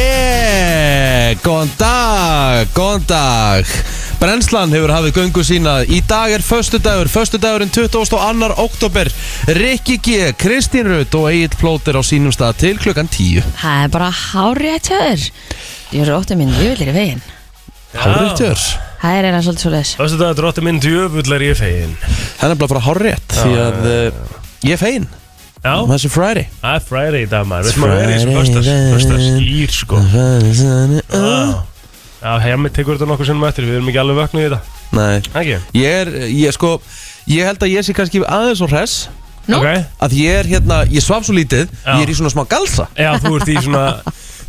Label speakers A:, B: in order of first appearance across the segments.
A: Yeah, góðan dag, góðan dag Brennslan hefur hafið göngu sína Í dag er föstudagur, föstudagurinn 22. oktober Rikki G, Kristín Rutt og Egil Plóter á sínum stað til klukkan 10
B: Það er bara hárið að tjöður Ég er óttu minn djöfullir í veginn
A: Hárréttjör
B: Það er eina svolítið svo leis
C: Þessu dag drótti minn djöfull er ég fegin
A: Það er nefnilega bara hárrétt Því að uh, ég er fegin
C: Já,
A: Þessi Friday
C: það er Friday í dag maður Við sem að vera í þessu föstas Föstas ír sko
A: Mm-hmm.
C: Já, Já, hemmi tekur þetta nokkur sinnum eftir Við erum ekki alveg vöknuð í þetta
A: Nei,
C: Ekki?
A: ég er, ég sko Ég held að ég sé kannski aðeins og hress
B: Nú?
C: Ok
A: Að ég er hérna, ég svaf svo lítið
C: Já.
A: Ég er í svona smá galsa
C: Já, þú ert í svona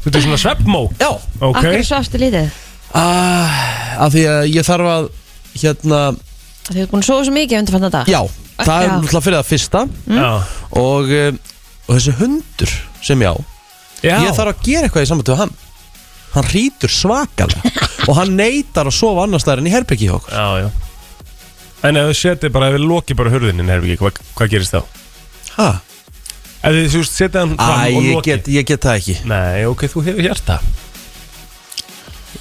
C: Þú ert í svona sveppmó
A: Já,
C: Ok
B: Akkur svafstu lítið
A: Ah, af því að ég þarf að hérna,
B: Þið hefur búin að sofa svo mikið undir fann dag
A: já, það er
B: Já.
A: náttúrulega fyrir það fyrsta
C: Já
A: og, eh, og þessi hundur sem ég á,
C: Já
A: ég þarf að gera eitthvað í samband við hann hann hrýtur svakalega og hann neytar að sofa annars staðar en í herbyggi hjá okkur
C: Já, já En ef þú setið bara, ef við lokið bara hurðinni Herfi ekki, hvað, hvað gerist þá?
A: ha,
C: Ef þið, þú veist, setið hann
A: Æ,
C: fram og
A: ég
C: lokið
A: get, ég get það ekki
C: Nei, ok, þú hefur hjarta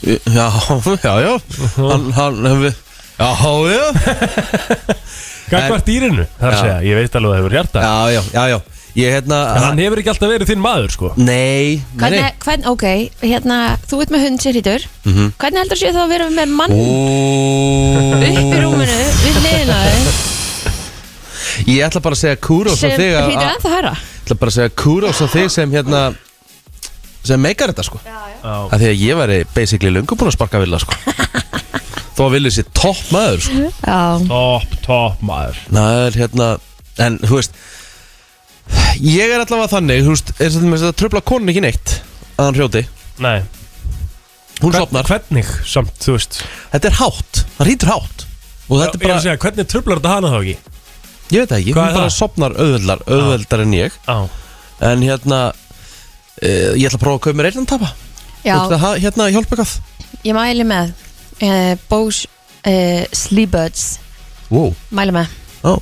A: já, já, já hann, hann, já, já
C: Gagvart dýrinu, þar
A: Já.
C: að segja, ég veit alveg að það hefur hjarta
A: já, já, já, já ég hérna
C: En hann hefur ekki alltaf verið þinn maður, sko
A: nei, nei, nei. Mhm.
B: Hvernig, hvern, ok, hérna, þú ert með hund sér hýtur Hvernig heldur sér þá að vera með mann
A: Ó.
B: upp í rúminu við hliðina á þér
A: Ég ætla bara að segja kúrós á
B: sem
A: þig að-
B: hýtur
A: að-
B: ennþá herra
A: Ég ætla bara að segja kúrós á þig sem hérna sem meikar þetta sko
C: Já,
A: að því að ég væri basically löngu búin að sparka vilja sko þó að vilja sér topp maður
C: Mhm.
A: sko
B: Já,
C: topp, topp maður
A: það er hérna en þú veist ég er allavega þannig þú veist eins og þetta með þetta tröfla konun ekki neitt að hann hrjóti
C: Nei,
A: hún
C: Hvern-
A: sopnar
C: hvernig samt, þú veist
A: þetta er hátt hann hrýtur hátt og þetta er
C: Ég er
A: bara
C: að segja, hvernig tröflar þetta hana þá ekki?
A: ég veit það ekki
C: Hvað er
A: hún bara
C: það?
A: sopnar auðveldar auðveldar en ég
C: Já,
A: en hérna eh, ég ætla að prófa að kaupa mér einn tappa
B: já,
A: hérna hjálpa eitthvað
B: ég mæli með uh, Bose uh, Sleebuds
A: wow
B: Mæli með
A: Ó.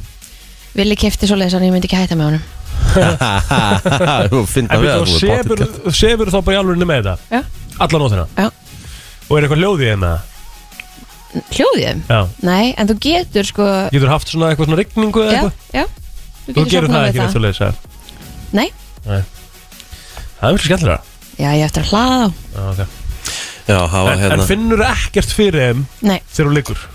B: Vili kefti svo leiðis að ég myndi ekki hætta með honum
A: Þú finna
C: en
A: við að
C: veitum,
A: þú er
C: sefur,
A: potið
C: sefur þá bara í alveg með þetta
B: Já.
C: Alla nótina
B: Já.
C: Og er eitthvað hljóðið hérna? með það?
B: Hljóðið?
C: Já
B: Nei, en þú getur sko
C: Getur haft svona eitthvað svona rigningu eða
B: Já,
C: eitthvað?
B: já
C: Þú gerir
B: sofnað
C: það
B: við
C: ekki neitt svo leiðis
B: Nei,
C: Það er mjög skemmtilega
B: já, ég á eftir að hlaða þá
C: Já, ok.
A: Já, það var
C: en, en
A: hérna
C: finnur ekkert fyrir þeim
B: Nei,
C: þegar þú liggur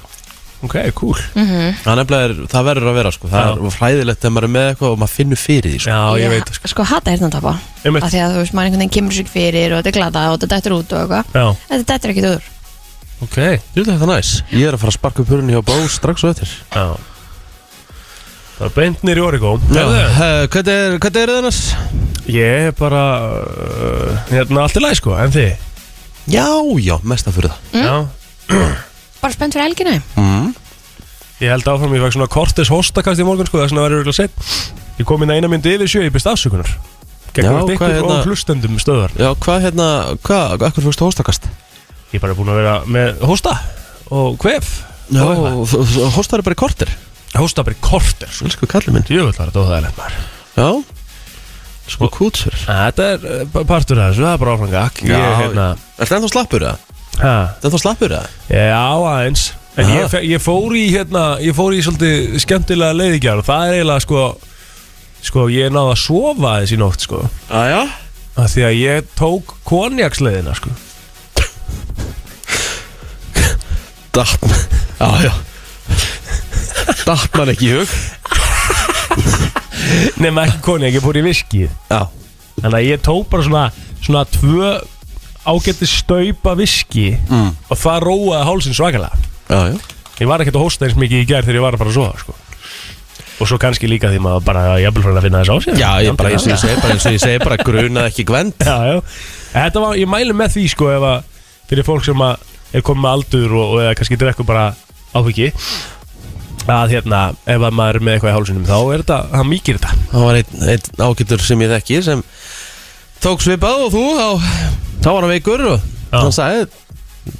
C: Ok, cool
B: Mm.
A: Það nefnilega er, það verður að vera sko Það
C: Já.
A: er hræðilegt þegar maður er með eitthvað og maður finnur fyrir því sko
C: Já, ég
B: Ég
C: veit það,
B: ha- Sko hata hérna tappa
C: Einmitt.
B: Af því að þú veist, maður einhvern veginn kemur sér ekki fyrir og þetta er glata og þetta dættur út og eitthvað
C: Já,
B: En Þetta dættur ekki úr
C: ok
A: Jú, þetta er næs Ég er að fara að sparka upp hurðinni hjá Bó strax og eftir
C: Já Það er beint nýri Oregón
A: Já, eh, Hvernig er, hvernig er það annars?
C: Ég er bara uh, Hérna allt í læg sko, en þið
A: Já, já, mest að fyrir það
C: Já
B: Bara spennt fyrir elginu
A: mm.
C: Ég held áfram, ég fæk svona kortis hóstakast í morgun sko Það er svona verið örgulega sett Ég kom inn að eina myndi yfir sjö, ég byrst afsökunar
A: Já,
C: Gegnum allt
A: hvað
C: ykkur
A: hérna-
C: og hlustendum stöðar
A: Já, hvað hérna, hvað, akkur fyrst hóstakast?
C: Ég er bara búin að vera með hósta Og kvef
A: Já,
C: og eitthvað.
A: þú- þú- hóstar er bara í kortir
C: Hósta bara í kortir svo
A: Elsku kallið minn
C: Jöfull var þetta óþægilegt maður
A: Já, sko kútsur
C: Að Þetta er eh, bara partur af þessu, það er bara áfram gakk Ég
A: Já,
C: er hérna
A: Er það ennþá slappur það?
C: ha,
A: Er það slappur það?
C: Já, aðeins En
A: Aha.
C: ég, fe- ég fór í hérna Ég fór í svolítið skemmtilega leiðigjár Það er eiginlega sko Sko, ég náði að sofa aðeins í nótt sko
A: Æja
C: að Því að ég tók konjaksleiðina sko
A: Datt Já, já Datt man ekki í hug
C: Nei, maður ekki konjak, ég fór í viskið
A: Já
C: Þannig að ég tók bara svona Svona tvö ágætti staupa viski
A: Mm.
C: Og það róaði hálsinn svakalega
A: Já, já
C: Ég var ekkert að hósta eins mikið í gær þegar ég var að fara að sofa sko. Og svo kannski líka því maður bara að jafnvel fyrir að finna þess á sér
A: Já, ég bara eins og ég
C: já,
A: segi, bara eins og ég segi, bara grunað ekki gvend
C: já. En Þetta var, ég mæli með því sko ef að Fyrir fólk sem að er komið með aldur og, og eða kannski drekku bara áfengi Að hérna, ef að maður er með eitthvað í hálsunum Þá er þetta, það mýkir þetta
A: Það var einn ein ágættur sem ég þekki sem tók svipað og þú, þá, þá var hann veikur og
C: Já.
A: hann sagði,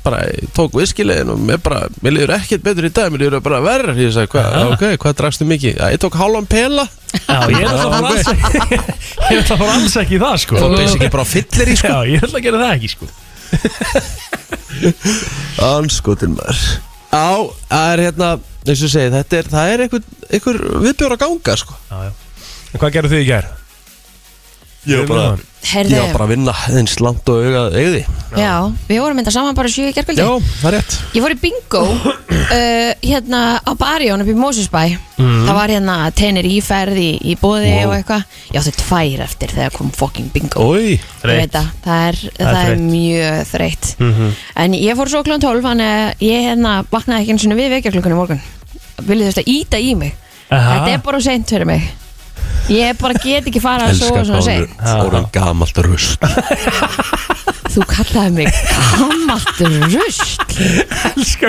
A: bara tók viskilegin og mér bara, mér liður ekkert betur í dag, mér liður bara verra ég sagði, hvað, ok, hvað drakstu mikið? Já, ég tók hálfan pela
C: Já, ég er alltaf bara alls ekki Ég er alltaf bara alls ekki í það sko
A: og basically bara fyllir í sko
C: Já, ég ætla að gera það ekki sko
A: anskotin maður á, það er hérna, eins og ég segi þetta er, það er einhver, einhver viðbjör að ganga sko
C: Já, já En hvað gerðu þið í gær?
A: ég var bara, ég var bara að vinna eins langt og augað eigði
B: já, við vorum mynda saman bara sjö í gerkvöldi
A: já, það er rétt
B: Ég fór í bingo uh, hérna á barjón upp í Mósusbæ
C: Mhm.
B: Það var hérna tenir íferð í, í bóði
A: Wow.
B: og eitthvað Ég átti tvær eftir þegar kom fucking bingo
A: Oi,
B: Ég veit það, það er, það er
C: þreytt.
B: mjög þreytt En ég fór svo kl. 12 Þannig að ég hérna vaknaði ekki eins og við vekjarklukkunni morgun Viljið þurft að íta í mig
C: Aha.
B: Þetta er bara seint fyrir mig Ég bara get ekki fara að sofa svona seint
A: orðin gamalt rust
B: Þú kallaði mig gammalt rusl Fyrir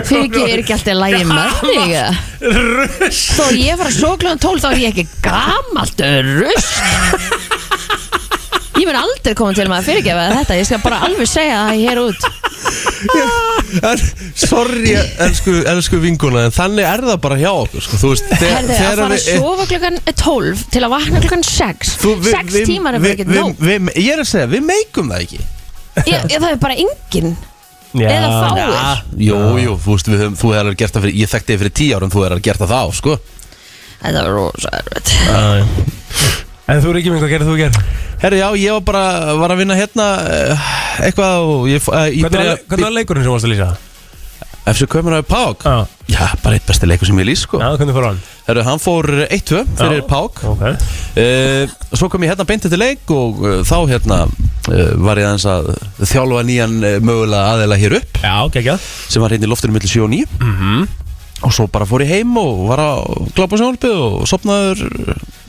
B: ekki er ekki alltaf lægi með þig eða?
C: Russ
B: Þó ég var að sjóklaðan tól þá er ég ekki gammalt rusl Ég mun aldrei koma til maður að fyrirgefa þér þetta Ég skal bara alveg segja það hér út
A: En, sorry, elsku, elsku vinguna En þannig er það bara hjá okkur sko. Þú veist, þe-
B: Herðu, að fara að sofa klukkan 12 til að vakna klukkan 6
A: Þú- við-
B: 6
A: við-
B: tímar er
A: við-
B: bara ekki
A: við-
B: nóg
A: við- Ég er að segja, við meikum það ekki
B: Ég- ég- Það er bara engin Eða fáir.
A: Já, Jú, jú, þú veist, við höfum, þú er að gert það fyrir Ég þekkti þig fyrir tíu árum, þú er að gert það þá, sko
B: Þetta var rosa erfitt
C: En þú Ríkjum, hvað gerðu þú í gær?
A: Herru, já, ég var bara, var að vinna hérna eh, Eitthvað og ég, uh, ég
C: Hvernig var- hvernig
A: byrja
C: var leikurinn sem varst að lýsa?
A: Eftir kömur á Pák
C: Já,
A: Já, bara eitt besti leikur sem ég lýs, sko
C: já, hvernig fór hann?
A: Herru, hann fór 1-2 fyrir
C: Já.
A: Pák
C: Ok
A: Uh, svo kom ég hérna beintið til leik og uh, þá hérna uh, var ég aðeins að þjálfa nýjan uh, mögulega aðeila hér upp
C: Já, geggjað
A: sem var hérna í loftinu millir 7 og 9 og svo bara fór ég heim og var að glápa sjónalpið og sopnaður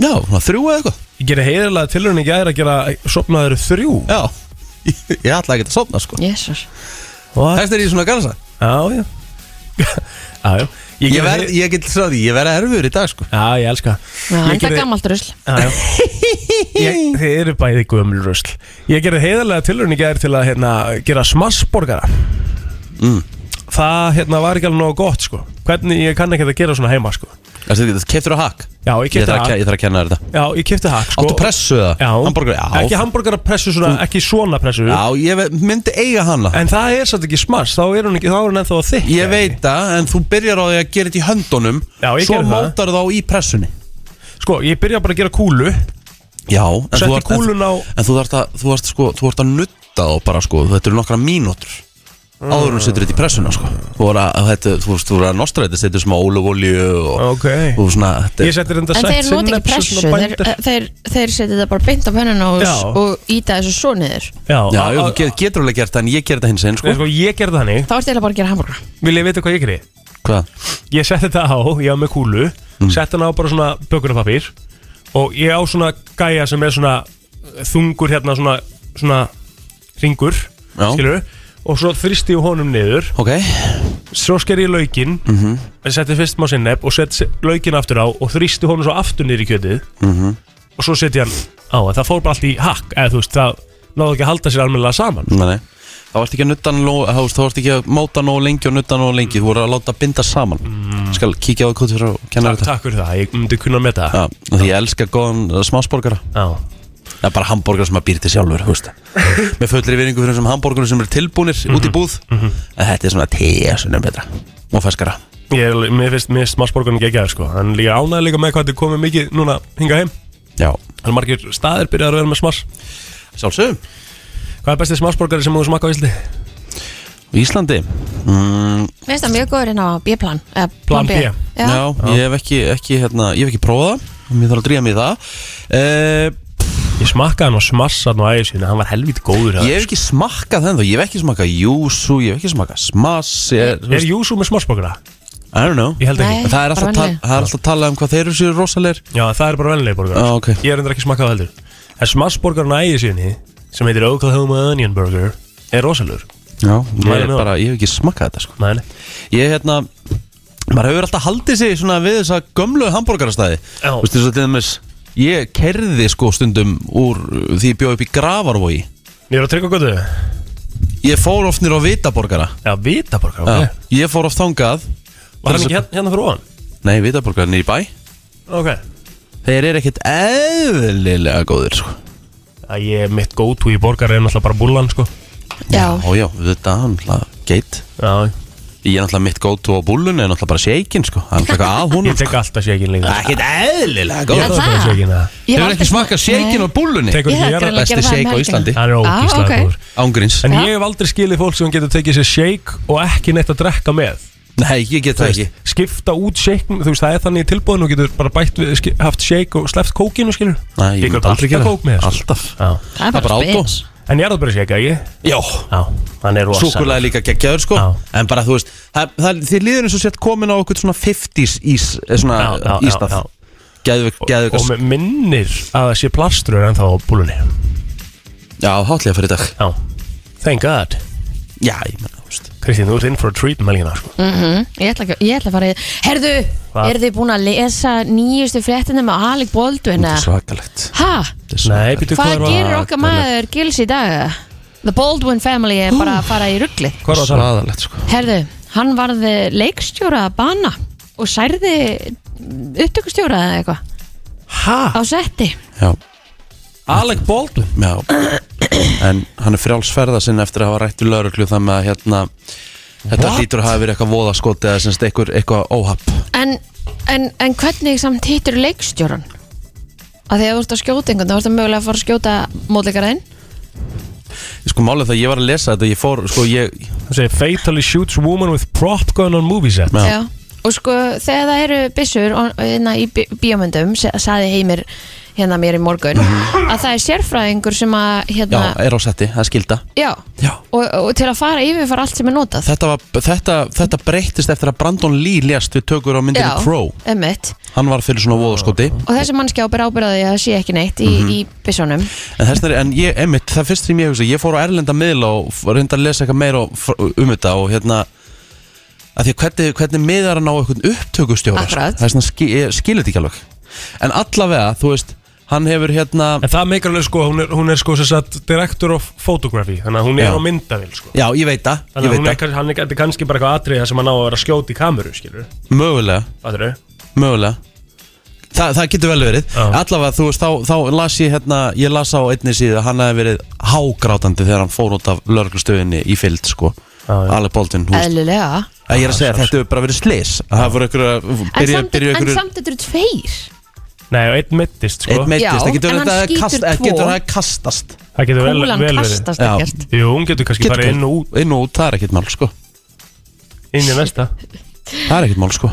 A: já, svona þrjú eða eitthvað
C: Ég gerði heiðarlega tilhörun í gær að gera sopnaður þrjú
A: já, ég ætla ekki að sopna sko
B: Jesus
C: What?
A: Þess er ég svona gansa
C: Já, já Já, já
A: Ég,
C: gerði-
A: verð, ég get svo því, ég verð erfur í dag sko
C: Já, ég elska
B: Já,
C: Ég
B: en það
C: gerði-
B: er gammalt rusl
C: Já, já. Ég- Þið eru bæði gömul rusl Ég gerði heiðarlega tilraun í gær til að hérna, gera smassborgara
A: Mm.
C: Það hérna, var ekki alveg nógu gott sko. Hvernig ég kann ekki að gera svona heima sko.
A: Þessi, þetta keftur á hak
C: Já, ég
A: Ég
C: kefti
A: þarf að,
C: hak
A: ke- ég þarf að kenna þér þetta
C: Já, ég kefti hak sko.
A: Áttu pressu eða?
C: Já,
A: Hamborgara?
C: ekki
A: Já,
C: hambúrgara pressu svona, ekki svona pressu
A: já ég ve- myndi eiga hana
C: En það er satt ekki smass, þá er hún ekki, þá er hún ennþá að þykka
A: Ég veit það, en þú byrjar á því að gera þetta í höndunum
C: Já, ég
A: Svo
C: gerði það.
A: mótar þá í pressunni
C: Sko, ég byrja bara að gera kúlu
A: Já, en
C: Setti
A: þú ert- en-
C: kúluna á-
A: En þú ert að, þú ert sko, þú ert að nutta þá bara sko Þetta eru nokkra mínútur
C: Mm.
A: Áður en þú setur þetta í pressuna sko Þú er að, þetta, þú veist, þú er að nostra þetta Setur smá ólugolju og,
C: Ok
A: og svona þetta,
C: Ég setti reynda
B: En
C: sett
B: þeir nota ekki pressu Þeir, uh, þeir, þeir setja þetta bara beint á pennuna og,
C: Já.
B: og íta þessu svo niður
C: Já,
A: Já,
C: á-
A: jú,
C: á-
A: þú get, getur alveg gert það En ég ger þetta hins einn
C: Nei,
A: sko
C: sko, ég gerði það hannig
B: Þá ertu eiginlega bara að gera hamburgra
C: Vil ég vita hvað ég gerði?
A: Hvað?
C: Ég setti þetta á, ég á með kúlu
A: Mm.
C: Setti hann á bara svona bökunarpapír Og ég á svona gæja sem er svona eh, Þungur hérna svona Svona ringur
A: Já.
C: Skilur Og svo þristi ég honum niður
A: Ok,
C: Svo sker ég laukin mm
A: Mhm.
C: -hmm. Setti fyrst má sinneb Og setti laukin aftur á Og þristi honum svo aftur niður í kjötið -hmm.
A: Mhm.
C: Og svo setti ég hann á en Það fór bara allt í hakk Eða þú veist, það náðu ekki að halda sér almennilega saman
A: nei, nei Það varst ekki að nutta hann nóg- þá varst- þá varst ekki að móta nóg lengi og nutta nóg lengi Þú voru að láta binda saman Skal kíkja á það kóttur og kenna
C: Takk,
A: þetta
C: takk fyrir það, ég myndi kunna með það
A: Já, af því ég elska góðan uh, smásborgara
C: Já.
A: Það er bara hambúrgar sem að býr til sjálfur, þú veist Með fullri viningu fyrir þessum hambúrgarum sem eru tilbúnir út í búð En þetta er svona tesunum betra Og feskara
C: Ég er, alveg- mér finnst, mér finnst massborgarinn geggjaður sko Hann er líka ánæði líka með hvað þetta er komið mikið núna hinga heim
A: Já,
C: Hann er margir staðir byrjaður að vera með smass
A: sjálfsögum
C: Hvað er bestið smassborgari sem þú smakka á Íslandi?
A: Íslandi mm,
B: Mér finnst það mjög góður inn á B-plan eða
C: Plan B.
A: já.
B: Já.
A: ég hef ekki, ekki, hérna, ég hef ekki prófað það Mér þarf að dríja mig í það uh,
C: Ég smakkaði hann á smass hann á ægir sinni Hann var helvít góður
A: Ég hef ekki smakkað þenn Ég hef ekki smakkað júsu, ég hef ekki smakkað smass ég, er, þú
C: Er
A: veist,
C: Júsú með smassborgara?
A: I don't know
C: Ég held
B: Nei.
C: ekki
A: Það er alltaf,
B: bara
A: tal,
B: venjuleg.
A: það er alltaf talað um hvað þeir eru sér rosalegir
C: Já það er bara venlega borgar
A: Já, Ah, ok.
C: Ég er endur ekki smakkað á heldur En smassborgarinn á ægir sinni Sem heitir Oklahoma Onion Burger Er rosalur
A: Já, ég,
C: Mælum
A: er
C: með
A: bara, ég hef ekki smakkað þetta sko
C: Nei, nei.
A: Ég hérna Maður hefur alltaf haldið sig svona við þessa gömlu hambúrgarastæði
C: Já.
A: Þú veist þess að til dæmis Ég kerði sko stundum úr uh, því ég bjóð upp í gravarvogi
C: Ég er að tryggja góðu
A: Ég fór oft nýr á Vitaborgara
C: Já, Vitaborgar,
A: Já.
C: ok
A: Ég fór oft þangað
C: Var hann ekki hérna, hérna fyrir ofan?
A: Nei, Vitaborgara nýr í bæ
C: Ok
A: Þeir eru ekkert eðlilega góðir sko.
C: Já, ég mitt go-to í borgar er náttúrulega bara búlan, sko
B: Já,
A: Ó já, þetta er náttúrulega geit
C: Já,
A: Ég er náttúrulega mitt gótu á búlunni er náttúrulega bara shakin sko Það er náttúrulega eitthvað að
C: ég
A: honum sko.
C: tek alltaf shakin líka
A: Það er ekkert eðlilega
C: Ég
A: góð
B: Er
C: tek bara
B: það?
C: shakin það
B: ég
A: Þeir
B: hef
A: eru ekki
B: aldrei
A: smakað shakin á búlunni
C: Tekur
B: Ég
C: ekki
B: hef
C: gera
B: aldrei
C: það
A: Besti shake á Íslandi
B: að gera það um helgina.
C: Það er
B: Ah,
C: ógíslega
B: ok.
C: góður
A: Ángríns
C: En
B: Já.
C: ég hef aldrei skilið fólk sem getur tekið sér shake og ekki neitt að drekka með
A: Nei, ég get það ekki
C: veist, skipta út shake, þú veist, það er þannig í tilbúðinu og getur bara bætt við, ski- haft shake og sleppt kókinu, skilur
A: Nei, ég
C: Ég
A: myndi
C: kaupi
A: aldrei
C: alltaf
A: gera
C: kók með sko. þessu.
A: Alltaf
C: Já.
B: það er
A: Það er
B: bara
A: bara átó.
B: spins
C: En ég er það bara að shake, ekki?
A: Já
C: Já, hann er rosa
A: Súkulega líka geggjaður sko
C: Já.
A: En bara þú veist það, það, Þið líður eins og sett komin á okkur svona 50s ís eh, Svona
C: Já, já, já,
A: ístað
C: já.
A: Gæðvik, gæðvik
C: Og með minnir að það sé plastrur ennþá á búlunni
A: Já, hátlega fyrir í dag
C: Já, thank god
A: Já, ég menna, þú veist
C: Kristín, þú ert inn for a treat melgina sko.
B: Mhm, Ég ætla, ekki- ég ætla að fara í Herðu,
C: Hvað?
B: eru þið búin að lesa nýjustu fréttina með Alec Baldwin?
A: Þetta er
B: eða?
A: svakalegt
B: Ha?
A: Þetta er
C: Nei,
A: svakalegt.
C: býtu, hvað
B: Hvað
C: var
B: gerir okkar maður gils í dag? The Baldwin family er bara að fara í ruggli
C: Hvað var það?
A: Svaðalegt sko
B: Herðu, hann varði leikstjóra að bana og særði upptökustjóra eða eitthvað
C: Ha?
B: á setti
A: Já,
C: Alec Baldwin
A: já En hann er frjálsferða sinn eftir að hafa rætt í lauruglu Það með að hérna Þetta
C: What?
A: hlýtur að hafa verið eitthvað voðaskot Eða semst eitthvað, eitthvað óhapp
B: en, en, en hvernig samt hittir leikstjóran? Að því að þú ert að skjóta einhvern, þú ert að mögulega að fara að skjóta mótleikaraðinn
A: Sko málið það, ég var að lesa þetta Ég fór, sko ég
C: Þú segir fatally shoots woman with prop gun on movie set
A: Já.
B: Já. Og sko, þegar það eru byssur og- hérna í bí- bíómyndum, sa- sagði Heimir hérna mér í morgun, að það er sérfræðingur sem
A: Mhm.
B: að,
A: Já,
B: hérna,
A: er á setti, það er skilda
B: já,
A: Já
B: og, og til að fara yfirfara allt sem er notað.
A: Þetta, var, þetta, þetta breyttist eftir að Brandon Lee lést við tökur á myndinu
B: Já,
A: Pro
B: Emmitt.
A: Hann var fyrir svona voðaskoti
B: Og þessi mannski ábyrð ábyrðaði að það sé ekki neitt í,
A: Mhm.
B: í byssunum.
A: En þess vegna, en ég, einmitt, það fyrst sem ég hugsa Ég fór á erlenda miðla og f- reyndi að lesa eitthvað meira og fr- um þetta og hérna að því að hvernig, hvernig miðar hann á eitthvað upptökustjóra sko.
B: Akkurat.
A: Það er svona, skil, ég skilir þetta ekki alveg En allavega, þú veist, hann hefur hérna
C: En það meikar alveg sko, hún er, hún er sko sem sagt director of photography Þannig að hún er
A: Já.
C: á myndavil sko
A: Já, ég veit það, ég
C: Þannig að
A: veit
C: hún er,
A: það,
C: kann- hann er, þetta er kannski bara eitthvað atriða sem hann á að vera að skjóta í kameru, skilur
A: mögulega
C: Það
A: Mögulega Þa, Það getur vel verið
C: Já.
A: Allavega þú veist þá, þá las ég hérna Ég las á einni síðu að hann hefði verið hágrátandi Þegar hann fór út af lörglustöðinni í fyllt sko
C: Já, já.
A: Alec Baldwin þú veist.
B: Eðlilega.
A: Að Ég er að segja að þetta hefur bara verið slis Að það voru ykkur að
B: En
A: byrja,
B: samt,
A: byrja
B: en
A: ykkur
B: samt þetta eru tveir.
C: Nei, og einn mittist sko
A: Eitt meittist,
B: Já,
A: það getur
B: en
A: verið
B: hann
A: að það
B: skýtur
A: kast,
B: tvo.
A: getur verið að kastast
C: Það getur vel,
B: Kúlan
C: vel verið
B: kastast
A: Já.
B: ekkert.
C: Jú, hún getur kannski
A: Getur
C: bara inn og út,
A: inn og út, það er ekkert mál sko
C: inn í næsta
A: Það er ekkert mál sko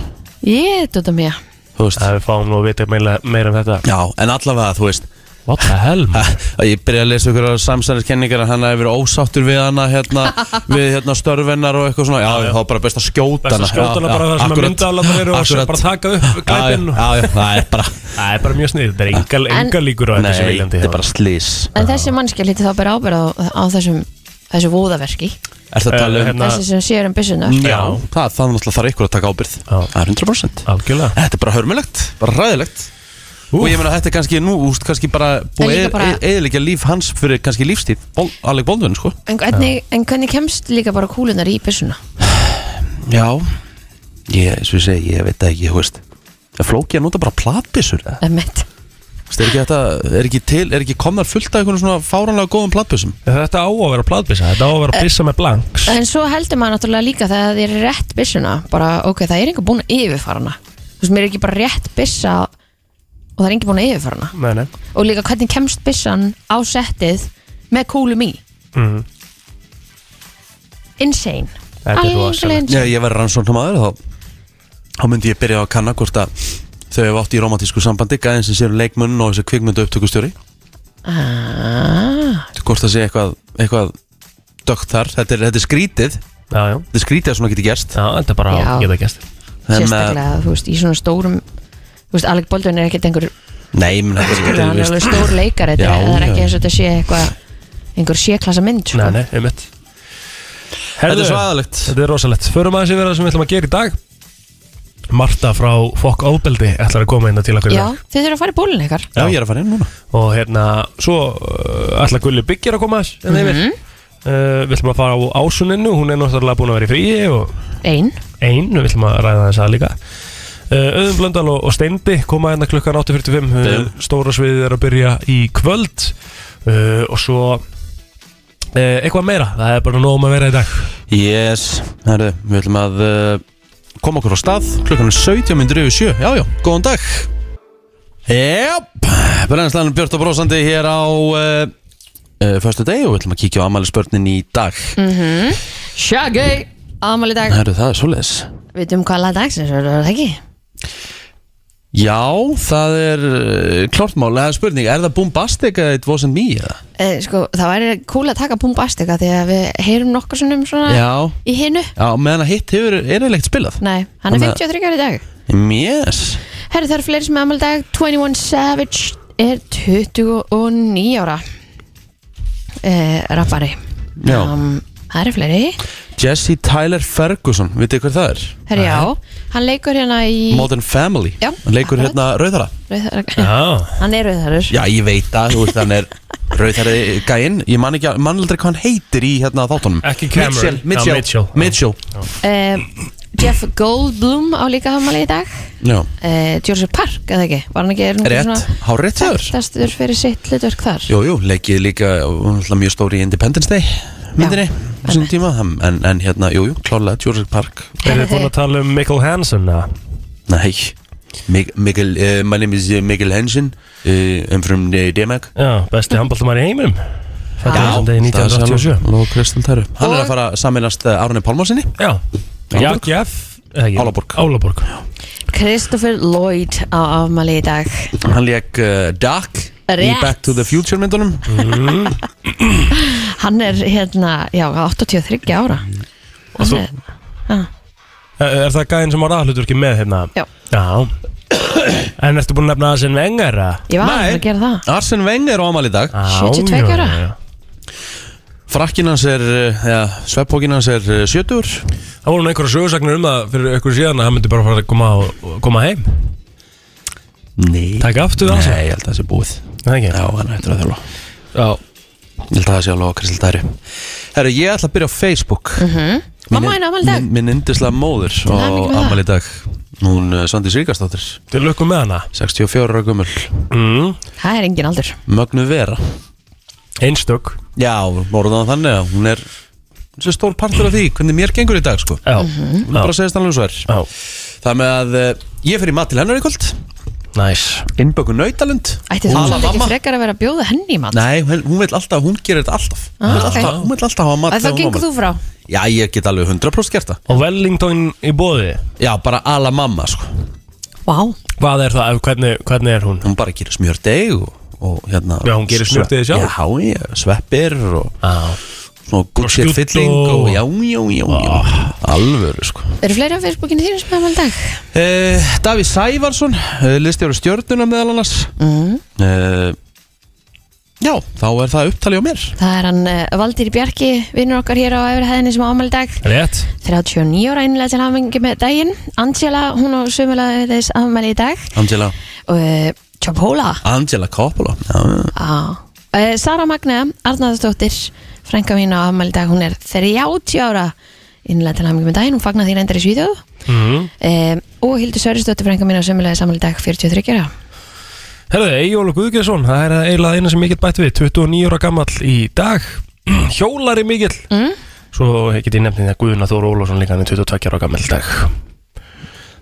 B: Ég, þetta mér.
A: Þú veist
C: Það við fáum nú að vita meira, meira um þetta
A: Já, en allavega þú veist
C: What the hell, man?
A: að ég byrja að lesa ykkur samsæðiskenningar að hann hefur verið ósáttur við hana hérna, við hérna störfennar og eitthvað svona já, já, þá er bara best að skjóta
C: Best að
A: hana
C: skjóta hana bara það sem að myndavélarnar eru og svo bara taka upp glæpinn og-
A: já, já, já, það er bara
C: Það er bara mjög snið, þetta er engal,
B: En-
C: engal líkur á
A: nei,
C: þetta sem viljandi
A: þetta er bara slís
B: En þessi mannski lítið þá byrja ábyrð á, á þessum, þessu vóðaverki.
A: er það að tala
C: Eh,
A: um
C: hérna-
B: Þessi sem séur um byssunar.
A: já,
C: Já.
A: það, það er náttúrulega þarf ykkur að taka ábyrð
C: Já.
A: það er 100%
C: Algjörlega
A: þetta er bara hörmulegt, bara ræðilegt og ég meina þetta er kannski nú úst, kannski bara
B: líka
A: búið
B: bara-
A: eðilegja líf hans fyrir kannski lífstíð Bol, Alec Baldwin sko
B: En hvernig, en hvernig kemst líka bara kúlunar í byssuna?
A: já, ég, svo ég segi, ég veit það ekki, þú veist Það er flókið að nota bara platbissur eða?
B: Emmett.
A: Þú veist, er ekki þetta, er ekki til, er ekki komnar fullt af einhvern svona fáranlega góðum plattbussum?
C: Þetta á að vera pladbissa, þetta á að vera bissa með blanks
B: En svo heldur maður náttúrulega líka þegar þið er rétt byssuna bara, ok, það er einhver búin að yfirfara hana þú veist, mér er ekki bara rétt byssa og það er enginn búin að yfirfara hana
C: Nei, nei
B: og líka hvernig kemst byssan á settið með kúlum í
C: Mhm.
B: Insane
C: Þetta er rosalegt.
B: Algjörlega
A: Já,
B: insane
A: ég verði rannsóknum aður þá, þá myndi ég byrja á að kanna hvort að þau hefur átt í romantísku sambandi, gæðin sem séu leikmunn og þessi kvikmyndu upptökustjóri
B: Ah,
A: hvort það sé eitthvað, eitthvað dögt þar, þetta er, þetta er skrítið þetta
C: Já, já,
A: er skrítið að svona geti gerst
C: já þetta er bara
B: Já.
C: að geta gæst
A: En, eh,
B: Sérstaklega, þú veist, í svona stórum þú veist, Alec Baldwin er ekkert einhver
A: Nei, menn, þetta er
B: hann er
A: veist-
B: alveg stór leikar þetta
A: Já,
B: er- það er
A: já.
B: ekki eins og þetta sé eitthvað einhver séklasa mynd sko.
C: Nei, nei, um mitt
A: Þetta er svo aðalegt
C: Þetta er rosalegt Förum aðeins yfir það sem við ætlum að gera í dag Marta frá Fokk Óbeldi ætlar að koma hérna til okkur í
B: Já,
C: dag.
B: þið þurfa að fara í bólun ykkar
A: Já, ég er að fara inn núna
B: Mhm.
A: Mhm,
C: Og hérna, svo uh, ætlar Gulli Byggir að koma aðeins mm -hmm. uh, Við ætlum að fara á ásuninu Hún er náttúrulega búin að vera í fríi og
B: Einn
C: ein Við ætlum að ræða þess að líka uh, Öðum Blöndal og, og Steindi koma hérna klukkan 8.45 uh,
A: Damn.
C: Stóra sviðið er að byrja í kvöld uh, Og svo uh, Eitthvað meira, það er bara nóg um að vera í dag
A: Yes, herru, við ætlum að uh, koma okkur á stað klukkan er 17 myndir yfir 7, já já, góðan dag Jáp, brennslan Björn og Brósandi hér á uh, uh, Föstu degi og við ætlum að kíkja á amælisbörnin í dag
B: Shaggy Amal í dag
A: Herru, það er svoleiðis
B: Við um hvað laði dagsins er það ekki?
A: Já, það er uh, klortmál, það er spurning, er það bombastic eða it wasn't me eða?
B: Eh, sko, það væri cool að taka bombastika því að við heyrum nokkur sinnum svona
A: Já,
B: í hinu
A: já, meðan að hitt hefur er eilegt spilað
B: Nei, hann er
A: Þannig að-
B: 53 ára í dag
A: Yes,
B: Herri, það eru fleiri sem er amal í dag 21 Savage er 29 ára eh, Rappari
A: Já.
B: um, Það eru fleiri
A: Jesse Tyler Ferguson, vitið þið hver það er?
B: Herri, já Hann leikur hérna í
A: Modern Family,
B: Já,
A: hann leikur
B: akkurat.
A: hérna rauðara
B: Rauðar-
C: Já,
B: Hann er rauðarur
A: Já, ég veit að, þú veist, hann er rauðherri gæinn, ég man ekki, man aldrei hvað hann heitir í hérna þáttunum
C: Ekki Cameron. Já,
A: Mitchell, Mitchell,
C: Mitchell.
A: Mitchell.
B: uh, Jeff Goldblum á líka hamali í dag
A: Já.
B: uh, Jurassic Park, eða ekki? Var hann ekki er hann ekki
A: Rétt, hárétt þjóður
B: þekktastur fyrir sitt hlutverk þar
A: Jú, jú, leikið líka, hún er alltaf mjög stóri í Independence Day myndinni, á þessum tíma en, en, en hérna, jú, jú, klálega, Jurassic Park
C: er þið búin að tala um Mikkel Hansen eða?
A: Nei, Mig, Mikkel, uh, my name is uh, Mikkel Hansen uh, I'm from uh, Denmark
C: Já, besti handbóltumar í heiminum Fættu þessum degi 1987
A: Ló Kristal Tæru Hann er
B: Og-
A: að fara að saminast uh, Árni Pálmarsinni
C: Já,
A: Álaborg.
C: Jakjaf
A: Álaborg.
C: Álaborg
B: Christopher Lloyd á afmali í dag
A: Hann leik uh, Duck í
B: Rétt.
A: Back to the Future myndunum
B: Hann er hérna, já, 83 ára
C: Og þú,
B: Hann er- Ha.
C: er, er það gæðin sem á aðhlutur ekki með hérna?
B: Já.
C: Já En ertu búin að nefna það sem vengar að?
B: Ég var
A: Nei.
B: aðeins að gera það
A: Arsene Wenger á amal í dag
C: Ah.
B: 72 ára.
A: Frakkin hans er, uh, ja, sveppókin hans er uh, 70
C: Það voru nú einhverja sögursagnir um það fyrir einhverju síðan að hann myndi bara fara að koma, og, koma heim
A: Nei
C: Takk aftur það
A: Nei, ég held að það sé búið
C: Það ekki?
A: Já, hann er hættur að þjóla
C: Já
A: Ég held að það sé alveg á Kristal Tæru Herru, ég ætla að byrja á Facebook
B: Mamma henni afmali í dag
A: Minn yndislega móður
B: hamingju
A: og
B: með það.
A: amal í dag Hún uh, Sandi Svíkastóttir
C: Til lukku með hana
A: 64 ára gömul
C: mm.
B: Það er engin aldur
A: Mögnu vera
C: Einstök
A: Já, orðan þannig að hún er Þessi stór partur af því, hvernig mér gengur í dag sko
C: Já
B: Mhm.
A: Hún bara segist alveg svo er
C: Já
A: Það með að uh, ég fer í mat til hennar í kvöld
C: Næs
A: Innböku nautalund
B: Ætti þú
A: Tala
B: svolítið ekki
A: mamma.
B: frekar að vera að bjóða henni í mann
A: Nei, hún hún vill alltaf, hún gerir þetta alltaf Hún vill
B: Ah,
A: alltaf,
B: ok.
A: hún vill alltaf hafa mat
B: Þá
A: þegar hún á
B: gengur
A: afmæli.
B: þú frá
A: Já, ég get alveg 100% gert það
C: Og Wellington í bóði
A: Já, bara ala mamma sko
B: Vá,
C: Hvað er það? Hvernig, hvernig er hún?
A: Hún bara gerir smjördeg og, og hérna
C: Já, hún gerir smjördeig sjálf.
A: Já, ég, sveppir og
C: Já
A: svona gutsið
C: skjúrt og-
A: fylling og já, já, já, já Alvöru sko
B: eru fleiri á Facebookinu þínu sem er afmæli í dag?
A: uh, Daví Sævarsson uh, listjáru stjörnuna meðal annars
B: Mm.
A: uh, Já, þá er það upptalið á mér
B: Það er hann uh, Valdir Bjarki, vinnur okkar hér á Efrihæðinni sem á afmæli í dag
C: Rétt
B: 39 ára einlega til hafmingi með daginn Angela, hún á sömulega þess afmæli í dag
A: Angela
B: og uh, Chapola
A: Angela Coppola já,
B: uh, Sara Magne, Arnaðarsdóttir frænka mín á afmæli í dag, hún er 30 ára innlega til hafmingi með daginn hún fagnar því reyndar í Svíðu
C: mm.
B: um, og Hildur Sörjusdóttir frænka mín á sömulega afmæli í dag 43 ára
C: Herðu, Eyjólu Guðgjesson, það er eiginlega eina sem ég get bætt við 29 ára gamall í dag Hjólari mikill
B: Mm.
C: Svo get ég nefnt því að Guðuna Þóru Ólafsson líka hann er 22 ára gamall í dag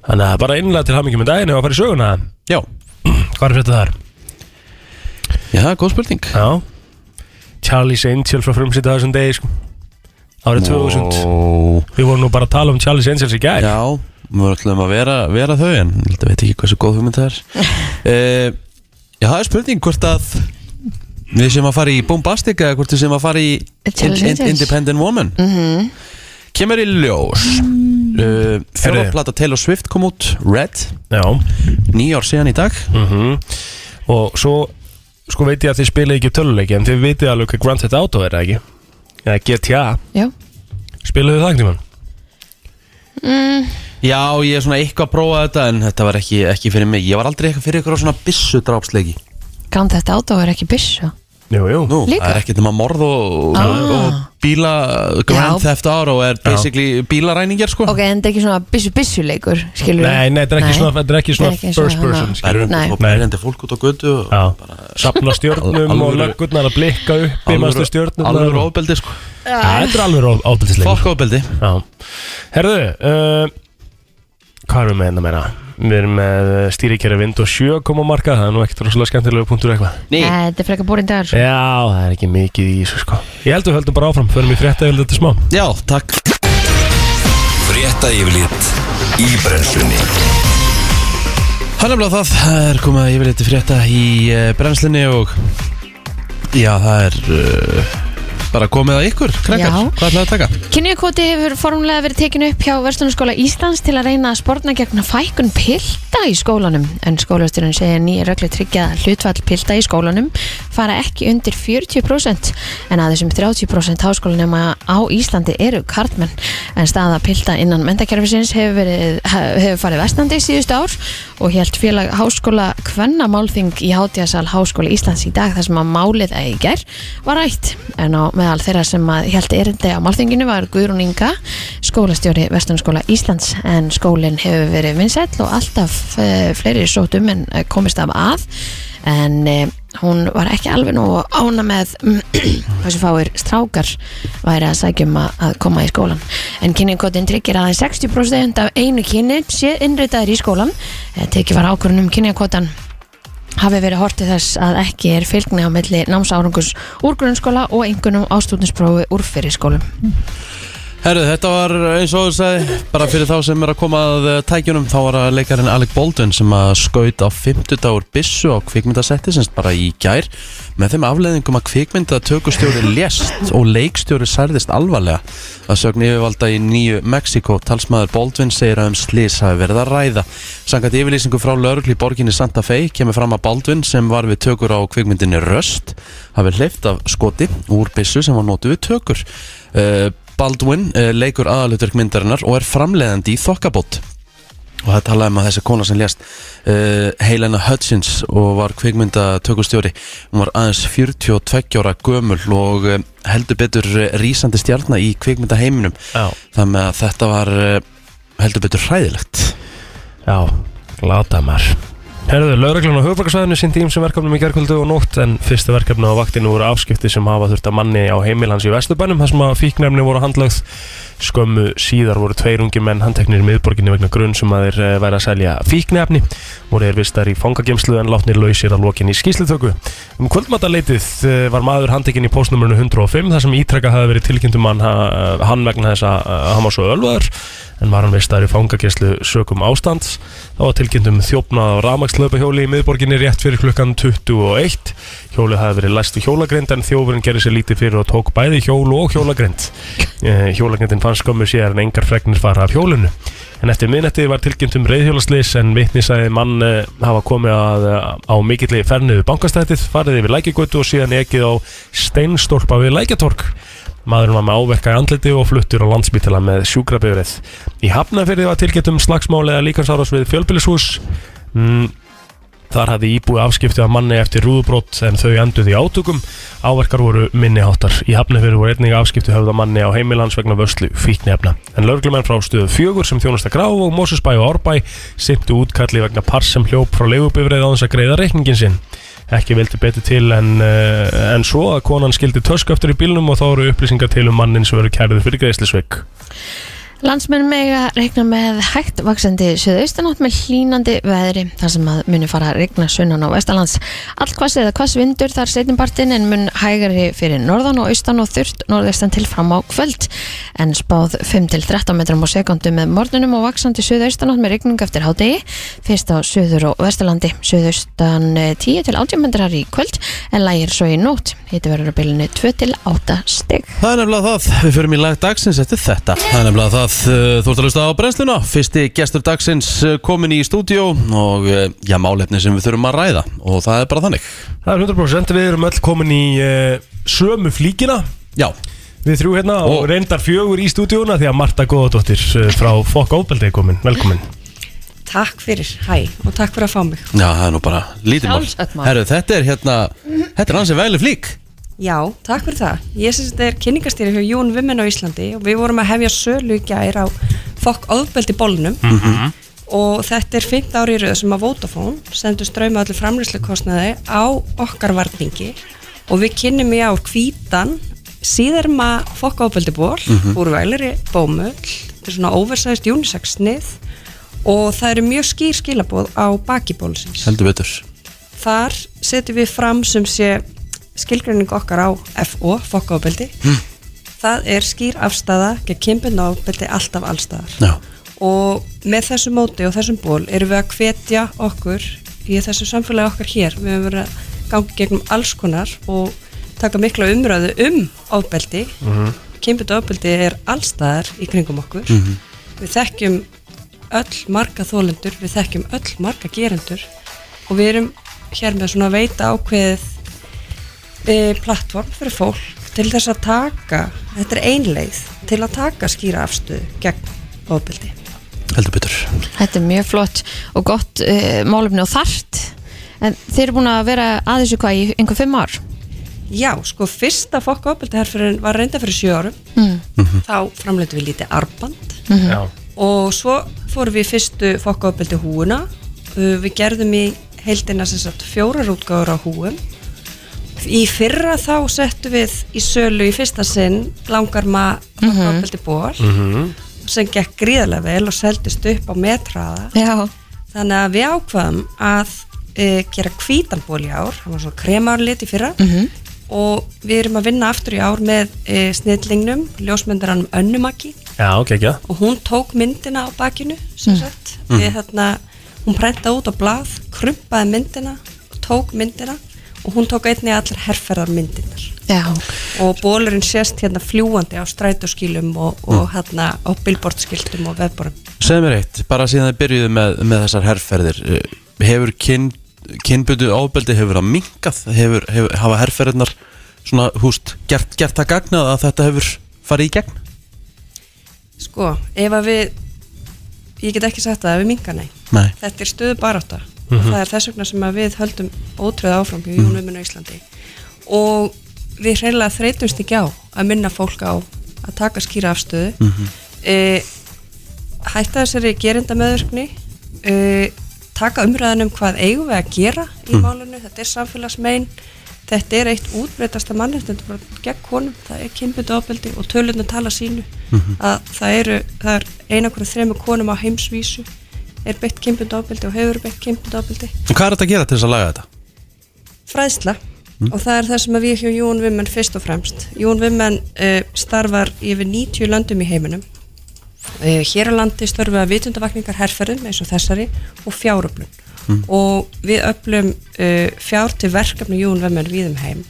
C: Þannig að bara innlega til hamingjum í daginn og að fara í söguna
A: já,
C: Hvað er fyrir þar?
A: já, það er góð spurning
C: Já Charlie's Angel frá frumsýta þessum degi sko Árið 2000
A: Ó,
C: Við vorum nú bara að tala um Charlie's Angels í gær
A: Já, við ætlum að vera, vera þau en ég held að veit ekki hversu góð hugmynd það er uh, Já, það er spurning hvort að við sem að fara í Bombastic eða hvort við sem að fara í in,
B: Challenge
A: in,
B: Angels.
A: Independent Woman Kemur í ljós uh,
C: Herri.
A: Fjörðarplata Taylor Swift kom út Red,
C: Já
A: nýjár síðan í dag
C: mm Og svo sko veit ég að þið spila ekki töluleiki en þið vitið alveg hvað Grand Theft Auto er eða ekki Eða GTA
B: Já.
C: Spilaðu það ekki mann?
B: Mm,
A: Já, ég er svona eitthvað að prófa þetta en þetta var ekki, ekki fyrir mig Ég var aldrei eitthvað fyrir ykkur á svona byssu drápsleiki
B: Grand Theft Auto er ekki byssu
C: Jú, jú
A: Nú,
B: Líka?
A: það er ekkert um að morð og,
B: Ah.
A: og bíla Grand
B: Já.
A: Theft Auto er basically bílaræningjar sko
B: Ok, en þetta er ekki svona byssu-byssu-leikur, skilur
C: Nei, nei, þetta er ekki svona, þetta er ekki svona
B: Þetta er ekki
C: first
B: svona,
C: person
B: hana.
C: skilur.
A: Það eru
B: Nei.
A: einhver erlendi fólk út á götu og
C: Já, sapna stjörnum
A: Alvöru-
C: og löggurnar að blikka upp í maður stjörnum
A: alveg ofbeldi sko
C: Þetta er alveg ábyrðisleikur
A: Fokk ofbeldi
C: Já Herðu uh, Hvað erum við með hérna meina? Við erum með stýrikjæri vind og sjö koma marka Það er nú ekkert rosalega skemmtilegu punktur eitthvað
A: Ný,
B: Æ, Þetta er frekar borin dagur
C: Eh,
B: sko.
C: Já, það er ekki mikið í þessu sko Ég held að við höldum bara áfram Förum í frétta yfir þetta smá
A: já, takk
D: Frétta yfirlit í brennslunni
A: Hann er blá það, það er komið að yfirleiti frétta í uh, brennslunni og Já, það er uh, bara komið að ykkur, krakkar,
B: Já.
A: hvað ætlaðu að taka?
B: Kynjakoti hefur formlega verið tekinu upp hjá Verslunaskóla Íslands til að reyna að sporna gegn fækun pilda í skólanum en skólastyrun segir að nýja röglu tryggja að hlutvall pilda í skólanum fara ekki undir 40% en að þessum 30% háskólanema á Íslandi eru kartmenn en staða pilda innan mentakerfisins hefur, verið, hefur farið vestandi síðustu ár og helt félag háskóla kvennamálþing í hátíðasal háskóla Íslands í dag þar sem að málið eða í gær var rætt en á meðal þeirra sem að helt erindi á málþinginu var Guðrún Inga skólastjóri Vestunarskóla Íslands en skólinn hefur verið vinsæll og alltaf eh, fleiri sótt um en eh, komist af að en eh, hún var ekki alveg nú ána með þessu fáir strákar væri að sækjum að, að koma í skólan en kynningotin tryggir að 60% af einu kynni sé innritaður í skólan Eh, tekið var ákvörðun um kynningotan hafi verið hortið þess að ekki er fylgni á milli námsárangus úr grunnskóla og einhvernum ástúdinsprófi úr fyrir skólum.
A: Herru, þetta var eins og þú sagði, bara fyrir þá sem er að koma að eh, tækjunum, þá var að leikarinn Alec Baldwin sem að skaut á 50 dagur byssu á kvikmyndasetti sem sagt bara í gær með þeim afleðingum að kvikmyndatökustjóri lést og leikstjóri særðist alvarlega að sögn yfirvalda í nýju Mexiko, talsmaður Baldwin segir að um slís hafi verið að ræða Sangat yfirlýsingu frá lauruglu í borginni Santa Fe kemur fram að Baldwin sem var við tökur á kvikmyndinni Röst hafi hleyft af skoti úr byssu sem var notuð við tökur Eh, Baldwin eh, leikur aðalutverk myndarinnar og er framleiðandi í þokkabót og það talaði um að þessi kona sem lést uh, Helena Hutchins og var kvikmyndatökustjóri hún var aðeins 42 ára gömul og uh, heldur betur eh, rísandi stjarnar í kvikmyndaheiminum
C: Já
A: þannig að þetta var uh, heldur betur hræðilegt
C: Já, láta maður Herðu, lauruglan á höfbrukarsvæðinu sindi ímsum verkefnum í gerkvöldu og nótt en fyrsta verkefni á vaktinu voru afskipti sem hafa þurft að manni á heimil hans í Vesturbænum þar sem að fíknefni voru handlögð skömmu síðar voru tveir ungi menn handteknir í miðborginni vegna grunn sem að þeir eh, væri að selja fíknefni voru þeir vistar í fangagemslu en látnir lausir að lokin í skýslutöku Um kvöldmataleitið eh, var maður handtekinn í postnumrunu 105 þar sem ítrekka hafi verið tilkynntum hann, ha- eh, hann vegna þess að að hann var svo ölvaður en var hann vistar í fangagemslu sökum ástands Það var tilkynnt um þjófnað á rafmagslaupahjóli í miðborginni rétt fyrir klukkan 21. Hjólið hafði verið læst í hjólagrind en þjófurinn gerði sér lítið fyrir og tók bæði hjól og hjólagrind. Eh, Hjólagrindin fannst skömmu sér en engar fregnir fara af hjólinu. En eftir minnetti var tilkynnt um reyðhjólaslis en vitni sagði mann eh, hafa komið að, eh, á mikilli ferniðu bankastættið, farið yfir lækjagötu og síðan ekið á steinstólpa við lækjatork. Maðurinn var með áverka í andliti og fluttur á landsbytala með sjúkrabifrið. Í Hafnafyrði var tilkynnt um slagsmáli eða líkansárás við fjölbýlishús. Mm, þar hafði íbúið afskipti af manni eftir rúðubrótt en þau enduð í átökum. Áverkar voru minniháttar. Í Hafnafyrði voru einnig afskipti höfða manni á heimilans vegna vöslu fíknefna. En lögreglumenn frá stöðu fjögur sem þjónusta grá og Mósusbæ og Árbæ sintu útkalli vegna par sem hljóp frá leigubifrið á þess að greiða reikningin sinn ekki vildi betur til en, uh, en svo að konan skildi tösku aftur í bílnum og þá eru upplýsingar til um mannin sem verður kærið fyrir greiðslisveik.
B: Landsmenn mega regna með hægt vaksandi söðaustanátt með hlínandi veðri þar sem að muni fara að regna sunnan á vestalands. Allt hvass eða hvass vindur þar setjumpartin en mun hægari fyrir norðan og austan og þurft norðaustan til fram á kvöld en spáð 5-13 metrum á sekundu með morgunum og vaksandi söðaustanátt með regning eftir hádegi fyrst á söður og eh, vestalandi söðaustan 10-18 metrar í kvöld en lægir svo í nótt. Hiti verður á bylunu 2-8 stygg.
A: Það er nefnilega það, við förum í lag dagsins eftir þetta Það er nefnilega það, uh, þú ert að hlusta á brennsluna Fyrsti gestur dagsins uh, komin í stúdíó og uh, já, málefni sem við þurfum að ræða og það er bara þannig
C: Það er 100% við erum öll komin í uh, sömu flíkina
A: Já,
C: við þrjú hérna og
A: Ó.
C: reyndar fjögur í stúdíóna því að Marta Góðadóttir uh, frá Fokk Óbeldi er komin, velkomin.
E: Takk fyrir, hæ, og takk fyrir að fá mig
A: já, það er nú bara lítið mál
B: Sjálfsagt mál.
A: Herru, þetta er hérna, þetta er hansi væli flík
E: Já, takk fyrir það. Ég syns að þetta er kynningastýri hjá Jón Vimmen á Íslandi og við vorum að hefja sölu í gær á fokk ofbeldi bólnum og þetta er fint ári í röð sem að Vodafone sendur ströyma allir framlýslukostnaði á okkar varningi og við kynnum í ár hvítan síðarma fokk ofbeldi ból úr vælri bómull þetta er svona oversized unisex snið og það eru mjög skýr skilabóð á bakibólsins
A: Heldur betur
E: þar setjum við fram sem sé skilgreining okkar á FO, fokkaofbeldi það er skýr afstæða gegn kynbundna ofbeldi alltaf allstæðar
A: Já
E: og með þessu móti og þessum ból erum við að hvetja okkur í þessu samfélagi okkar hér við höfum verið að ganga gegnum alls konar og taka mikla umræðu um ofbeldi mm -hmm. ofbeldi er allstæðar í kringum okkur við þekkjum öll marga þólendur, við þekkjum öll marga gerendur og við erum hér með svona að veita ákveðið e, plattform fyrir fólk til þess að taka, þetta er einleið til að taka skýra afstöðu gegn ofbeldi.
A: Heldur betur
B: Þetta er mjög flott og gott uh, málumni og þart En þeir eru búin að vera að þessu hvað í einhver fimm ár
E: Já, sko fyrsta fokk ofbeldi herfyrir var reynda fyrir sjö árum þá framleitum við lítið arband
C: Já,
E: og svo fórum við í fyrstu fokkofbeldi húuna Uh, við gerðum í heildina sem sagt fjórar útgáður á húum í fyrra þá settum við í sölu í fyrsta sinn langarma fokkofbeldi ból sem gekk gríðarlega vel og seldist upp á metraða
B: Já,
E: þannig að við ákvaðum að uh, gera hvítan ból í ár hann var svona kremárlit í fyrra og við erum að vinna aftur í ár með uh, snillingnum, ljósmyndaranum Önnumaki
C: já, ok, ekki
E: og hún tók myndina á bakinu sem sagt, við þarna hún prentaði út á blað, krumpaði myndina tók myndina og hún tók einnig allar herrferðar myndinar
B: já,
E: og bólurinn sést hérna fljúandi á strætóskilum og, og hérna á billboardskiltum og vefborum
A: Segð mér eitt, bara síðan þið byrjuðu með, með þessar herrferðir eh, Hefur kyn, kynbundu ofbeldi, hefur það minkað? Hefur, hefur, hafa herrferðirnar svona, húst, gert, gert það gagnað að þetta hefur farið í gegn?
E: sko, ef að við ég get ekki sagt það, ef við minga nei
A: Nei
E: þetta er stöðu barátta og það er þess vegna sem að við höldum ótröð áfram hjá Jónuminu mm -hmm. Íslandi og við hreinlega þreytumst ekki á að minna fólk á að taka skýra afstöðu mm -hmm. hætta þessari gerinda meðurkni e, taka umræðan um hvað eigum við að gera í málunni, þetta er samfélagsmein þetta er eitt útbreytasta mannreitnd gegn konum, það er kynbundu ofbeldi og tölunum tala sínu að það eru, það er eina okkur þremur konum á heimsvísu er beitt kynbund ofbeldi og hefur beitt kynbund ofbeldi
A: Og hvað er þetta að gera til þess að laga þetta?
E: fræðsla og það er það sem að við hjá Jón Vimmen fyrst og fremst Jón Vimmen uh, starfar yfir 90 löndum í heiminum uh, hér á landi störfa vitundavakningar herferðum eins og þessari og fjáröflum og við öflum uh, fjár til verkefni Jón Vimmen við um heim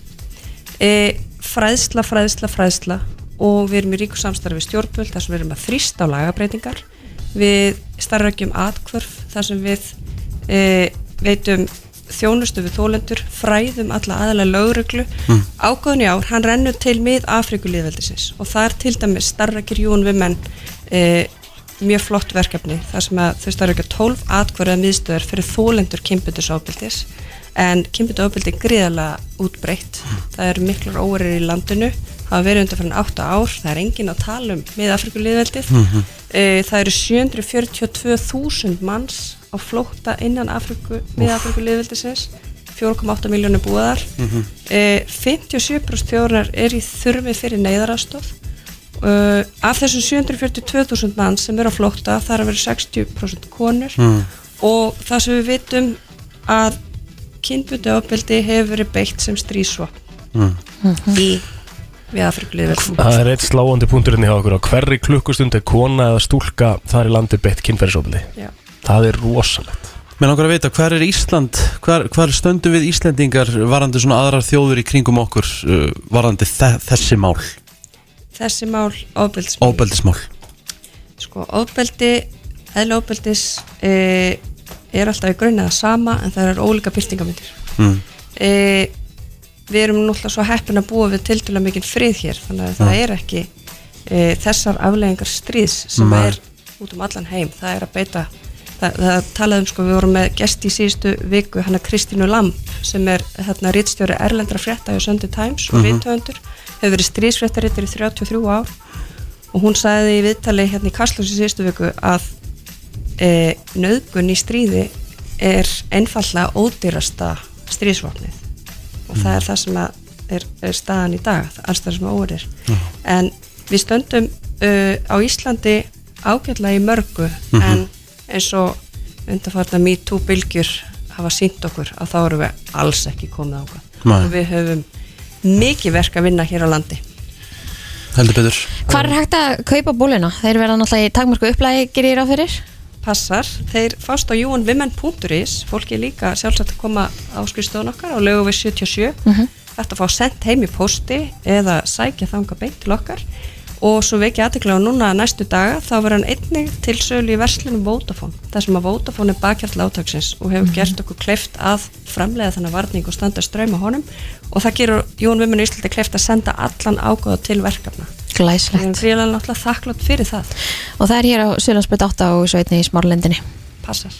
E: uh, fræðsla, fræðsla, fræðsla og við erum í ríku samstarfi við stjórnvöld þar sem við erum að þrýsta á lagabreytingar við starfrækjum atkvörf þar sem við e, veitum þjónustu við þólendur fræðum alla aðalega lögreglu mm. ágóðin í ár, hann rennur til mið Afrikulíðveldisins og það er til dæmis starfrækjur Jón við menn e, mjög flott verkefni þar sem að þau starfrækja 12 atkvörða miðstöðar fyrir þólendur kynbundisofbildis en kynbundaofbeldi er gríðarlega útbreytt. Það eru miklar óerir í landinu, hafa verið undanfærin 8 ár, það er engin að tala um með Afrikuliðveldið. Mm það eru 742.000 manns á flókta innan Afriku, með Afrikuliðveldisins, 4,8 miljónu búðar. Mm -hmm. 57% þjóðunar er í þurfi fyrir neyðarastof. Uh, af þessum 742.000 mann sem eru á flókta, það er að vera 60% konur
C: Hmm.
E: og það sem við vitum að kynbundu ofbeldi hefur verið beitt sem strísvopn í við Afrikulíðverð
C: Hmm. Það er eitt sláandi punkturinn hjá okkur á hverri klukkustund er kona eða stúlka þar í landi beitt kynferðisofbeldi Það er rosalegt
A: Mér langar að vita, hver er Ísland, hver, hver stöndum við Íslendingar varandi svona aðrar þjóður í kringum okkur uh, varandi þe þessi mál,
E: þessi mál ofbeldismál
A: ofbeldismál?
E: sko, ofbeldi, eðla ofbeldis e, er alltaf í grunni það sama en það er ólíka byrtingamindir
A: Mm.
E: e, við erum náttúrulega svo heppin að búa við tildulega mikinn frið hér þannig að
A: Mm.
E: það er ekki e, þessar afleðingar stríðs sem
A: Nei.
E: er út um allan heim það er að beita það, það talaði um sko, við vorum með gest í síðustu viku, hana Kristínu Lamb sem er hérna rittstjóri erlendra frétta hjá Sunday Times
A: Mhm.
E: og mm hefur verið stríðsfréttarittir í 33 ár og hún sagði í viðtali hérna í Kastlós í síðustu viku að e, nöðgun í stríði er einfallega ódýrasta stríðsvapnið og það er það sem að er, er staðan í dag, alls það sem að óverir en við stöndum uh, á Íslandi ágætlega í mörgu en eins og undarfarna MeToo bylgjur hafa sínt okkur að þá erum við alls ekki komið á
A: Nei.
E: okkur og við höfum mikið verk að vinna hér á landi
A: heldur betur
B: Hvar er hægt að kaupa bóluna? Þeir verða náttúrulega í takmörku upplægi, gerir ég ráð fyrir.
E: passar, þeir fást á unwomen.is fólki er líka sjálfsagt að koma á skrifstofun okkar á lögu við 77 þetta fá sendt heim í posti eða sækja þanga beint til okkar og svo vekja aðtekla á núna næstu daga þá verður hann einnig til sölu í verslunum Vodafone, þar sem að Vodafone er bakhjartla átaksins og hefur gert okkur kleift að framlega þannig varning og standa ströym á honum og það gerur Jón Vimun Íslandi kleift að senda allan ágóða til verkefna. Við erum
B: Glæslegt.
E: gríðarlega náttúrulega þakklátt fyrir það.
B: Og það er hér á Sjölandsbyrð 8 og svo einnig í Smárlendinni.
E: Passar.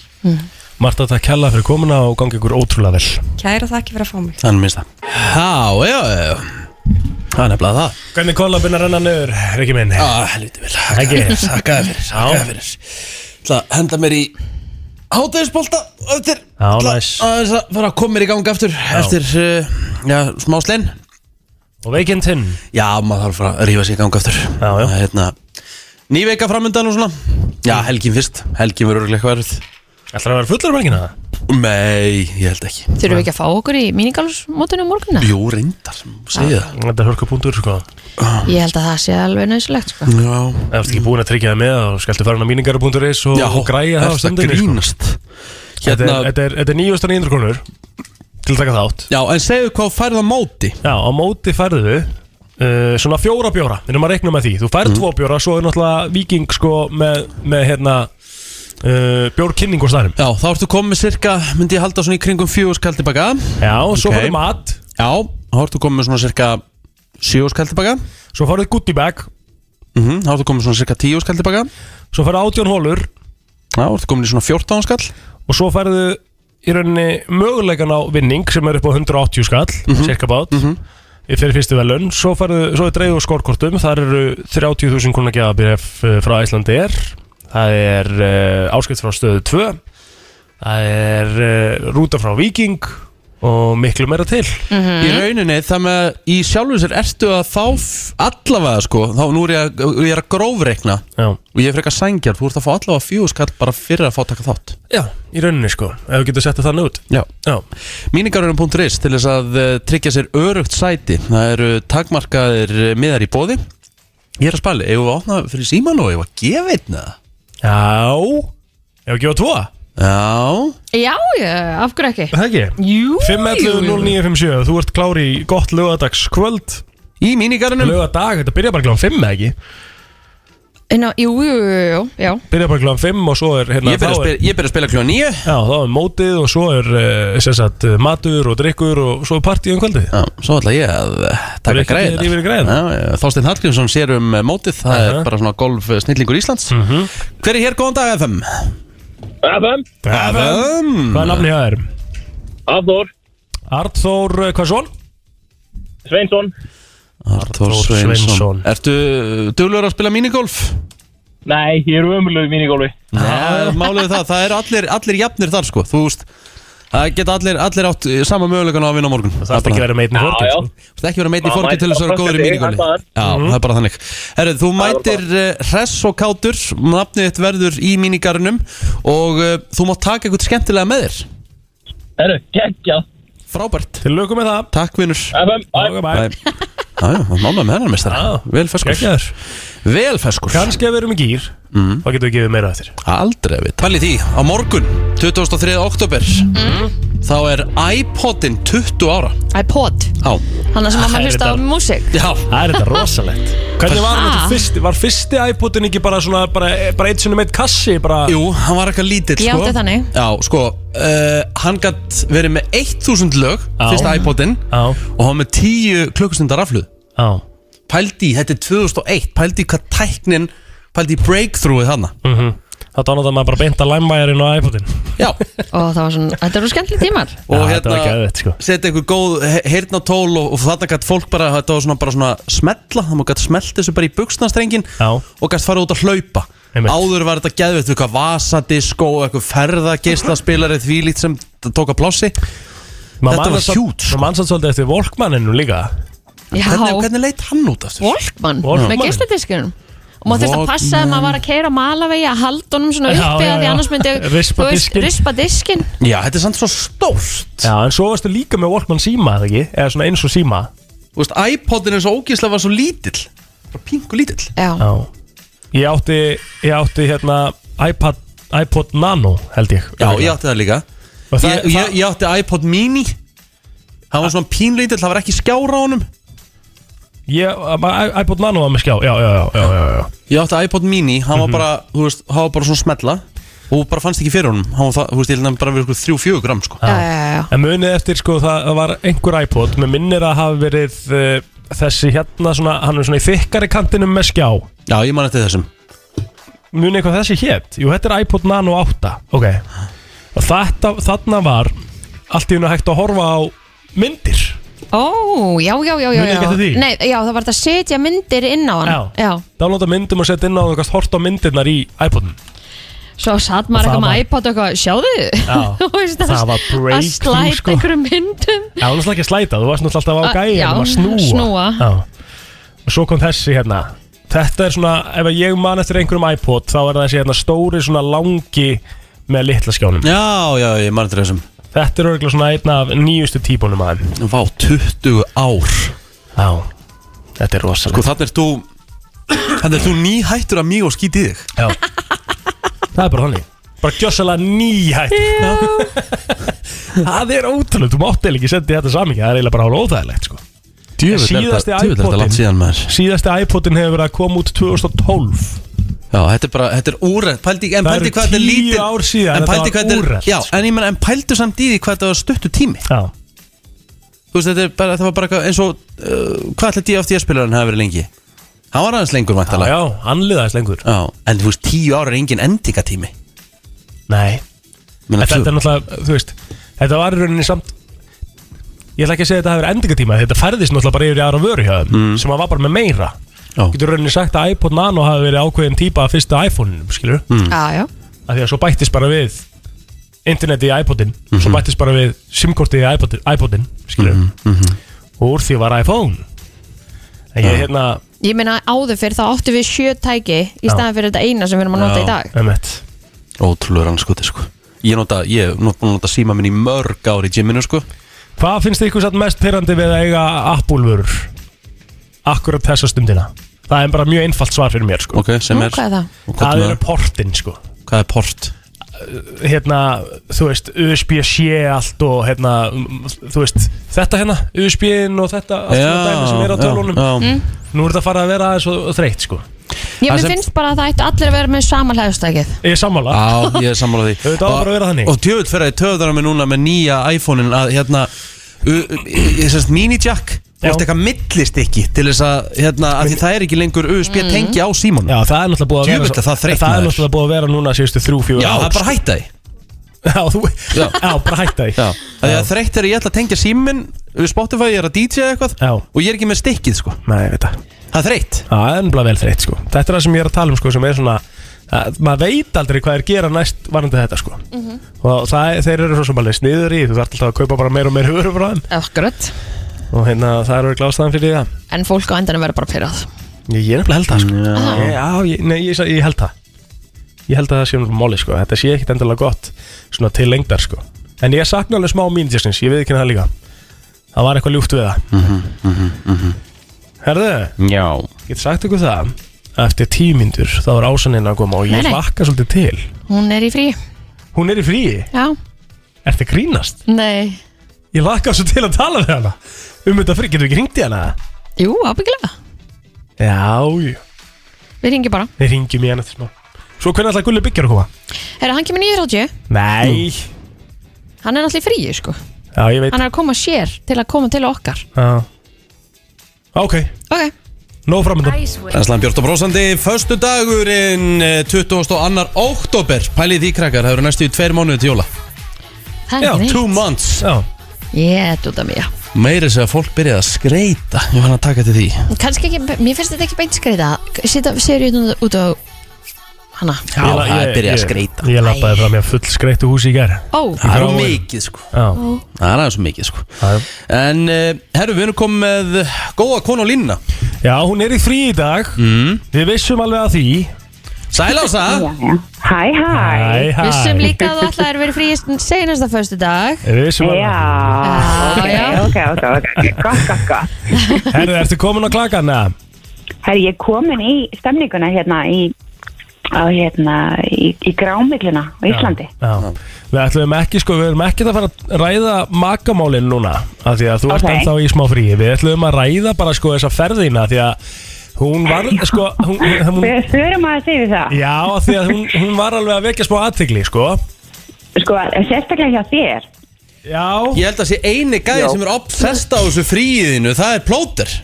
C: Marta, það kjalla fyrir komuna og gangi ykkur ótrúlega vel
E: Kæra þakki fyrir að fá mig.
A: Þannig minnst það Já, já, já, já Það er nefnilega það
C: Hvernig kollabinn er renna niður, Rikki minn?
A: Já, helviti vel Þakka
C: Ekki.
A: fyrir, þakka þér fyrir, þakka
C: Já.
A: þér fyrir Það henda mér í hátæðisbolta eftir
C: Já,
A: Ætla
C: næs.
A: aðeins að fara að koma mér í gang aftur eftir, uh, já, smá slinn
C: Og veikindinn
A: Já, maður þarf að fara að rífa sig í gang aftur
C: Já, já.
A: Það er hérna, Ný veika framöndan og svona Já, helgin fyrst, helgin verður örugglega eitthvað erfið
C: Ætlar að vera fullur um helgina?
A: Nei, ég held ekki
B: Þurfum við ekki að fá okkur í míningalsmótunum morgunna?
A: Jú, reyndar, segi það
C: Þetta er hörku punktur sko Ef
B: Ég held að það sé alveg nöðsilegt, sko.
A: Já,
C: þú ert ekki búin að tryggja það með þá skaltu fara inn á míningar.is og, og græja það á
A: ertu að
C: stundinni sko.
A: grínast
C: Þetta
A: Hérna,
C: er- Þetta er- þetta er 9.900 krónur til að taka þátt
A: já, en segðu hvað færða móti
C: Já, á móti færðu uh, svona fjóra bjóra, við erum að reikna með því þú
A: Mhm.
C: færð tvo bjóra, svo er náttúrulega viking sko með, með hérna uh, bjórkynning og staðnum
A: Já, þá ertu komið með cirka, myndi ég halda svona í kringum fjögur skall tilbaka
C: Já, og svo
A: Ok.
C: færðu mat,
A: Já, þá ertu komið með svona cirka sjögur skall tilbaka mm
C: svo færðu goodie bag
A: Mhm, Þá ertu komið með svona cirka tíu skall tilbaka
C: svo færðu átjón hólur
A: Já, ertu komið í svona fjórtán skall
C: og svo færðu í rauninni möguleikan á vinning sem er upp á 180 skall, mm -hmm. cirka bát fyrir fyrstu velun, svo færðu svo er dreigðu úr skórkortum, þar eru 30.000 kuna geðabréf eh, frá Íslandi er það er uh, áskipt frá stöðu 2 það er uh, rúta frá Viking og miklu meira til
A: Í rauninni, það með í sjálfu sér ertu að fá f- allavega sko Þá nú er ég, að- ég er að grófreikna
C: Já.
A: Og ég er frekar sængjar, þú ert að fá allavega fjögur skall bara fyrir að fá að taka þátt
C: Já, í rauninni sko, ef við getum sett það þannig út
A: Já
C: Já,
A: Míningarurinn.is til þess að eh, tryggja sér örugt sæti Það eru takmarkaðir eh, miðar í bóði Ég er að spæli, eigum við að opna fyrir síman og eigum við að gefa einn eða?
C: Já. ef ekki á tvo
A: Já
B: Já, já, af hverju ekki?
C: Það ekki?
B: Jú, jú, jú.
C: 5.11.09.57, þú ert klári í gott lögadags
A: Í míningarurinnum
C: Löga dag, þetta byrja bara kláðan 5 eða ekki
B: Ná, jú, jú, jú, jú, já.
C: Byrja bara kláðan 5 og svo er hérna
A: Ég byrja að
C: þá er-
A: spila, ég byrja að spila kljóða nýju
C: Já, þá er mótið og svo er uh, sem sagt, eh, matur og drikkur og svo er partíð um kvöldið
A: Já, svo ætla ég að eh,
C: Þú er
A: taka
C: ekki að yfir í
A: græðina
C: græjurnar.
A: Þásteinn Hallgrímsson sér um eh, mótið Það
C: Aha. Mhm.
A: er bara svona golf eh, snillingur Íslands Hver er hér, góðan dag FM?
F: FM,
A: FM
C: Hvað er nafni það er?
F: Afnór,
C: Arnþór eh, hvað svon?
F: Sveinsson
A: Arthur
C: Arthur Sveinsson.
A: Sveinsson Ertu duglur að spila mínigolf?
F: Nei, ég er umlöð í mínigólfi
A: Já, málið er það, það eru allir, allir jafnir þar sko, þú veist Það geta allir, allir átt eh, sama mögulegan á að vinna á morgun
C: Það er ekki verið meitin í sko.
F: Já, já.
C: fórkjöld
A: Það er ekki verið meitin í
F: Maður
A: forgi
F: mætir
A: til þess að vera
F: á
A: góður í
F: föstudegi,
A: mínigóli
F: það er
A: Já,
C: Mhm.
A: það er bara þannig Herru, þú mætir uh, hress og kátur Nafnið þitt verður í mínigarunum Og uh, þú mátt taka eitthvað skemmtilega með þér
F: Herru, geggjað
A: Frábært
C: Til lögum með það
A: Takk vinnur
F: FM, bye.
C: Bye, bye.
A: Já, já, nána með hennar mestara
C: Já.
A: Vel feskur
C: Geggjaður.
A: Vel feskur
C: Kannski að við erum í gýr
A: Mhm.
C: Þá getum við gefið meira eftir
A: Aldrei að vita Pælið því, á morgun, 23. oktober
B: Mm.
A: Þá er iPodin 20 ára
B: iPod,
A: Já,
B: hann sem að
C: Það er
B: maður hlusta á
C: þetta-
B: músik.
A: já
C: Það er þetta rosalegt Ah. Hvernig var
B: Ha?
C: þetta fyrsti? Var fyrsti iPodin ekki bara svona bara, eh, bara eitt sinni meitt kassi? Bara...
A: Jú, hann var eitthvað lítill
B: Ég
A: sko.
B: átti þannig.
A: Já, sko, uh, hann gætt verið með 1000 lög
C: Já.
A: Fyrsta iPodin
C: Já.
A: Og hann var með 10 klukkustundar aflöð
C: Já
A: Pældi, í, þetta er 2001 Pældi í hvað tæknin Pældi í breakthroughið þarna
C: þá dánaði maður bara beint að læmvæjarinn og iPodin
B: Mm.
A: Já,
B: og það var svona, þetta eru skemmtileg tímar
A: og
C: Já, þetta var
A: hérna
C: geðveikt, sko.
A: setja einhver góð heyrnatól og, og þarna gætt fólk bara, þetta var svona, bara svona smetla, það maður gætt smelt þessu bara í buksnastrengin
C: Já.
A: og gætt fara út að hlaupa
C: Einmitt.
A: áður var þetta geðvitt, eitthvað vasadiskó eitthvað ferðagislaspilari þvílít sem t- tók að plássi
C: Man
A: Þetta
C: man
A: var
C: samt-
A: huge, sko.
C: Man mann satt svolítið eftir Walkmaninu líka
B: já,
A: hvernig, hvernig leit hann út aftur?
B: Walkman,
C: Walkman.
B: með geisladiskunum og maður þurfti að passa að maður var að keira malavegi að halda honum svona
C: Já,
B: uppi
C: já,
B: að því
C: já.
B: annars myndi
C: Rispa
B: þú veist,
C: diskinn.
B: rispa diskin
A: Já, þetta er samt svo stórt
C: Já, en svo varstu líka með Walkman síma, eða ekki? Eða svona eins og síma
A: Þú veist, iPodin er svo ógíslega var svo lítill bara pingu lítill
B: já,
C: Já Ég átti, ég átti hérna iPad, iPod Nano, held ég
A: Já, ég átti það líka
C: Og það-
A: ég, ég,
C: það-
A: ég átti iPod mini Það var svona pínlítill, það var ekki skjára á honum
C: Ég, ma- iPod Nano var með skjá, já, já, já, já, já, já.
A: Ég átti iPod mini, hann var bara, þú veist, hann var bara svona smetla og bara fannst ekki fyrir honum hann var það, þú veist, ég held að hann bara verið þrjú, fjögur gram, sko
B: já, já, já, já.
C: En munið eftir, sko, það það var einhver iPod Mér minnir að hafa verið uh, þessi hérna svona, hann er svona í þykkari kantinum með skjá
A: Já, ég man eftir þessum
C: Munið eitthvað þessi hétt? Jú, þetta er iPod Nano 8 Ok Og þetta, þarna var allt í hún hægt að horfa á myndir
B: ó, já, já, já, já,
C: Munið
B: já.
C: ekki eftir því?
B: Nei, já, það var þetta að setja myndir inn á hann
C: Já.
B: já.
C: Downloada myndum og setja inn á og þú gast hort á myndirnar í iPodin
B: Svo satt maður
C: Og það
B: eitthvað með
C: var-
B: iPod og eitthvað, sjáðu
C: Já,
B: Þú veist,
C: það var
B: að- Að
C: breakthrough,
B: slæta
C: sko.
B: einhverjum myndum
C: Já, hún er alltaf ekki að slæta, þú varst náttúrulega alltaf á
B: Að-
C: gæja
B: já,
C: um að snúa.
B: snúa.
C: Já. Og svo kom þessi hérna. Þetta er svona, ef ég man eftir einhverjum iPod, þá er það þessi hérna stóri svona langi með litla skjánum.
A: Já, já, ég man eftir þessum
C: Þetta er örgulega svona einn af nýjustu típunum að hann.
A: Vá, 20 ár
C: Já. Þetta er
A: Sko,
C: rosalega.
A: þannig er þú þannig er þú nýhættur að mig og skýti þig
C: Já. það er bara þannig. Bara gjössalega nýhætt. Já. það er ótrúlega, þú mátt eiginlega ekki senda í þetta samingi, það er eiginlega bara hálf óþægilegt, sko.
A: Djöfull er
C: Síðasti
A: þetta- djöfull er þetta
C: iPodinn.
A: langt síðan maður
C: Síðasti iPodin hefur verið að koma út 2012.
A: Já, þetta er bara, þetta er úrætt pældi, En
C: Það
A: pældi
C: eru
A: hvað þetta er
C: tíu
A: lítið
C: ár síðan,
A: En
C: þetta
A: pældi
C: var
A: hvað þetta er
C: úrelt.
A: Já, en ég menn, en pældu samt í því hvað þetta var stuttu tími
C: Já.
A: Þú veist, þetta er bara, það var bara eitthvað eins og uh, Hvað ætla DFT-spilarinn hafa verið lengi? Hann var aðeins lengur,
C: Já,
A: væntalega
C: já, anliðaðist lengur.
A: Já, en þú veist, tíu ára er engin endingatími
C: Nei,
A: Menna,
C: þetta er náttúrulega, þú veist Þetta var í rauninni samt Ég ætla ekki að segja að þetta hafi verið endingatíma Þetta færðist náttúrulega bara yfir í aðra vöru hjá þeim Sem að var bara með meira
A: Já.
C: Getur í rauninni sagt að iPod Nano hafi verið ákveðin típa af fyrsta iPhone-inum, skilur mm.
B: Já, já,
C: Af því að svo bættist bara við Internetið í iPodin
A: Mhm.
C: Svo bættist bara við simkortið í iPodin, iPodin skilur
A: Mhm.
C: Og úr því var iPhone En ég hérna,
B: ég meina áður fyrir þá áttu við sjö tæki Í
C: Já.
B: staðan fyrir þetta eina sem við erum að nota í dag
C: emmett
A: Ótrúlega rannskoti, sko Ég nota, ég nota, búin að nota síma minn í mörg ár í gyminu, sko
C: Hvað finnst ykkur satt mest pyrrandi við að eiga Apple-vörur? Akkurat þessa stundina Það er bara mjög einfalt svar fyrir mér sko.
A: Ok, sem
B: Nú,
A: er
B: hvað er það?
A: og hvað
C: Það
A: er
C: eru portin sko.
A: Hvað er port?
C: Hérna, þú veist, USB-C allt og hérna, mm, þú veist Þetta hérna, USB-in og þetta Allt svona dæmi sem er á tölunum
A: já.
C: Nú er þetta farið að vera aðeins og þreytt sko.
B: Ég
A: Það
B: mér
A: sem-
B: finnst bara að það ættu allir að vera með sama hlæðustækið
C: Ég er sammála
A: Já, ég er sammála því
C: Auðvitað á
A: Og-
C: bara að vera þannig.
A: Og djöfull fer að ég töðar á mig núna með nýja iPhone-in að hérna u- u- Ég sérst mini-jack Þú
C: Já.
A: veist eitthvað millistykki til þess að hérna að því það er ekki lengur USB tengi á símónu
C: Já, það er náttúrulega búið að vera
A: Hérna. Djöfull er það þreytt,
C: Það er
A: maður.
C: náttúrulega búið að vera núna síðustu þrjú, fjögur
A: Já, það er bara að
C: hægt
A: hætta því
C: Já, þú,
A: Já.
C: já. bara hætta því
A: Já, það er þreytt þegar ég ætla að tengja síminn við Spotify, ég er að DJ eða eitthvað
C: Já.
A: og ég er ekki með stykkið sko,
C: Nei, ég veit það
A: það er þreytt
C: Já, það er ennbla vel þreytt sko Þetta er það sem ég er að tala um sko sem er svona að, maður veit aldrei hvað er gera næst varandi þetta sko og það, er- þeir eru svo sem alveg sniður í þú þarf alltaf að kaupa bara meira og meira höfur frá þeim
B: Akkurat
C: og hérna það eru glástaðan fyrir það
B: En fólk á endanum verður bara pyrrað
C: Ég, ég er nefnilega held það sko
A: Já.
C: Ég- Já, ég, nei, ég, ég held það Ég held að það sé um máli sko Þetta sé ekkit endilega gott svona til lengdar sko En ég sakna alveg smá mínutjastins, ég veit ekki það líka Það var eitthvað ljúft við það mm -hmm, Herðu,
A: Já
C: Ég get sagt ykkur það að Eftir tíu myndur þá er ásaninn að koma og ég
B: Nei, nei.
C: hlakka svolítið til
B: Hún er í frí
C: Hún er í fríi,
B: Já,
C: ertu að grínast?
B: nei
C: Ég hlakka svo til að tala við hana Um þetta frí, getur við ekki ringt í hana?
B: Jú, ábyggilega
C: Já, jú.
B: Við ringjum bara
C: við ringjum í hana til smá Svo hvernig alltaf Gulli byggjar að koma?
B: Herra, hann kemur 9.30
C: Nei
B: Hann er náttúrulega í fríi, sko
C: Já, ég veit
B: Hann er að koma sér til að koma til okkar
C: Já. Ok,
B: Ok,
C: Nó framöndan
A: Brennslan Björn eh, og Brósandi, förstu dagurinn 22. oktober Pælið því krakkar, það eru næstu í tveir mánuði til jóla
B: Það er ekki
A: two
B: neitt
A: months
C: Já,
B: Ég, dúta mér
A: Meiri sér að fólk byrjaði að skreita Ég var að taka til því
B: Kanski ekki, mér finnst þetta ekki beint skreita Sýta seriðin út á hana
A: Já,
C: Ég
A: það
C: la-
A: er
C: ég-
A: byrjaði að
C: ég-
A: skreita
C: Ég lappaði fram í að full skreittu húsi í gær
B: Ó,
A: Það er of
C: gráin.
A: mikið sko
C: Já,
A: Það er aðeins of mikið sko
C: já, já.
A: En uh, herru, við erum komið með góða konu á línuna
C: já hún er í frí í dag
A: mm.
C: Við vissum alveg að því
A: Sæl ása
G: Hæ, hæ.
C: Hæ, hæ
B: vissum líka að þú ætlaði að vera frí senasta föstu dag
C: Við vissum alveg að því
G: Já, ok,
B: já.
G: ok, ok, ok, gott, gott, gott.
C: Herru, ertu komin á klakana?
G: Herri, ég er komin í stemninguna hérna í, á, hérna, í, í grámikluna á Íslandi.
C: Já, já. Við ætlum ekki, sko, við erum ekki að fara að ræða makamálin núna af því að þú ert
G: Ok.
C: ennþá í smá fríi Við ætlum að ræða bara, sko, þessa ferðina því að hún var, sko hún, hún,
G: Við förum að segja það.
C: Já, af því að hún, hún var alveg að vekja smá aðtegli, sko
G: Sko, sérstaklega hjá þér.
C: Já,
A: Ég held að sé eini gæði
G: Já.
A: sem er obsessed á þessu fríiðinu Það er plóter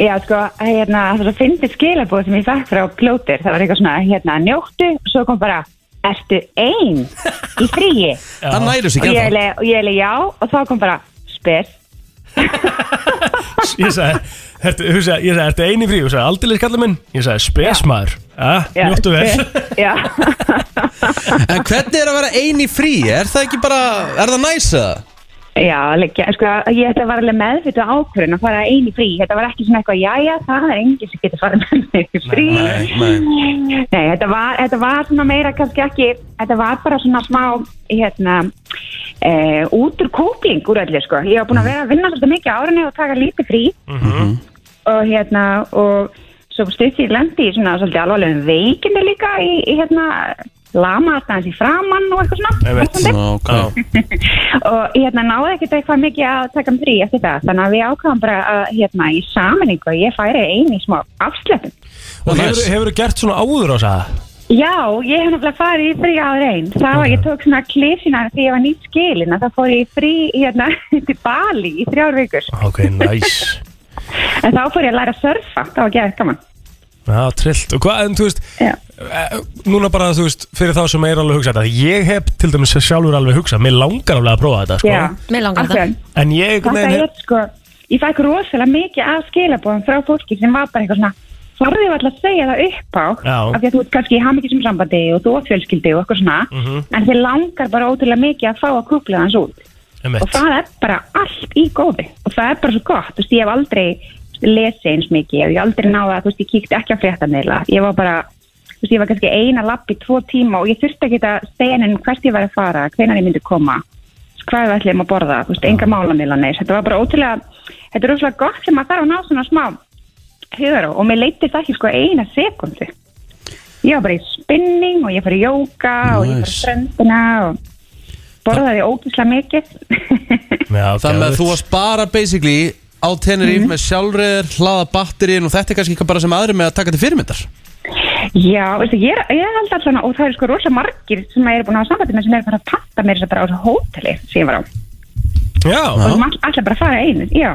G: Já, sko, hérna, það var fyndið skilabóð sem ég fekk frá plótir. Það var eitthvað svona, hérna, njóttu, svo kom bara, ertu ein í fríi?
A: Það næri sig
G: Og ég
A: ekki
G: leið, og ég leið já, og þá kom bara, spyr.
C: ég sagði, hertu, hún sagði, ég sagði, ertu eini frí? Hún sagði, aldrei kallar minn Ég sagði, spes maður, ja,
G: Já,
C: njóttu vel
G: spes. Já.
A: En hvernig er að vera eini frí? Er það ekki bara, er það næsa?
G: Já, leggja, sko, ég þetta var alveg meðvitað ákvörðin að fara einu frí. Þetta var ekki svona eitthvað, jæja, það er enginn sem getur farið með mig í frí.
A: Nei, nei.
G: Nei, þetta var, þetta var svona meira kannski ekki, þetta var bara svona smá, hérna, e, útur kópling úr öllu, sko. Ég var búin að vera að vinna svolítið mikið á árinu og taka lítið frí og hérna, og svo stutt ég lendi í svona svolítið alvarlegum veikindi líka í, í hérna, lama alltaf hans í framann og eitthvað svona.
C: Einmitt.
G: ástandi
A: Ná,
C: Já.
A: ok
G: og hérna náði ekkert eitthvað mikið að taka um frí eftir það, þannig að við ákvæðum bara að hérna í saminningu að ég færi einu í smá afslöpum.
C: Og
A: Nice.
C: hefur, hefur gert svona áður á það?
G: Já, ég hef náttúrulega farið í frí áður einn, það var ég tók svona klifina því ég var nýtt skilin að það fór ég í frí hérna til Bali í þrjár vikur,
C: Ok, nice
G: en þá fór ég að læra að surfa, það var gæðið gaman.
C: Já, trillt. Og hvað, en þú veist,
G: Já.
C: eh, núna bara, þú veist, fyrir þá sem er alveg hugsað þetta, ég hef til dæmis sjálfur alveg hugsað, mér langar alveg að prófa þetta, sko.
G: Já,
B: Mig langar
G: Akkurat.
C: En ég, einhvern
G: Þetta
C: veginn,
G: er sko, ég fæk rosalega mikið af skilabóðum frá fólki sem var bara eitthvað svona farðið var alltaf að segja það upp á
C: Já.
G: af því að þú ert kannski í hamingisum sambandi og þú átt fjölskyldi og eitthvað svona en þið langar bara ótrúlega mikið að fá að kúpla hans út og
C: emitt,
G: það er bara allt í góði og það er bara svo gott, þú veist, ég hef aldrei lesið eins mikið, ég hef aldrei náða þú veist, ég kíkti ekki á fréttaneila ég var bara, þú veist, ég var kannski eina lapp í tvo tíma og ég þurfti ekki að segja henni hvert ég var að fara, hvenar ég myndi koma þú veist, hvað við ætlum að borða, þú veist, enga málamilanir, þetta var bara ótrúlega þetta er ótrúlega gott sem maður þarf að ná svona smá hugur og mér leyti það ekki sko eina sekundi ég var bara í spinning og ég fyrir jóka og ég fyrir
A: Nice.
G: ströndina og borðaði ótrúlega mikið
C: Já,
A: Þannig að
C: geðveikt.
A: þú varst bara basically á Tenerife með sjálfriðir, hlaða batterín og þetta er kannski eitthvað bara sem aðri með að taka til fyrirmyndar
G: Já, veistu, ég, er- ég held alltaf svona og það eru sko rosa margir sem maður er búin að hafa sambandi með sem er bara að panta mér þess að bara á þessu hóteli sem ég var á
C: Já,
G: og maður alltaf bara að fara einu, já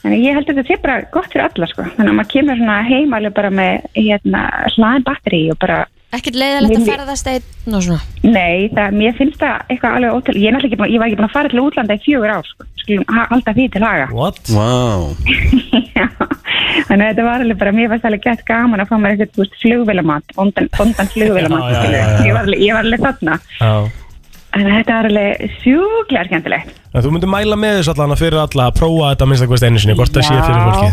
G: Þannig að ég held að þetta sé bara gott fyrir alla sko þannig að maður kemur svona heim alveg bara með hérna hlaðin batteri og bara
B: Ekkert leiðilegt að
G: Nei.
B: ferðast einn og svona
G: nei, það, mér finnst það eitthvað alveg ótrúlega, ég er náttúrulega ekki búin, ég var ekki búin að fara til útlanda í fjögur ár sko, skulum ha- halda því til haga
C: what?
A: Vá
G: Já, þannig að þetta var alveg bara, mér var alveg gett gaman að fá mér eitthvað, þú veist, flugvélamat, bondan, bondan flugvélamat,
C: Já, já, já,
G: skilurðu.
C: já.
G: ég var alveg, ég var alveg þarna.
C: Já.
G: Þannig að þetta var alveg sjúklega skemmtilegt.
C: En þú myndir mæla með þessu allan að fyrir alla að prófa þetta minnst að hverst einu sinni, hvort það sé fyrir fólki.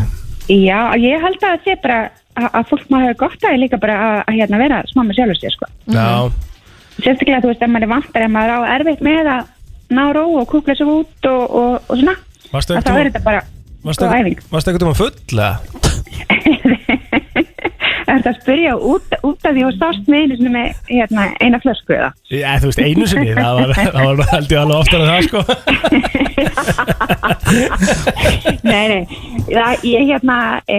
G: Já, ég held að þetta er bara að, að fólk maður hefur gott að því líka bara að, að hérna, vera smá með sjálfur sér, sko.
C: Já,
G: Sérstaklega, þú veist, ef maður er vantar, ef maður á erfitt með að ná ró og kúkla sér út og, og, og svona,
C: Varstu einhvern
G: að þá er
C: tímann-
G: þetta bara
C: varstu
G: góð
C: einhvern
G: æfing.
C: varstu einhvern tímann full, eða?
G: er þetta að spyrja út, út af því og sást með einu sinni með hérna, eina flösku eða?
C: Já, þú veist, einu sinni, það var, það var bara held ég alveg oftar en það, sko.
G: Nei, nei, það, ég, hérna, e,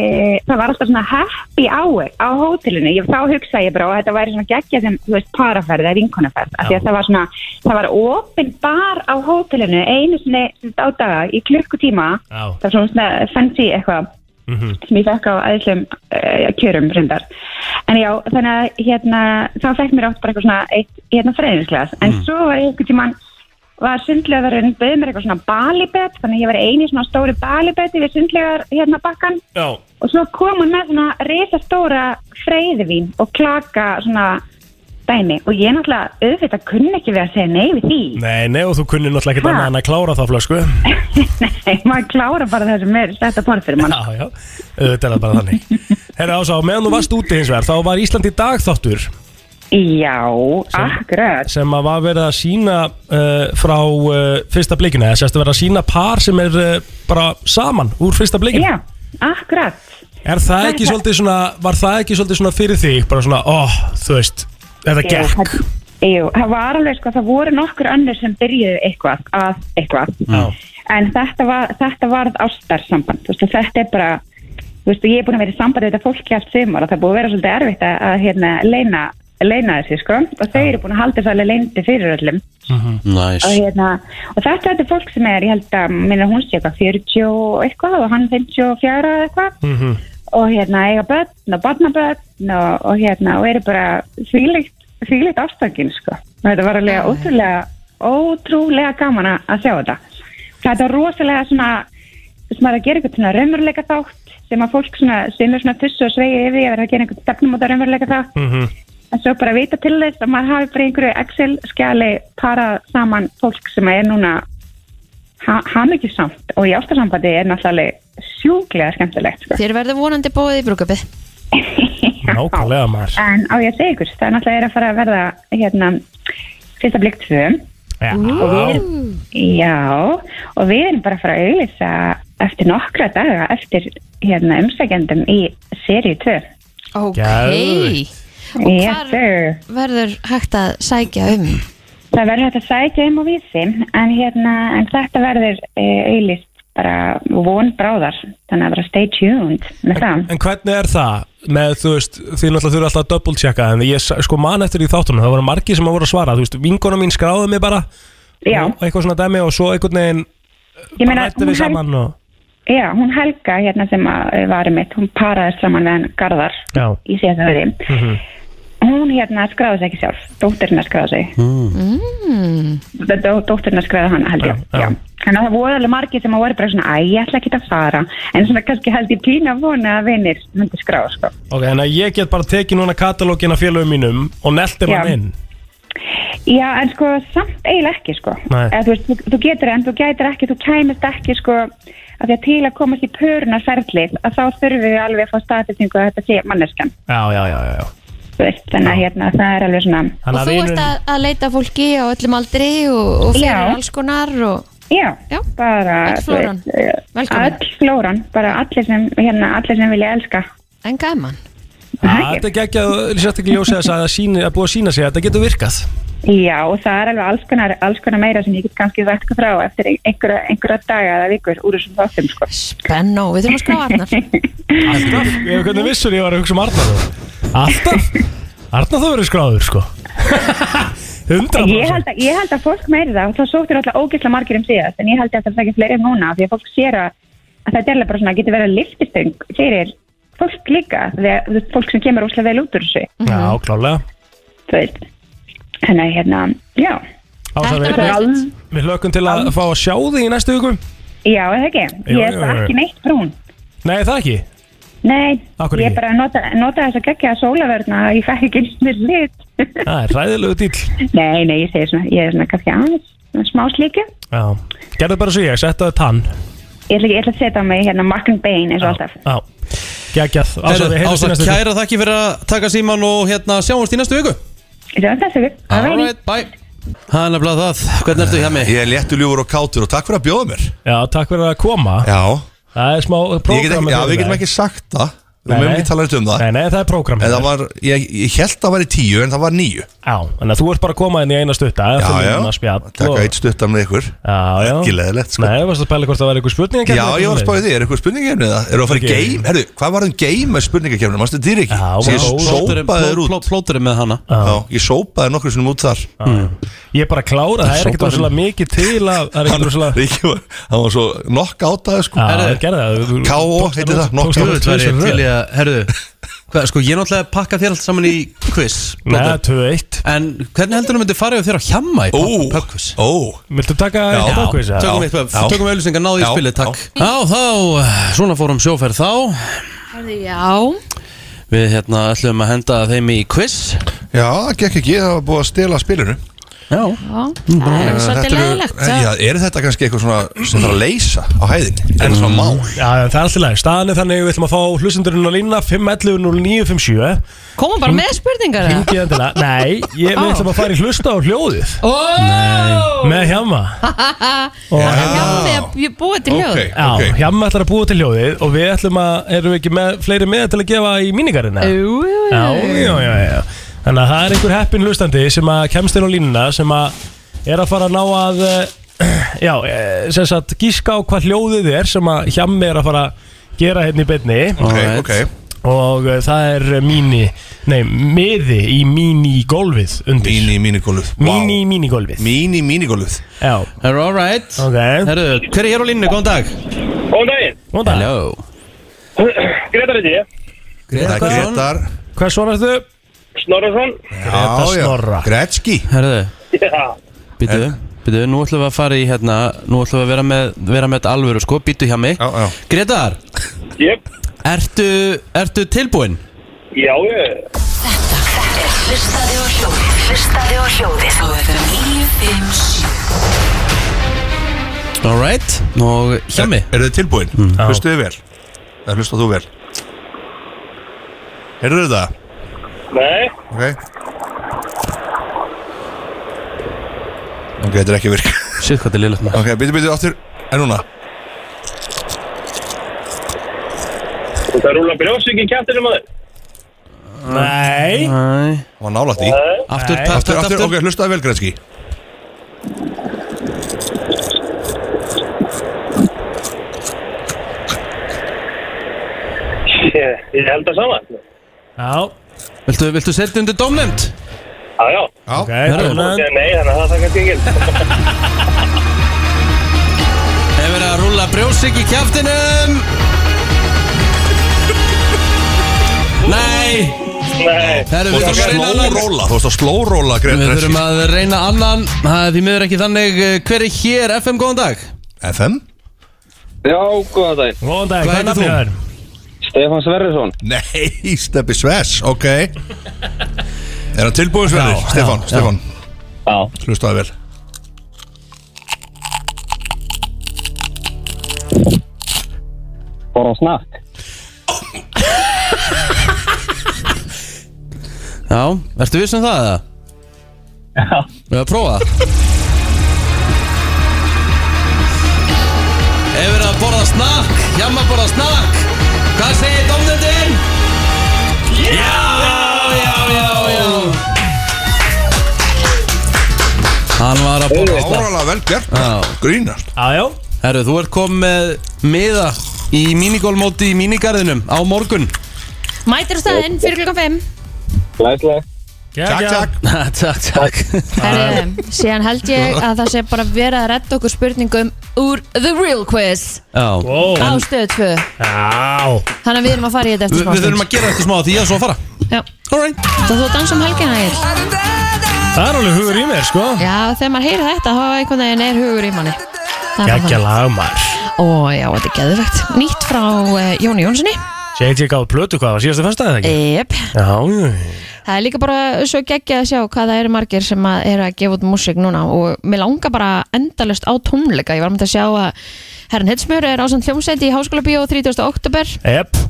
G: það var alltaf svona happy hour á hótelinu, ég, þá hugsaði ég bara og þetta væri svona geggja sem, þú veist, paraferð eða vinkonaferð, af því að það var svona það var opinn bar á hótelinu einu sinni sem sagt, á daga í klukkutíma
C: Já.
G: það var svona svona fancy eitthvað sem ég fekk á aðeinslegum uh, kjörum reyndar. En já, þannig að hérna, þá fekk mér átt bara eitthvað svona eitt hérna freyðinsglas. En svo var ég eitthvað tíman var sundlegaðurinn bauð mér eitthvað svona balibett, þannig að ég var eini svona stóri balibetti við sundlegar hérna bakkan
C: Já,
G: og svo kom hún með svona risastóra freyðivín og klaka svona dæmi og ég náttúrulega auðvitað kunni ekki við að segja nei við því.
C: nei, nei, og þú kunni náttúrulega ekki
G: Ha?
C: annað en að klára það flösku
G: Nei, maður klára bara það sem er þetta borð fyrir mann.
C: Já, já, auðvitað er það bara þannig Herra Ása, á meðan þú varst úti hins vegar þá var Ísland í dag þáttur
G: Já, akkurat.
C: sem að var verið að sína uh, frá uh, fyrsta blikinu eða sérstu verið að sína par sem er uh, bara saman úr fyrsta blikinu
G: Já, akkurat.
C: Er það ekki svolítið svona, var það ekki svolítið svona fyrir þig, bara svona, ó, þú veist, þetta
G: Jú,
C: gekk.
G: það- Jú, það var alveg sko, það voru nokkur önnur sem byrjuðu eitthvað að eitthvað
C: Já.
G: en þetta, var, þetta varð ástarsamband, þú veist, og þetta er bara þú veist, og ég er búin að vera í sambandi við þetta fólki allt sumar og það er búið að vera svolítið erfitt að, að hérna, leina, leina þessi, sko og þau eru búin að halda þessu alveg leindi fyrir öllum
A: Næs
G: og, hérna, og þetta er þetta fólk sem er, ég held að minna hún sé eitthvað 40 og eitthvað og hann 54 eða eitthvað
C: Mhm.
G: og hérna eiga börn og barnabörn og, og hérna og eru bara þvílíkt, þvílíkt ástöngin sko. og þetta var alveg ótrúlega ótrúlega gaman að- að sjá þetta þetta var rosalega svona sem að gera eitthvað svona raunveruleika þátt sem að fólk svona, sem er svona tussu og svegi yfir því að vera að gera eitthvað stefnum á það raunveruleika þátt
C: Mhm.
G: en svo bara vita til þess að maður hafi bara í einhverju Excel-skjali parað saman fólk sem er núna ha hamingjusamt og í ástasambandi er náttúrulega sjúklega skemmtilegt sko.
B: Þér verður vonandi bóðið í brúkupið
C: Nákvæmlega maður.
G: en á ég að segja ykkur, það er náttúrulega er að fara að verða hérna, fyrsta blikk 2
C: Já.
G: já, og við erum bara að fara að auðvisa eftir nokkra daga eftir hérna, umsækjandum í seri 2
B: Ok
C: Geðveikt.
B: Og
G: yes
B: hvar
G: sir
B: verður hægt að sækja um?
G: Það verður hægt að sækja um á vísi en, hérna, en þetta verður e, auðlist bara von bráðar þannig að bara stay tuned með það.
C: En hvernig er það? Með, þú veist, þið náttúrulega þurfa alltaf að double checka en ég s- sko man eftir í þáttunum, það voru margir sem að voru að svara, þú veist, vinkona mín skráði mig bara
G: Já,
C: og eitthvað svona dæmi og svo einhvern veginn
G: ég meina,
C: rættu
G: hún,
C: við
G: hel,
C: saman og...
G: já, hún Helga hérna sem að eh, var mitt, hún paraði saman við hann Garðar
C: Já.
G: í síðan það
C: Mhm.
G: Hún hérna skráði sig ekki sjálf, dóttirinn skráði sig. Mm. Dóttirinn skráði hann held
C: Já,
G: ég.
C: já.
G: Já. Þannig að það voru alveg margir sem að voru bara svona, æ, ég ætla ekki að fara, en svona kannski held ég pína að vona að vinir myndi skráða sko.
C: Ok, en að ég get bara tekið núna katalógin af félögum mínum og nelti
G: Já.
C: mann inn.
G: Já, en sko, samt eiginlega ekki, sko.
C: Nei.
G: Eða, þú, veist, þú, þú getur en þú gætir ekki, þú kæmist ekki, sko, að því að til að komast í pörunarferðlið, að þá þurfum við alveg að fá staðfestingu að þetta sé manneskan,
C: Já, já, já, já. já.
G: þú veist, þannig að hérna, það er alveg svona,
C: Þannig
B: Og þú ert
C: vinurinn-
B: að, að leita að fólki á öllum aldri og, og fyrir
G: Já.
B: alls konar og
G: já,
B: Já.
G: bara,
B: Öll flóran.
G: þú veist, eh,
B: Velkomin.
G: öll flóran, bara allir sem, hérna, allir sem vilja elska.
B: en gaman.
C: Já,
G: Það ekki.
C: Ah, Þetta er geggjað, sérstaklega ljósið þess að það sýni- að búið að sína sig að þetta getur virkað.
G: Já, og það er alveg alls konar, alls konar meira sem ég get kannski sagt ykkur frá eftir einhverja, einhverja daga eða vikur úr þessum þáttum, sko.
B: Spennu, við þurfum að skrá Arnar.
C: Alltaf, ég hef hvernig vissur ég var að hugsa um Arnar þá. Alltaf, Arnar þá verður skráður sko 100%
G: Ég held, að, ég held að fólk meiri það og það sóttur alltaf ógisla margir um síðast en ég held að það er ekki fleiri en núna því að fólk sér að, að þetta er alveg bara svona getur verið liftistöng fyrir fólk líka þegar þú veist, fólk sem kemur óslega vel út úr þessu
C: Já, klálega
G: þú veist þannig að hérna, já
C: Ása,
B: Þetta
C: við,
B: verður
G: Al,
C: við hlökkum til að fá að sjá þig í næstu viku
G: Já, er það ekki,
C: Jú,
G: ég er
C: jú,
G: bara
C: jú.
G: ekki neitt brún
C: Nei, það ekki
G: Nei,
C: Af hverju
G: ég
C: ekki?
G: er bara að nota, nota þess að gegja sólaverna ég fæ ekki nýttir lit
C: Það er ræðilegu dýl
G: Nei, nei, ég segi svona, ég er svona kannski aðeins svona smá slíku
C: Já, gerðu bara svo ég, settu það tann
G: Ég ætla, ég ætla að setja á mig hérna Mark and Bane eins og alltaf
C: Já, geggjað Ása, við
A: Heyrðu, Ása,
C: heyrðum í næstu viku
A: kæra þakki fyrir að taka síman og hérna sjáumst í næstu viku
G: Ég ætla að þessu við
A: Alright, bye Það er nefnilega það, hvernig ertu hjá mig?
D: Ég er léttuljúfur og kátur og takk fyrir að bjóða mér
C: Já, takk fyrir að koma
D: Já,
C: Það er smá
D: ég get ekki,
C: prógrama
D: já við getum ekki sagt það
H: Við mögum ekki tala neitt um það
C: Nei, nei, það er prógram
H: En það var, ég, ég held það var í tíu en það var níu
C: Já, þannig að þú ert bara að koma inn í eina stutta hérna
H: Já, já,
C: Takk
H: taka eitt stuttan með ykkur
C: Já, já
H: Ekki leiðilegt, sko.
C: Nei, varstu að spæla hvort það var eitthvað spurning
H: Já, ég var að spáði því, er eitthvað spurningakefni það? Eru að fara í
C: Ekki.
H: game? Herru, hvað var um game með spurningakefni? Mástu þér ekki?
C: Já,
H: Sem
C: já,
H: ég sópaði þér út
A: Plóturinn með hana
H: um Já, ég sópaði nokkru sinum út þar
C: Ég er bara að klára, það er ekkert
A: Sópar-
C: rosalega mikið til að Það er ekkert rosalega
H: Ríki var, hann var svo nokk átaði sko
C: Já,
A: Herðu.
C: gerði það þú- þú-
H: K.O.
C: tókst
H: heitir
C: hann
H: það,
C: út-
H: nokk
C: tókst
A: Þú
C: hann út
A: veit, það er
C: tvisvar í röð.
A: til í að, herðu hvað, Sko, ég náttúrulega pakka þér allt saman í quiz
C: Nei,
A: Plótur
C: 2-1
A: En hvernig heldur þú myndi farið þér á hjamma í
H: Ó,
A: pökkus?
H: ó
C: Viltu taka
H: Já.
C: eitt ákveðis? eða?
A: Tökum
H: Já.
A: eitt pökkus,
H: Já.
A: tökum auðlýsingar, náðu í
H: Já.
A: spilið, takk Já, þá, svona fórum sjóferð þá
B: Herðu, já
A: Við hérna ætlum að henda þeim í quiz
H: Já, það gekk ekki, það var búið að stela spilinu
A: Já
B: Já, það er svolítið leðilegt
H: eh, Já, er þetta kannski eitthvað svona sem þarf að leysa á hæðinni? Er það svona mál?
C: Já, en það er alltaf læg Staðan er þannig að við ætlum að fá hlustendurinn á línuna 511-0957
B: Koma bara með spurningar eða?
C: Hringið endilega Nei, ég, við
B: Á.
C: ætlum að fara í hlusta á hljóðið
B: Ó,
C: Með hjama Og
B: það er hjá því að búa til hljóð
H: Ok.
C: Já, hjamma ætlar að búa til hljóðið og við ætlum að, erum við ekki með fleiri með til að gefa í míningarinn? eða?
B: Jú, jú, jú.
C: Já, já, já, já Þannig að það er einhver heppin hlustandi sem að kemst inn á línuna sem að er að fara að ná að eh, já, eh, sem sagt gíska á hvað hljóðið er sem að hjammi er að fara að gera hérna í beinni
H: Ok,
A: Alright.
H: ok
C: og eh, það er míni, nei, miði í mínigólfið undir
H: Míni mínigólfið
C: Míni í mínigólfið
H: Míni mínigólfið
C: Já,
A: Herru, all right
C: ok,
A: Herru, hver er hér á línni, góðan dag
F: Góðan daginn,
C: og það,
F: Gretar heiti ég,
H: Greta Gretar
C: hvers svona ertu?
F: Snorrason.
H: Já, já.
C: Snorra.
H: Gretzky
A: Herru,
F: Já,
A: býtu Býtu, nú ætlum við að fara í hérna Nú ætlum við að vera með, vera með þetta alvöru, sko Býtu hjá mig
H: Já, já.
A: Gretar,
F: ég,
A: ertu, ertu tilbúinn?
F: já, ég,
I: Hlustaðu á hljóðið Hlustaðu á hljóðið Á FM 957
A: All right Og hjá mig
H: Er þið tilbúin? Mm. Hlustu þið vel? Það hlustu þú vel Heyrðu þið það?
F: nei,
H: Ok Ok, þetta er ekki að virka
A: Sýtt hvað þetta er liðlegt maður
H: Ok, byrju, byrju, aftur En núna
F: það rúla brjósvík í kjæftinu maður.
C: Nei
A: Æ,
H: Það var nálægt í
A: Aftur,
C: Nei.
A: takt,
H: Aftur,
A: takt,
H: aftur,
A: aftur
H: ok, hlustu það vel, Gretzky
F: Ég, ég held það saman.
C: Já,
A: Viltu, viltu setja undir dómnefnd?
F: Já, já,
C: ok,
H: Já,
A: Herðu.
C: konan
F: Ég, nei, þannig að það kannski enginn.
A: Hefur verið að rúlla brjósik í kjæftinum Nei
F: Nei,
A: Herru,
H: Þú
A: við
H: veist að
A: þurfum að reyna
H: sló
A: annan
H: róla Þú veist að sló róla,
A: Við
H: Gretzky
A: þurfum að reyna annan Það er því miður ekki þannig eh, Hver er hér? FM, góðan dag
H: FM?
J: Já, góðan daginn.
C: Góðan dag,
A: Hvað
C: hvað er
A: heitir
C: nafnið
A: þú?
C: þér?
J: Stefán Sverrisson.
H: Nei, Steppi Sves, ok Er það tilbúin sverðir?
C: Já,
H: Stefán,
C: já,
H: Stefán,
J: Já.
H: hlustu það vel
J: Bara snakk.
A: Já, ertu viss um það eða? Já Við að prófa það Hefur verið að borða snakk Hjamma borða snakk Hvað segir dómnefndin? Já, já, já, já Hann var að borða snakk
H: Áralega vel gert
A: Já.
H: Grínast
C: Jájá
A: Herru, þú ert komið með miða í mínigólmóti í mínigarðinum á morgun
B: Mætir á staðinn fyrir klukkan 5
J: Læslega.
H: Takk, takk
A: Takk, takk Ah.
B: Herðu, síðan held ég að það sé bara verið að redda okkur spurningum úr The Real Quiz
A: Já
C: Ó.
B: á stöðu 2
C: Já
B: Þannig að við erum að fara í þetta
A: Vi,
B: eftir
A: Við þurfum að gera þetta smá því ég er svo að fara
B: smástund
A: Alright
B: Það þú að dansa um helgina hér
C: Það er alveg hugur í mér sko
B: Já, þegar maður heyrir þetta þá einhvern veginn er hugur í manni Það er bara
C: Gækja
B: þannig.
C: lagmar
B: Ó já, þetta er geðvegt Nýtt frá uh, Jóni Jónssoni
C: Segði ég gáði plötu hvað var síðastu fyrsta eða ekki?
B: Jep
C: Já,
B: Það er líka bara svo geggjað að sjá hvað það eru margir sem að eru að gefa út músík núna og mér langar bara endalust á tónleika ég var með að sjá að Herran Hetsmjör er ásand hljómsæti í Háskóla Bíó 30. oktober
C: já Jep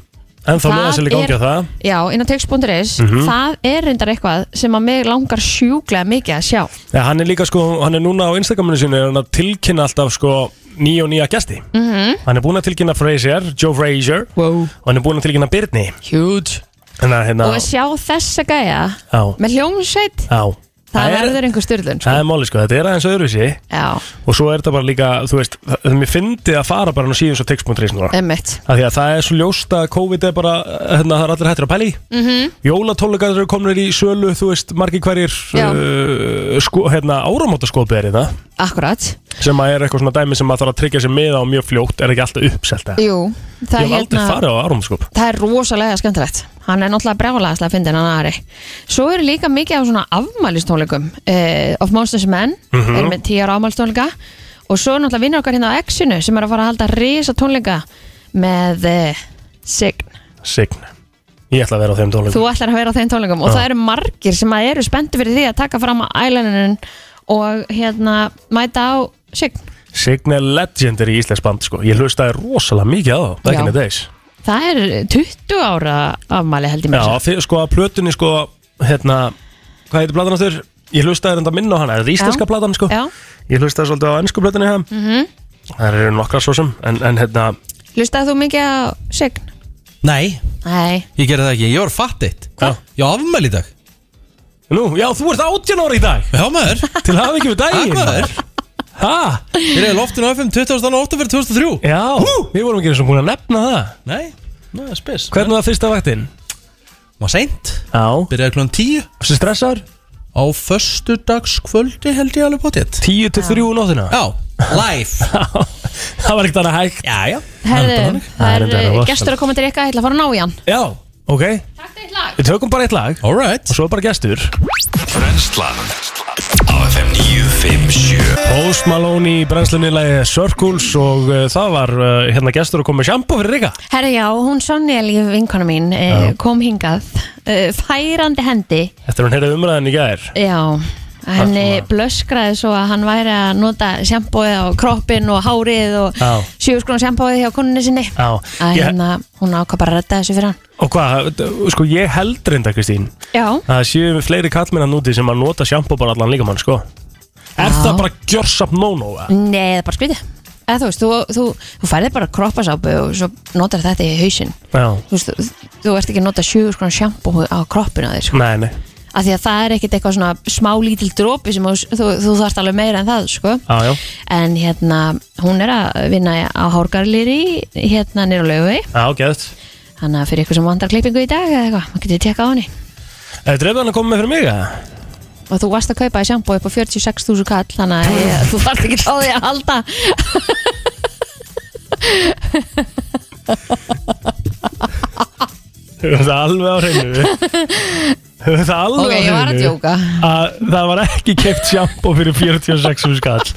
C: En þá
B: Það
C: með þessi
B: er-
C: líka ángja það
B: Já, inn á text.is
C: Mhm.
B: Það er reyndar eitthvað sem að mig langar sjúklega mikið að sjá
C: ja, Hann er líka sko, hann er núna á Instagraminu sinu er hann að tilkynna alltaf sko nýja og nýja gæsti
B: mm
C: Hann er búinn að tilkynna Fraser, Joe Fraser
B: wow.
C: Og hann er búinn að tilkynna Birni
B: Huge
C: En það er hérna
B: Og að sjá þessa gæja
C: Já,
B: Með hljómsveit
C: já
B: Það
C: er-
B: verður einhver styrlun
C: Það er máli sko, þetta er aðeins öðruvísi
B: Já,
C: Og svo er þetta bara líka, þú veist, það, það mér fyndi að fara bara nú síðan svo text.is núna
B: emmitt
C: Af því að það er svo ljóst að COVID er bara, hérna, það er allir hættir að pæli
B: mm
C: Jólatónleikar eru komnir í sölu, þú veist, margir hverjir
B: Já.
C: uh, sko, hérna, áramótaskopið er þetta
B: Akkurat
C: sem að er eitthvað svona dæmi sem maður þarf að tryggja sér með á mjög fljótt, er ekki alltaf uppselt eða?
B: Jú, það
C: Ég hef
B: er
C: aldrei
B: hérna
C: farið á áramótaskop
B: Það er rosalega skemmtilegt. Hann er náttúrulega brjálaðislega að fyndi hann aðri. Svo eru líka mikið af svona afmælistónleikum. Uh, of Monsters Men mm
H: Mhm.
B: er með 10 ára afmælistónleika. Og svo er náttúrulega vinnur okkar hérna á Exinu sem er að fara að halda risa tónleika með uh, Sign.
C: Sign, ég ætla að vera á þeim tónleikum
B: Þú ætlar að vera á þeim tónleikum og
C: Já.
B: það eru margir sem að eru spenntu fyrir því að taka fram á ælaninu og hérna mæta á Sign.
C: Sign er legendary í Íslands band, sko Ég hlustaði rosalega mikið á það, back in
B: Já.
C: the days
B: Það er 20 ára afmæli held ég með
C: Já, fyrir, sko að plötunni sko hérna, hvað heitir platan aftur? Ég hlustaði reynda minna á hana, þetta er íslenska platan sko
B: Já.
C: Ég hlustaði svolítið á ennsku plötunni hérna
B: Mm -hmm.
C: Það eru nokkra svo sem, en, en hérna
B: Lustaðu þú mikið á Sign?
A: Nei,
B: Nei.
A: ég gerði það ekki, ég var fattitt
C: Hva?
A: Ég á afmæli í dag
C: Nú, já, þú ert 18 ára í dag
A: Já maður
C: Til hafa ekki við daginn
A: Takk maður
C: Hæ?
A: Ég reyði loftinu á FM 2008 fyrir 2003
C: Já, við vorum ekki eins og búin að nefna það
A: Nei, það er spes
C: Hvernig var fyrsta vaktin?
A: Var seint
C: Já
A: Byrjaði klón 10
C: Þessi stressar?
A: Á föstudagskvöldi held ég alveg potið
C: 10 til 3 nótina?
A: Já, live
C: Það var ekkert annað hægt
A: Já, já
B: Herðu,
C: Það er
B: það er
C: reyndar
B: uh,
C: rosalegt.
B: gestur að koma til ykkar, ég ætla að fara að ná í hann.
C: Já, ok
B: Takk eitt lag.
C: Við tökum bara eitt lag
A: Alright
C: Og svo bara gestur
K: Brenslan Á FM 957
C: Post Malone í brennslunni lagi Circles og uh, það var uh, hérna gestur að koma með sjampo fyrir Rika
B: Herðu, já, hún Sonja Líf, vinkona mín, uh,
C: Já.
B: kom hingað, uh, færandi hendi,
C: Eftir að hún heyrði umræðin í gær
B: já, henni blöskraði svo að hann væri að nota sjampóið á kroppin og hárið og
C: Já.
B: sjúskrona sjampóið hjá konunni sinni.
C: Já,
B: Að
C: ég-
B: hérna, hún ákvað bara að redda þessu fyrir hann.
C: Og hvað, d- sko ég held reynda Kristín
B: Já,
C: að það séu við fleiri kallmennan úti sem að nota sjampo bara allan líkamann sko Er
B: Já.
C: það bara gjörsap no-no? eða?
B: nei, það er bara skrítið. Eða þú veist, þú, þú, þú færði bara kroppasápu og svo notar þetta í hausinn.
C: Já,
B: Þú veist, þú, þú ert ekki að nota sjúskrona sjampóið á kroppinu þér, sko.
C: nei, nei
B: af því að það er ekkit eitthvað svona smá lítil dropi sem þú, þú, þú þarft alveg meira en það sko.
C: Já, já,
B: en hérna hún er að vinna á Hárgarlýri hérna nýr á laugi
C: já, geðt
B: þannig að fyrir ykkur sem vandar klippingu í dag eða eitthvað, maður getur tekka á henni
C: Er drefðan Eh, að koma með fyrir mig? eða?
B: og þú varst að kaupa í sjambó upp á 46.000 kall þannig að ég, þú þarft ekki á því að halda
C: Höfum það alveg á hreinu Höfum það alveg
B: Ok, ég
C: á hreinu
B: var að djóka.
C: að það var ekki keipt sjampo fyrir 46 hús kall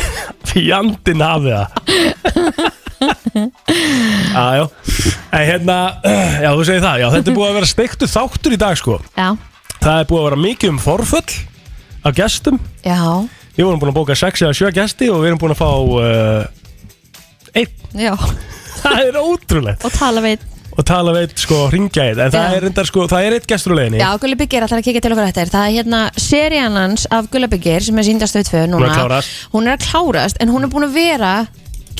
C: Fjandinn hafi það Jájó En hérna, já þú segir það Já þetta er búið að vera steiktu þáttur í dag sko
B: já,
C: Það er búið að vera mikið um forföll Af gestum
B: já,
C: Við vorum búin að bóka 6 eða 7 gesti Og við erum búin að fá uh, Einn,
B: já
C: það er ótrúlegt
B: og tala við
C: Og tala veit sko hringja einn En það
B: Já.
C: er reyndar sko, það er eitt gestur úr leiðinni
B: Já, Gulli Byggir ætlar að kíkja til okkur eftir Það er hérna serían hans af Gulli Byggir sem er síndast við tvö
C: Hún er að
B: núna
C: klárast.
B: Hún er að klárast en hún er búin að vera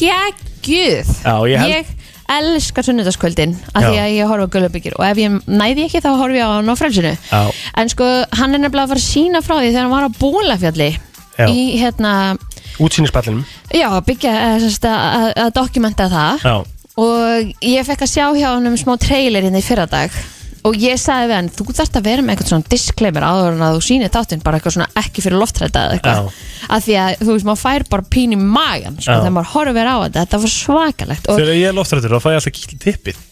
B: geggjuð
C: Já, ég held-
B: elska sunnudaskvöldin af
C: Já.
B: því að ég horfa á Gulli Byggir og ef ég næði ekki þá horfi ég á hann á frelsinu
C: Já.
B: En sko, hann er nefnilega að fara að sína frá því þegar hann var á Bólafjalli
C: Já.
B: í hérna,
C: Útsýnisballinum
B: já, byggja eh, sem sagt, að, að, að dokumenta það
C: Já
B: og ég fekk að sjá hjá hann um smá trailer hérna í fyrradag og ég sagði við hann, þú þarft að vera með eitthvað svona disclaimer áður en að þú sýnir þáttinn bara eitthvað svona ekki fyrir loftræta eða eitthvað af því að þú veist, maður fær bara pín í magan sko,
C: Já.
B: þegar maður horfir á þetta, þetta var svakalegt og
C: Þegar ég er loftrættur þá fæ ég alltaf kýl tippið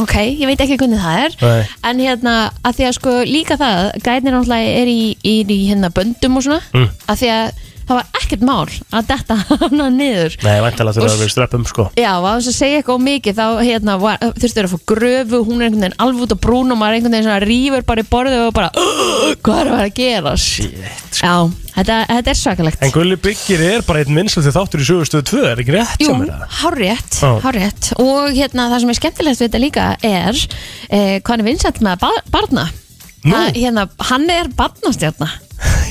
B: ok, ég veit ekki hvernig það er
C: Nei.
B: en hérna, að því að sko líka það gæðnir náttúrulega er í, er í hérna böndum og svona,
C: Mm.
B: að því að það var ekkert mál að detta hana niður
C: Nei, væntalega
B: Og
C: þurfa
B: s-
C: að vera streppum sko
B: Já, og á þess að segja eitthvað of mikið þá hérna, var- þurftu að fá gröfu, hún er einhvern veginn alveg út á brún og maður einhvern veginn svona rýfur bara í borðið og bara Hvað er að vera að gera? Shit, Já, þetta, þetta er svakalegt
C: En Gulli Byggir er bara einn vinsaldið þáttur í sögustöðu 2, er ekki rétt
B: Jú,
C: sem er það?
B: hárétt,
C: Já.
B: hárétt og hérna það sem er skemmtilegt við þetta líka er eh, hvað hann er vinsætt með bar barna
C: Nú.
B: Að, hérna, hann er barnastjarna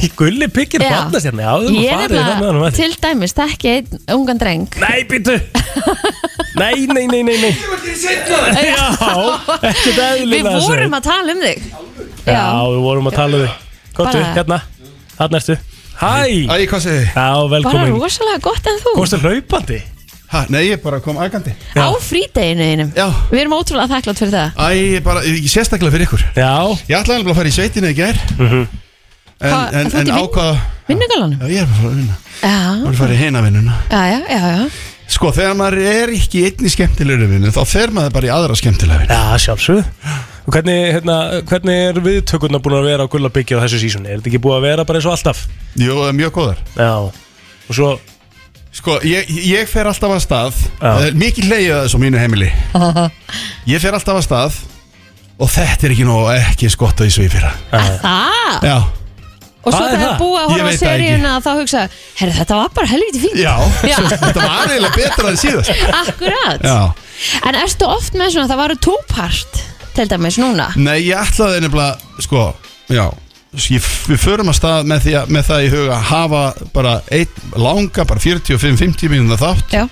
C: Í Gulli Byggir
B: Já.
C: barnastjarni, já, þú
B: Ég er
C: erum að farið það með
B: nefnilega
C: hann
B: til dæmis þekki einn ungan dreng
C: Nei, býttu Nei, nei, nei, nei, nei Já, ekkert eðlilega
B: Við vorum að tala um þig
C: Já, við vorum að tala við Kottu,
B: Bara-
C: hérna, þarna ertu Hæ Æ,
H: hvað segir þið?
C: Já,
B: bara
C: velkomin
B: rosalega gott en þú
C: Kostu hlaupandi?
H: Ha, nei, ég bara kom agandi
B: á frídeginu einum
H: Já.
B: Við erum ótrúlega þakklátt fyrir það
H: Æ, ég bara, ég, sérstaklega fyrir ykkur
C: Já
H: Ég ætlaði nefnilega að fara í sveitina í gær En,
B: Mhm. Hvað,
H: en,
B: þú ert
H: en
B: í vin-
H: ákvaða
B: Vinnugalanum?
H: Já, ég er bara að fara að vinna
B: Já,
H: Bara að fara í heina vinnuna
B: já, já, já, já.
H: Sko, þegar maður er ekki í einni skemmtilegri vinnu Þá fer maður bara í aðra skemmtilegri vinnu
C: Já, sjálfsög Og hvernig, hérna, hvernig er viðtökurna búin að vera á Gulla Byggir á þessu sísunni? Er þetta ekki búið að vera bara eins og alltaf?
H: Jú, það er mjög góðar
C: Já Og svo
H: Sko, ég, ég fer alltaf að stað
C: Já.
H: Eh, Mikið hleyja þessu á mínu heimili Ég fer alltaf að stað Og þetta er ekki nóg ekki skott að því svo í fyrra
B: Það
H: Já,
B: Og svo
H: Hvað er
B: þegar
H: það?
B: búið að
H: Ég
B: horfa á
H: veit það
B: seríuna þá hugsa, herri þetta var bara helviti fínt
H: já,
B: Já.
H: þetta var eiginlega betra en síðast
B: Akkurat
H: Já
B: En erstu oft með svona, það varu tópart til dæmis núna
H: Nei, ég ætlaði nefnilega, sko, já s- ég, Við förum að stað með, því, að- með það í huga að hafa bara einn langa, bara 45-50 mínúna þátt
B: Já.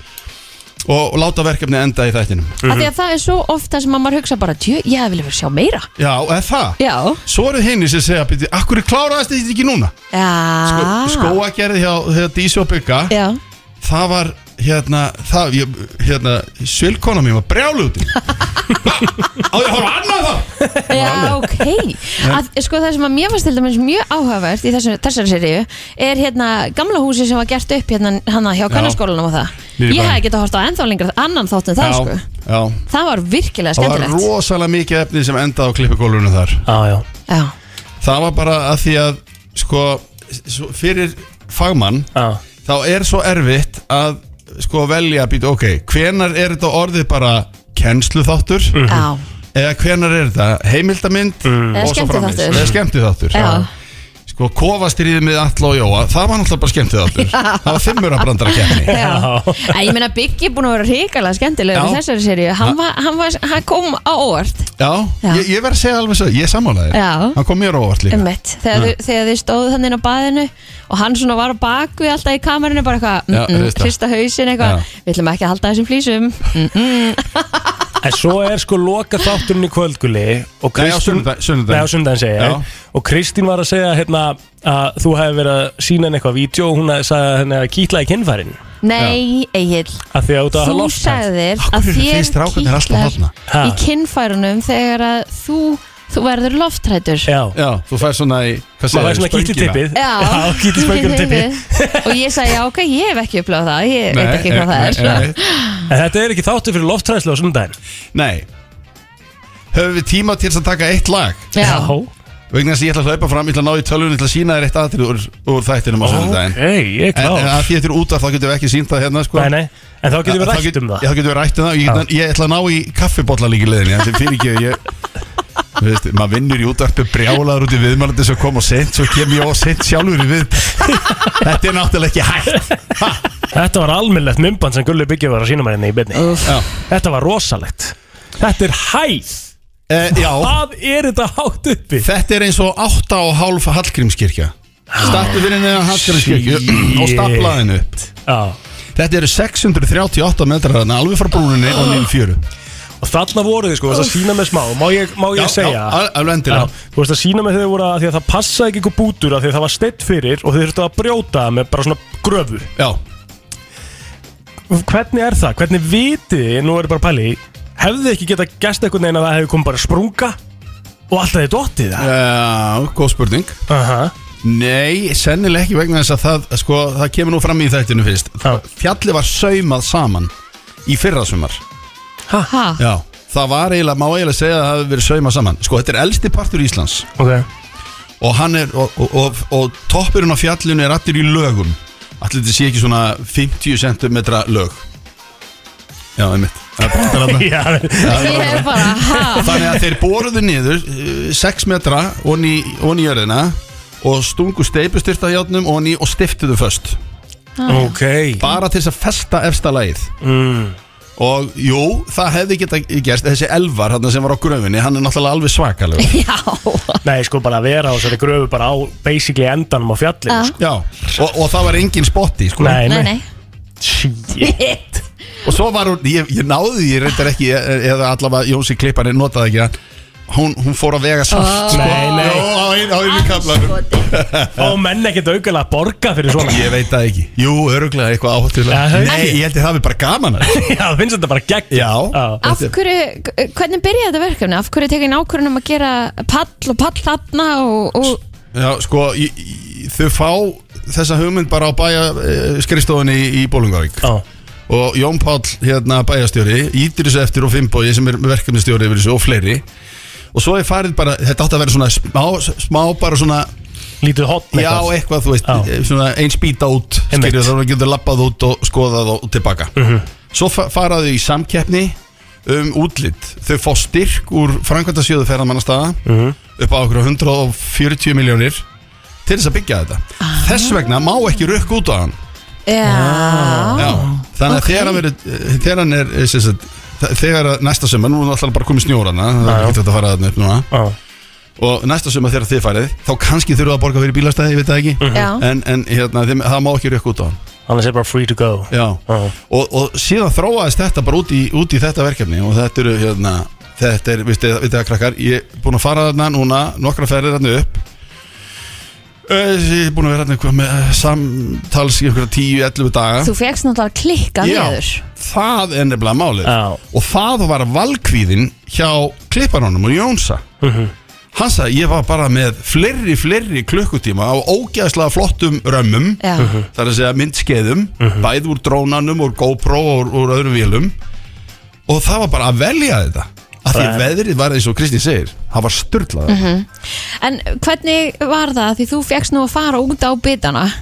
H: og láta verkefni enda í þættinum
B: Af því að
H: Mhm.
B: það er svo ofta sem að maður hugsa bara Djö, ég vil vera sjá meira
H: Já, eða það
B: Já,
H: Svo eru hinni sem segja, byrju, akkur kláraðast þetta ekki núna? Sko,
B: já.
H: skóagerði hjá, hjá Dísi og Bygga
B: Já.
H: Það var, hérna, það, ég, hérna, svilkona mér var brjálu út í Á, ég horfa annað þá
B: Já, ok að, Sko það sem að mér fannst til dæmis mjög áhugavert í þessu, þessari seríu er hérna gamla húsi sem var gert upp hérna hana hjá
H: Já.
B: kannarskólanum og það
H: Niður í
B: Ég
H: bæ.
B: hefði getað hort á ennþá lengra annan þátt en það sko
H: Já, já
B: Það var virkilega
H: Það var
B: skemmtilegt
H: rosalega mikið efni sem endaði á klippugólfinu þar
C: Já, já
B: Já,
H: Það var bara að því að sko, s- svo- fyrir fagmann
C: Já.
H: þá er svo erfitt að sko velja að býta ok, hvenar er þetta orðið bara kennsluþáttur
B: Já.
H: eða hvenar er þetta heimildamind
B: Eða
H: Mm. og svo framvegis
B: skemmtiþáttur.
H: eða skemmtiþáttur
B: Já.
H: sko kofastriðið með Alla og Jóa það var náttúrulega bara skemmtiþáttur það var fimmur að brandara kemni
B: Já. Æ, ég meina Biggi er búin að vera hrikalega skemmtilegur
H: Já.
B: í þessari seríu hann, var, hann, var, hann kom á óvart
H: já,
B: Já.
H: Ég, ég verð að segja alveg svo, ég samála þér
B: Já.
H: hann kom mér á óvart líka
B: Ummitt, um þegar, þau- þegar þið stóðu þannig inn á baðinu og hann svona var á bakvið alltaf í kamerunni bara eitthvað,
H: Já,
B: mm -mm,
H: hrista.
B: hrista hausin eitthvað,
H: Já.
B: við ætlum ekki að halda þessum flýsum mm -mm.
C: En svo er sko loka þátturinn í kvöldgulli og
H: Nei, á
C: Kristín
H: sunnudag- sunnudaginn.
C: Nei, á sundaginn segja
H: Já.
C: ég. Og Kristín var að segja hérna að þú hefði verið að sína henni eitthvað vídeo og hún hafði- sagði að henni að kýtla í kinnfærin
B: Nei, Egil
C: að því að út að
B: þú
C: hafa losnað.
B: sagðir
H: Af
B: að
H: hverju eru
B: þér
H: þið strákarnir alltaf
B: kýtlar
H: þarna?
C: Ha.
B: í kinnfærunum þegar að þú, þú verður loftrætur
C: Já,
H: já, þú fær svona í
C: maður
H: hvað segirðu,
C: fær svona
H: spöngina.
C: kýttipippið
B: Já,
C: kýtli spöngunatippið
B: og ég sagði, já ok, ég hef ekki upplöð það ég veit ekki hvað það er
H: nei,
C: En þetta er ekki þáttur fyrir loftræðslu á sundaginn
H: Nei Höfum við tíma til þess að taka eitt lag
B: Já,
H: Vegna þess að ég ætla að hlaupa fram, ég ætla að ná í tölvun Ég ætla að sína þér eitt aðrið úr, úr þættinum á sunnudaginn
C: Ok, ég er
H: En, en
C: klár
H: að því þetta er út af þá getum við ekki sínt það hérna sko.
C: Nei, nei, en þá getum við
H: Þá
C: rætt
H: get-
C: um það
H: Já, þá getum við rætt um það Ég, get, ég ætla að ná í kaffibotla líka í leðinni Þannig fyrir ekki ég Þú Veist, maður vinnur í útvarpi brjálaður út í viðmælandi sem kom og sent, svo kem ég og sent sjálfur í við Þetta er náttúrulega ekki hægt
C: Þetta var almennlegt mymband sem Gulli Byggja var að sína mér henni í byrni
H: Já,
C: Þetta var rosalegt Þetta er hæð
H: e, já
C: Hvað er þetta hátt uppi?
H: Þetta er eins og 8 og hálf Hallgrímskirkja Stattu fyrir neðan Hallgrímskirkju
C: Ah, Shit.
H: og staplaði henni upp
C: Já
H: Þetta eru 638 metrar þarna alveg frá brúninni og niður í fjöru
C: Og þarna voru þið sko, þú varst að sína með smá Má ég, má ég
H: Já,
C: segja
H: já, al- alveg endilega.
C: Já, Þú varst að sína með þegar voru að því að það passaði ekki ykkur bútur af Því að það var steitt fyrir og þið þurftu að brjóta það með bara svona gröfu
H: Já,
C: Hvernig er það? Hvernig vitið þið, nú er ég bara að pæli Hefðu þið ekki getað gæst einhvern veginn að það hefði komið bara að sprunga Og alltaf þið dottið það
H: uh, góð spurning
C: Aha,
H: Nei, sennilega ekki vegna þess að það, sko, það kemur nú fram í þættinu fyrst
C: Já.
H: Fjallið var saumað saman í fyrrasumar
B: ha,
H: Já, það var eiginlega, má eiginlega segja að það hafi verið saumað saman Sko, þetta er elsti partur Íslands
C: ok
H: og, hann er, og, og, og, og toppurinn á fjallinu er allir í lögum Allir þetta sé ekki svona 50 cm lög Já, einmitt Það er bara þarna.
C: Já,
H: það
B: Ég er bara, ha?
H: Þannig að þeir boruðu niður 6 metra onni í jörðina og stungu steipustyrta játnum onni og stiftuðu föst
B: Ah.
H: Bara til þess að festa efsta lagið mm. Og jú, það hefði geta gerst Þessi elvar hann sem var á gröfinni Hann er náttúrulega alveg svakalegur
C: Nei, sko bara að vera á þessari gröfu bara á basically endanum á fjallinu
B: Ah.
C: sko.
H: Já, og, og það var engin spotti sko.
C: Nei,
B: Nei, nei
C: Shit
H: Og svo var hún, ég, ég náði því reyndar ekki e- Eða allavega Jónsi Klippan notaði ekki hann Hún, hún fór að vega salt
C: Oh.
H: sko.
C: Nei, nei.
H: Jó, á einu, á einu kaplanum
C: Og menn ekkert auðvitað að borga fyrir svona
H: Ég veit það ekki Jú, öruglega eitthvað
C: Já,
H: áhættulega Nei,
C: ekki.
H: ég held ég það við bara gaman að
C: Já, það finnst þetta bara Ah, gegn
H: Já,
B: Af
H: þetta-
B: hverju, hvernig byrjaði þetta verkefni? Af hverju tekin ákvörðun um að gera pall og pall hafna og, og
H: já sko í, í, Þau fá þessa hugmynd bara á bæja e, skrifstofunni í, í Bólungavík
C: Já
H: Og Jón Páll, hérna bæjastjóri Ítir þessu eftir og Fimbogi sem er verkefnistjóri yfir þessu og fleiri Og svo er farið bara, þetta átti að vera svona smá, smá bara svona
C: Lítið hotn
H: Já, eitthvað, þú veist, svona eins býta út
C: Einmitt.
H: skilur þannig að getur lappað út og skoðað og tilbaka
C: Mhm.
H: Svo fa- fara þau í samkeppni um útlitt Þau fá styrk úr framkvæmtasjóðu ferðamannastaða
C: Mhm.
H: upp á okkur 140 miljónir til þess að byggja þetta Þess vegna má ekki rökk út á hann
B: Já
H: Já, þannig að þegar hann, verið, eh, þegar hann er sem sagt, þe- þegar að næsta sumar, nú er alltaf bara komið snjórana það er
C: Já, já.
H: ekki þetta að fara þarna upp núna
C: Já.
H: og næsta sumar þegar þið farið þá kannski þurfa að borga fyrir bílastæði, ég veit það ekki
B: Já.
H: en, en hérna, þeim, það má ekki rökk út á hann
C: Annars er bara free to go Ah,
H: Já, og, og síðan þróaðist þetta bara út í, út í þetta verkefni og þetta eru hérna, þetta er, veist þið það krakkar ég er búin að fara þarna núna nokkra ferðir þarna upp Ö, ég er búin að vera þarna eitthvað með eh, samtals í einhverja 10-11 daga
B: Þú fegst náttúrulega klikka
H: Já,
B: niður
H: það er nefnilega málið
C: Já.
H: Og það var valkvíðin hjá klipparónum og Jónsa
C: Mhm.
H: Hann sagði, ég var bara með fleiri, fleiri klukkutíma á ógeðslega flottum römmum
B: Já. Mhm.
H: Það er að segja myndskeiðum
C: Mhm.
H: Bæði úr drónanum, úr GoPro og úr, úr öðrum vélum Og það var bara að velja þetta Af því
C: Það er-
H: veðrið var eins og Kristi segir Það var styrlað
B: Mhm. En hvernig var það því þú fegst nú að fara út á bitana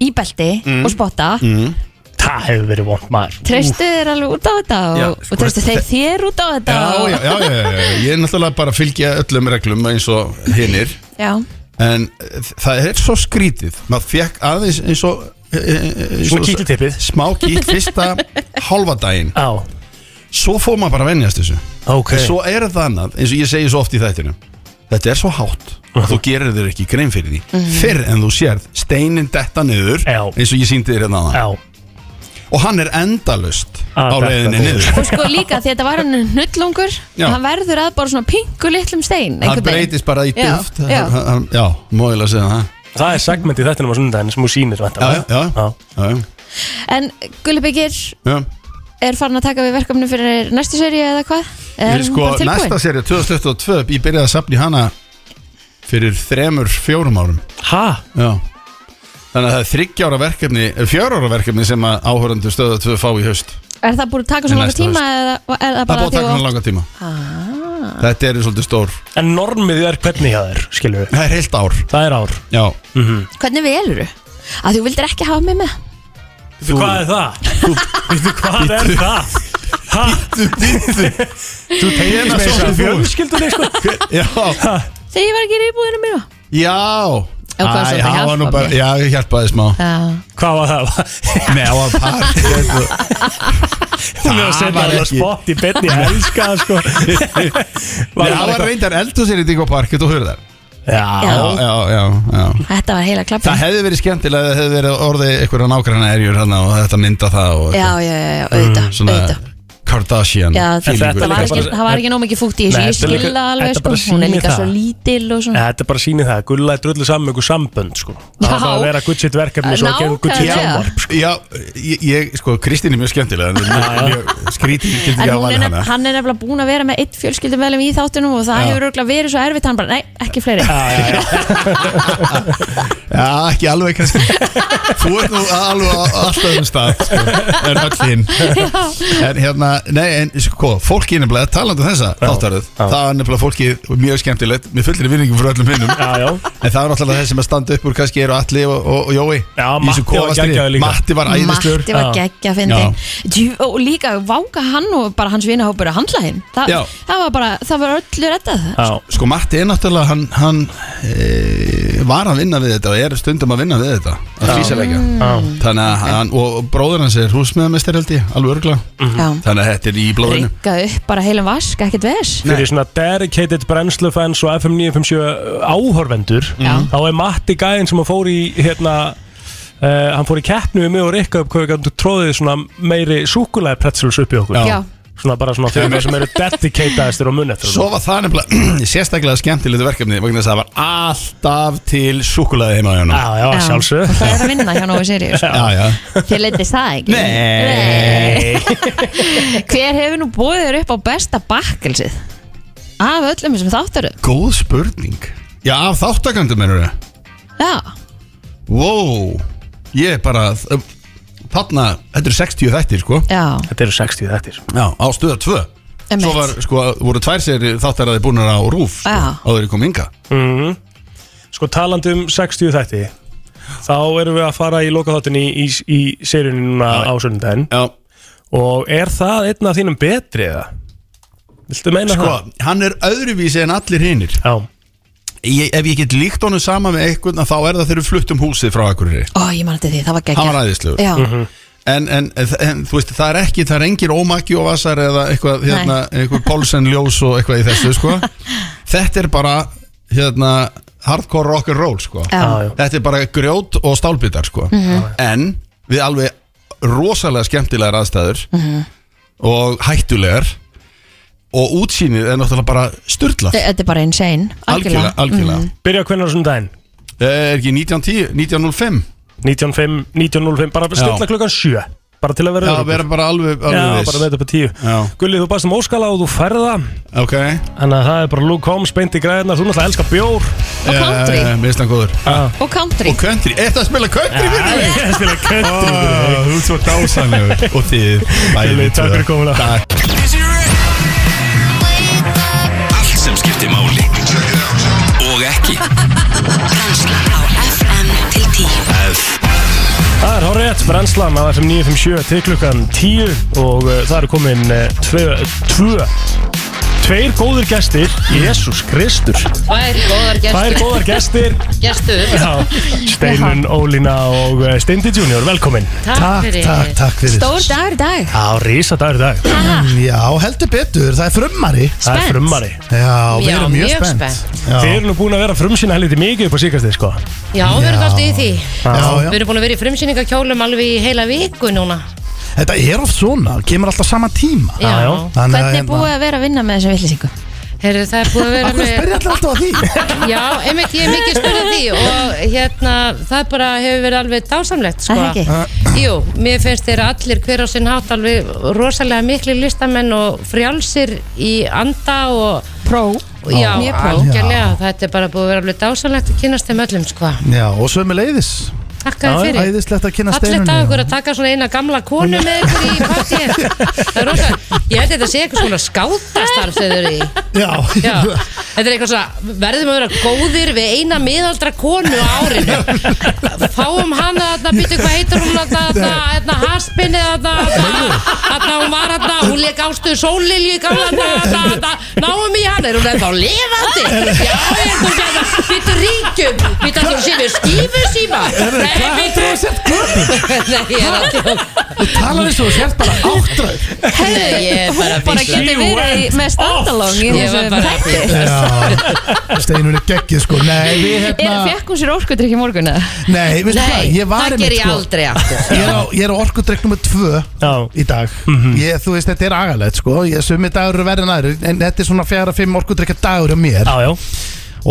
B: í belti
C: Mm.
B: og spotta
H: mm.
C: Það hefur verið vond maður
B: Treystu þér alveg út á þetta og,
H: Já,
B: og treystu
H: þetta-
B: þeir þér út á þetta
H: Já,
B: og-
H: já, já, já, já, já, ég er náttúrulega bara að fylgja öllum reglum eins og hinnir
B: Já.
H: en eh, það er svo skrítið maður fekk aðeins eins og eh, eh, eins
C: Svona
H: og-
C: kíkjutippið.
H: smá kík fyrsta halva daginn
C: á.
H: svo fór maður bara að venjast þessu
C: Ok.
H: en svo er það annað, eins og ég segi svo oft í þættinu þetta er svo hátt að þú gerir þér ekki grein fyrir því
C: Mhm.
H: fyrr en þú sérð steinin detta niður
C: Já.
H: eins og ég síndi þér hérna
C: Já.
H: aðan og hann er endalust á
C: Að detta
H: leiðinni
C: niður.
H: niður
B: Og sko líka því þetta var hann hnullungur
H: Já.
B: Hann verður að bara svona pingu litlum stein
H: hann
B: einhvern veginn.
H: breytist bara í
B: Já,
H: duft
B: já.
H: Hann- hann- já, móðilega segja það
C: Það er segment í þættinum á sundaginn sem hún sýnir Ah.
H: já, já, já, já,
B: En Gulli Byggir
H: já.
B: er farin að taka við verkefni fyrir næstu seri eða hvað? Er hún
H: Ég sko,
B: bara tilbúin?
H: næsta serið 2022, ég byrjaði að safna í hana fyrir þremur, fjórum árum
C: Hæ?
H: Já Þannig að það er þryggjára verkefni, fjórára verkefni sem að áhörandi stöða 2 fá í haust
B: Er það búið að taka
H: En
B: svona langa
H: næsta
B: tíma eða er það
H: Það er
B: bara
H: búið að taka hann langa tíma
B: Ah.
H: Þetta er svolítið stór
C: En normið er hvernig það er, skilur við
H: Það er heilt ár
C: Það er ár
H: Já
C: mm -hmm.
B: Hvernig velur þú? Að þú vildir ekki hafa mig með
C: Þú, hvað er það? Þú, hvað er það? Býttu,
H: býttu
C: Þú tegir
H: Hvenær
C: með þess
H: sóttir
C: að
H: þú?
C: fjölskyldunni sko
H: Já
B: Þegar ég var ekki í búðinu mínu
H: Já
B: Já, hvað svolítið
H: það var nú
B: hjálpað
H: bara,
B: mér.
H: já, ég hjálpaði smá
B: Já.
C: Hvað var það?
H: Nei, það var par
C: Hún er að setja
H: var
C: það
H: ekki-
C: spott í betni Ég elska það sko
H: Nei, það var reyndar eldhúsir í Dingo Park, þú höfðu þar
C: Já,
H: Já, já, já, já
B: Þetta var heila klappa
H: Það hefði verið skemmtilega að það hefði verið orðið einhverja nágranna erjur hann og þetta mynda það og Mm,
B: Já, já, já, já, auðvitað
H: svona Kardashian
B: Já, það,
H: feelingur.
B: það, var ekki, það var ekki nóg mikið fútt í þessu
C: Nei,
B: Ég
C: þetta er
B: skil
C: líka-
B: það alveg
C: þetta
B: sko
C: bara
B: Hún er
C: sýnir
B: líka
C: það.
B: svo lítil og
C: Ja,
B: svona
C: Þetta bara sýnir það, Gulla er drullu saman með einhver sambönd sko.
B: Já.
C: Það þarf að vera gutt sitt verkefni svo að gera gutt sitt
B: Nákvæmlega.
C: sjónvarp
H: sko. Já, ég, ég, sko, Kristín er mjög skemmtilega en
C: Já, já.
H: mjög- mjög skrítið ég
B: En
H: gildi ekki að
B: hún er,
H: vali
B: nef,
H: hana
B: hann er nefnilega búin að vera með eitt fjölskyldum í þáttunum og það
H: Já.
B: hefur örugglega verið svo erfitt hann bara, nei, ekki fleiri
H: Já, ekki alveg kannski Þú ert nú alveg á alltaf um stað sko, en öll hinn
B: Já.
H: En hérna, nei, en sko, fólki nefnilega talandi um þessa þáttaröð, það er nefnilega fólki mjög skemmtilegt, með fullir vinningum fyrir öllum hinnum
C: já, já.
H: en það er náttúrulega þessi sem að standa upp úr kannski eru Alli og, og, og Jói já,
C: Matti var geggjaður líka.
H: Matti var æðislegur
B: Matti var geggja að fyndi Og líka váka hann og bara hans vinahópur að handla hinn Þa,
H: Já.
B: Það var bara, það var öllu rettað
H: Já. Sko Matti er náttúrulega hann, hann e, var að vinna við þetta og er stundum að vinna við þetta að
B: Já.
H: frísaleika
B: Mm.
H: þannig að hann, og bróður hans er húsmeðamestir held ég, alveg örgla
C: Mhm.
B: Já.
H: þannig að þetta er í blóðinu
B: Rikka upp bara heilum vask, ekkert ves
C: fyrir svona dedicated brennslufans og FM 957 áhorvendur uh, þá er Matti Gæðin sem að fór í hérna Uh, hann fór í keppnu við mig og Rikka upp hvað við gætum tróðið svona meiri súkulæði pretzels upp í okkur
H: Já. Já.
C: Svona bara svona fyrir mig sem eru dedicataðistir og munn eftir
H: Svo var það nefnilega sérstaklega skemmtilegt verkefni vegna þess að það var alltaf til súkulaði heima hjá hann
C: Já, já, sjálfsög
B: Það er að vinna hjá Nói Sirius
H: Já, já
B: Þér leittist það ekki
H: Nei
B: Hver hefur nú búið þér upp á besta bakkelsið? Af öllum sem þáttur
H: Góð spurning Já, af þáttakandum eru það
B: Já,
H: Wow Ég er bara Þarna, þetta eru 60 þættir sko
B: já,
C: Þetta eru 60 þættir
H: Já, á stöða 2
B: Einmitt.
H: Svo var, sko, voru tvær séri þáttaraði búnar á rúf sko,
B: Já.
H: Áður ég kom ynga
C: Mhm. Sko talandi um 60 þætti Þá erum við að fara í lokaþáttin í, í, í seríunni núna á sunnudaginn
H: Já
C: Og er það einn af þínum betri eða? Viltu meina
H: Sko,
C: það?
H: hann er öðruvísi en allir hinnir
C: Já
H: ég, Ef ég get líkt honum sama með einhvern að Þá er það þegar við fluttum húsið frá Akureyri
B: ó, ég man eftir því, það var geggja
H: Hann var æðislegur Mhm.
B: Já,
H: en, en, en þú veist, það er ekki, það er engir ómaki og vasar eða eitthvað, hérna, eitthvað Pólsen ljós og eitthvað í þessu, sko Þetta er bara, hérna, hardcore rock and roll, sko
C: Já. Já, já.
H: Þetta er bara grjót og stálbitar, sko
C: Mhm.
H: En við alveg rosalega skemmtilegar aðstæður
B: Mhm.
H: og hættulegar og útsýnið er náttúrulega bara styrla
B: Þe- þetta er bara insane
H: Algjörlega, algjörlega
B: Eh,
H: Eh,
B: Mhm.
C: Byrja hvernig á sunnudaginn?
H: Er ekki 1910, 1905
C: 1905, 1905, bara
H: Já.
C: stilla klukkan 7 Bara til að vera
H: Já,
C: öruggur.
H: vera bara alveg, alveg
C: Já,
H: viss.
C: bara með þetta upp á 10
H: Já.
C: Gulli, þú baðst um óskala og þú færði það
H: Ok
C: Þannig að það er bara Luke Holmes beint í græðina Þú náttúrulega elskar bjór
H: Og country. Eh, Mér finnst hann góður
B: Og country
H: Og country, eftir að spila country fyrir mig
C: Ég spila country
H: Ó, Þú ert svo dásanlegur Og þið bæði
C: Takk fyrir komuna
H: Takk
K: Allt sem skiptir máli Og ekki
L: Brennslan á FM til 10
C: Það er horrið, brennslan á FM 957 til klukkan 10 og uh, það eru komin uh, tvö, tvö, tveir góðir gestir, Jésús Kristur.
M: Tvær góðar gestir
C: Tvær góðar gestir.
M: Gestur
C: Já, Steinun, Ólína og uh, Steindi Junior, velkomin.
M: Takk fyrir.
N: Takk, takk fyrir
B: Stór dagur í dag
C: Já, rísa dagur í dag.
N: Mm, Já, heldur betur, það er frummari
C: Það er frummari.
N: Já, við erum mjög spennt Já.
C: Þið eru nú búin að vera frumsýna helviti mikið upp á síkastið, sko.
M: Já, við erum alltaf í því
C: Já,
N: já.
M: Við erum búin að vera í frumsýningakjólum alveg í heila viku núna
N: Þetta er oft svona, kemur alltaf sama tíma
M: Já. Já, já.
N: Þannig að
M: Hvernig
N: hérna-
B: Búið að vera að vinna með þessu villisingu
M: Heyrðu, það er búið að vera
N: Akkur spyrja allir alltaf að
M: því Já, einmitt, ég er mikið spurðið því og hérna, það bara hefur verið alveg dásamlegt, sko
B: Er það
H: eh,
M: Jú, mér finnst þeir allir hver á sinn hátt alveg rosalega miklu listamenn og frjálsir í anda og
B: Pró
M: Já,
N: Mjög pró.
M: algjörlega, þetta er bara búið að vera alveg dásamlegt að kynast þeim öllum, sko
N: Já, og sömu leiðis
M: Takk að fyrir
N: Æðislegt að kynna
M: Allir
N: steinunni
M: dag okkur að taka svona eina gamla konu með ykkur í partíin Það er rosa Ég held að þetta sé eitthvað svona skátastarf sem þau eru í
N: Já,
M: Já, þetta er eitthvað svona, verðum að vera góðir við eina miðaldra konu á árinu Fáum hana þarna, býtu hvað heitur hún þarna, þarna, þarna haspinni þarna, þarna, þarna hún var þarna, hún leik ástuð sóllilju í gamla daga, þarna, þarna, náum í hana, er hún ennþá lifandi? Já, ég er þú sér það, býtu ríkjum, býtu að þú sér við skífu síma
N: Heyrðu, hvað heldur þú að sért
M: guðbjörn? Nei, ég er alltaf
N: Þú talar eins og þú sért bara áttræð
M: Heyrðu, ég er bara
B: Hún bara
M: býst-
B: getur
M: She
B: verið í-
M: went
B: með standalong í
M: off, sko.
B: þessu
M: Ég var bara
B: þætti.
M: að
N: Já, steinunni geggið sko Nei, við
B: Er
N: hérna
B: fekk hún sér orkudrykk í morgun eða?
N: Nei, veistu hvað, ég var
M: það
N: einmitt,
M: ger ég
N: sko.
M: aldrei aftur.
N: Ég er á, ég er á orkudrykk nummer 2 í dag ég, Þú veist, þetta er agalegt sko ég, Sumi dagur eru verið en aðri En þetta er svona 4-5 orkudrykka dagur á mér
C: Já, já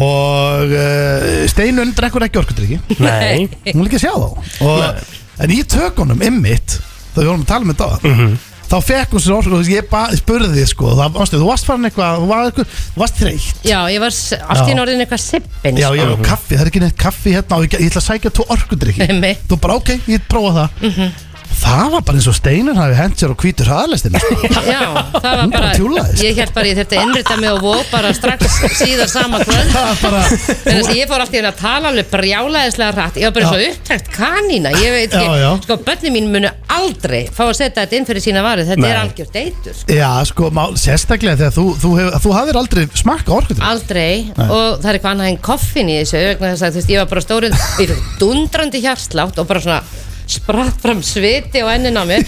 N: Og uh, Steinun drekkur ekki orkudrykki
C: Nei.
N: Hún vil ekki sjá þá og, En í tökunum, ymmit Þegar við vorum að tala með þetta mm -hmm. Þá fekk hún sér orkudrykk Ég ba- spurði þið sko það, ástu, Þú varst farin eitthvað, þú var eitthvað- þú varst þreytt
M: Já, ég var s- allt í norðin eitthvað sippin
B: sko-
N: Já, ég er á kaffi, það er ekki neitt kaffi hérna og ég, ég ætla að sækja tvo orkudrykki
M: Einmitt.
B: Mhm.
N: Þú bara, ok, ég prófa það
H: það var bara eins og steinar hafi hent sér á hvítur hraðalestin
B: Já, það var
H: Hún bara
B: bara,
H: tjúllaðist.
B: ég held bara ég þurfti að innrita mig og vó bara strax síðar sama kvöld Þannig að ég fór alltaf inn að tala alveg brjálæðislega hratt Ég var bara svo upptækt kanína Ég veit ekki,
H: Já, já.
B: sko börnin mín munu aldrei fá að setja þetta inn fyrir sína varu Þetta er
H: Nei.
B: algjört eitur
H: Já, sko, má, sérstaklega þegar þú, þú, hef, þú hafðir aldrei smakka orkudrykk
B: Aldrei,
H: Nei.
B: og það er eitthvað annað en koffin í þessu vegna þess að þú veist, ég var bara stórið Ég fyrir dundrandi hjarslátt og bara svona spratt fram sviti og ennin á mér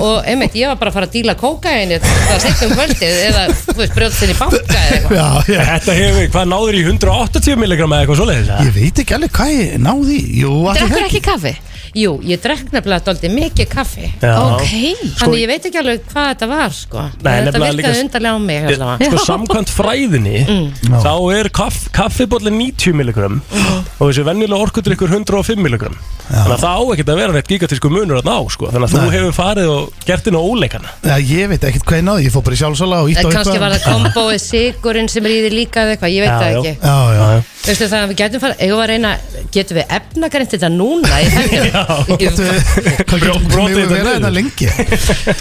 B: og einmitt, ég var bara að fara að díla kókaini það setjum kvöldið eða, þú veist, brjóðsinn í banka eða eitthvað
H: Já, já.
C: Þetta hefur, hvað náður í 180 milligram eða eitthvað svoleiðis?
H: Ég veit ekki alveg hvað ég náði í. Jú, að ég
B: Drekkur ekki kaffi? Jú, ég drekk nefnilega doldið mikið kaffi
C: Já.
B: Ok,
C: Sko-
B: þannig ég veit ekki alveg hvað þetta var sko.
C: Nei,
B: En þetta
C: nefnilega
B: virkaði
C: líka-
B: undarlega á mig
C: Ég-
B: allavega. Mm.
C: Sko samkvæmt fræðinni þá er kaff, kaffibólli 90 milligram og þessi venjulega orkudrykkur 105 milligram þannig að það á ekkert að vera neitt gigatísku munur að ná sko. þannig að þú hefur farið og gert inn á óleikana
H: Já, ég veit ekkert hvað ég náði, ég fór bara í sjálfsala og ítt á
B: En Eh, kannski var það kombóið sigurinn sem rýði líka eða eitthvað, ég veit það ekki
H: Já, já, já.
B: Veistu það, við getum fara, eigum við að reyna, getum við efnagreint þetta núna í helgina?
H: Getum við, hvað getum við vera þetta lengi?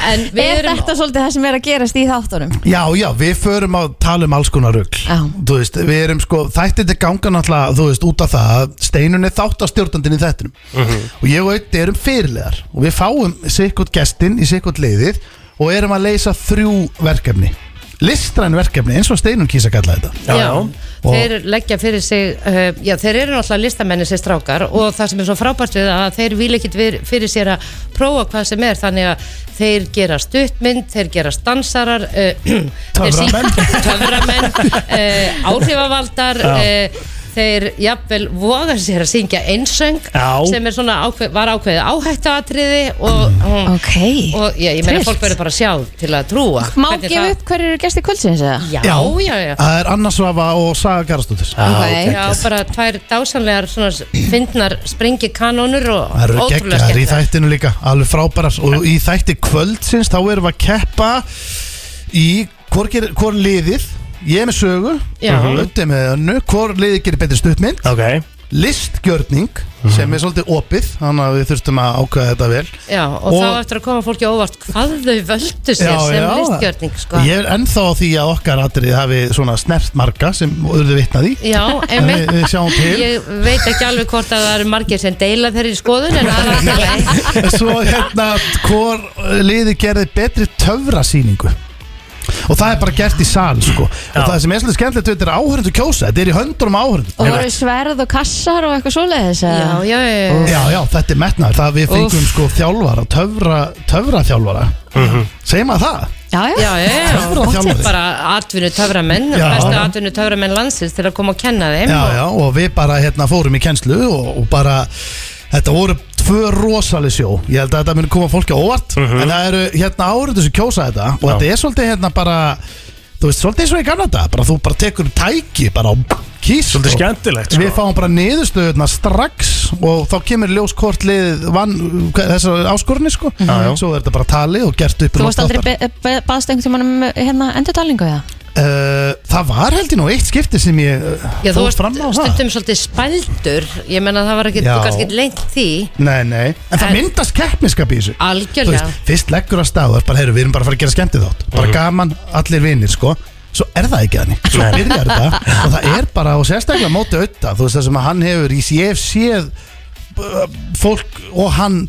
B: En við
G: Er
B: erum,
G: þetta svolítið það sem er að gerast í þáttunum?
H: Já, já, við förum að tala um alls konar rugl Þú veist, við erum sko, þættir til ganga náttúrulega, þú veist, út af það að Steinun er þáttastjórnandinn í þættinum Og ég og Ötti erum fyrirlegar Og við fáum sikkert gestinn í sikkert leiðið Og erum að leysa þrjú verkefni Listræn verkefni, eins og Steinun kýsa kalla þetta
B: já,
H: Og-
B: þeir leggja fyrir sig, uh, já, þeir eru náttúrulega listamenni sér strákar og það sem er svo frábært við það að þeir vil ekkit vir- fyrir sér að prófa hvað sem er, þannig að þeir gera stuttmynd, þeir gera dansarar, uh, þeir
H: Töframenn.
B: töframenn, uh, áhrifavaldar,
H: Já.
B: uh, þeir jafnvel voga sér að syngja einsöng
H: Já.
B: sem er svona ákveð, var ákveðið áhættuatriði og, mm.
G: okay.
B: og já, ég meina
G: Trillt.
B: fólk verður bara að sjá til að trúa
G: Má
B: Hvernig
G: gefa
B: það-
G: upp hverju eru gesti kvöldsins eða?
B: Já, já, já.
H: Það er Anna Svafa og Saga Garastóttir
B: Já, bara tvær dásanlegar svona fyndnar springi kanónur og
H: Það eru
B: ótrúlega
H: geggar í
B: skemmtilegar.
H: þættinu líka, alveg frábærar og í þætti kvöldsins þá erum við að keppa í hvor, ger, hvor liðið, ég er með sögu
B: Já.
H: Ötti er með önnu, hvor liðið gerir betri stuttmynd
C: okay.
H: listgjörning sem er svolítið opið þannig að við þurftum að ákveða þetta vel
B: Já, og,
H: Og-
B: þá eftir að koma fólki á óvart hvað þau völdu sér
H: Já,
B: sem
H: já.
B: listgjörning sko.
H: Ég er ennþá á því að okkar atrið hafi svona snert marga sem urðu vitnað í
B: Já,
H: En við-
B: einmitt
H: við sjáum til.
B: Ég veit ekki alveg hvort að það eru margir sem deila þeirri skoðun en það er alltaf leið
H: Svo hérna, hvor liði gerði betri töfrasýningu Og það er bara gert í sal sko. Og það sem er svolítið skemmtilegt við þetta er áhörundu kjósa Þetta er í höndunum
G: Og voru
H: áhörundu
G: sverð og kassar og eitthvað svoleiðis?
B: Já, já,
H: Já, já, þetta er metnaður Það við fengum sko þjálfara, töfra, töfra þjálfara Segir maður það?
G: Já, já,
B: já, já, já.
H: Töfraþjálfari.
B: Bara atvinnu töframenn,
H: Já.
B: bestu atvinnu töframenn landsins til að koma og kenna þeim
H: Já, já, og við bara hérna fórum í kennslu og, og bara, þetta voru tvö rosaleg sjó, ég held að þetta muni koma fólki á óvart,
C: Mhm.
H: en það eru hérna árið sem kjósa þetta og þetta er svolítið hérna bara þú veist, svolítið svo í gamla þetta bara þú bara tekur tæki bara á kýs
C: Svolítið
H: sko.
C: skemmtilegt, sko.
H: Við fáum bara niðurstöðuna strax og þá kemur ljós hvort lið vann hvað- þessar áskorunni sko
C: Já, já.
H: svo er þetta bara talið og gert upp um
G: Þú
H: allt
G: varst aldrei
H: þáttar.
G: be- be- baðst einhvern tímann um hérna endurtalingu eða?
H: Eh, Það var held ég nú eitt skipti sem ég eh,
B: Já, þú
H: fór
B: varst
H: fram á það
B: stundum svolítið spældur Ég menna það var ekki,
H: Já.
B: þú kannski ekki lengt því
H: Nei, nei, en það
B: En-
H: myndast keppniskap í þessu Þú
B: Algjörlega
H: veist, Fyrst leggur að stað og er bara, heyru, við erum bara að fara að gera skemmtið þátt Bara
C: Mhm.
H: gaman, allir vinnir, sko Svo er það ekki þannig, svo
C: Nei.
H: byrjar þetta Og það er bara, og sérstaklega móti auðta Þú veist það sem að hann hefur, í- ég hef séð uh, Fólk og hann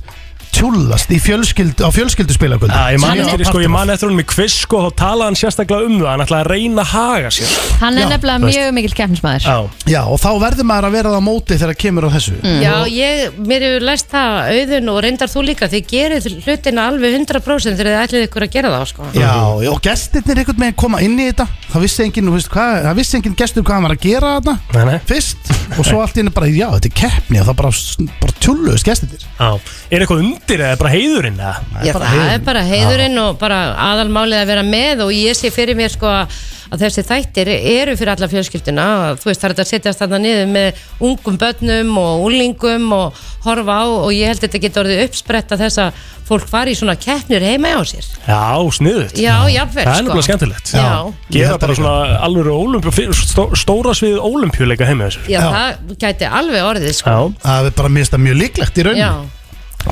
H: Tjúllast í fjölskyldu Á fjölskylduspilakvöldu
C: Já, ég man
H: Sem var
C: eftir, sko,
H: partur
C: ég
H: af.
C: man eftir honum í quiz sko, þá talaði hann sérstaklega um það, hann ætlaði að reyna að haga sér
G: Hann er nefnilega
C: þú veist.
G: mjög mikill keppnismæður
C: Já,
H: Já, og þá verður maður að vera það á móti þegar kemur á þessu
B: Já, ég, mér hefur læst það auðun og reyndar þú líka, þið gerir hlutina alveg 100% þegar þið ætlið ykkur að gera það sko.
H: Já, og gestirnir einhvern veginn koma inn í þetta Það vissi enginn, þú veist, hvað, það vissi enginn gestur hvað hann var að gera þarna
C: Nei, nei.
H: Fyrst, og svo allt í henni bara, já, þetta er keppni Og það bara, bara tjúlluðust gestirnir
C: já Er eitthvað undir eða bara heiðurinn eða?
B: Já, það er bara heiðurinn og bara aðalmálið að vera með og ég sé fyrir mér sko að að þessi þættir eru fyrir alla fjölskylduna þú veist það er þetta að setjast þarna niður með ungum börnum og unglingum og horfa á og ég held þetta getur orðið uppspretta þess að fólk fari í svona keppnir heima á sér
C: Já, sniðut
B: Já, jafnvel,
C: Það er
B: sko.
C: nefnilega skemmtilegt
B: Já.
H: Ég
C: Gera
H: held
C: bara
H: það
C: svona alvöru ólympíu Stóra sviðið ólympíuleika heim með þessu
B: Já, það gæti alveg orðið sko
C: Já
H: Það er bara mista mjög líklegt í raun
B: Já,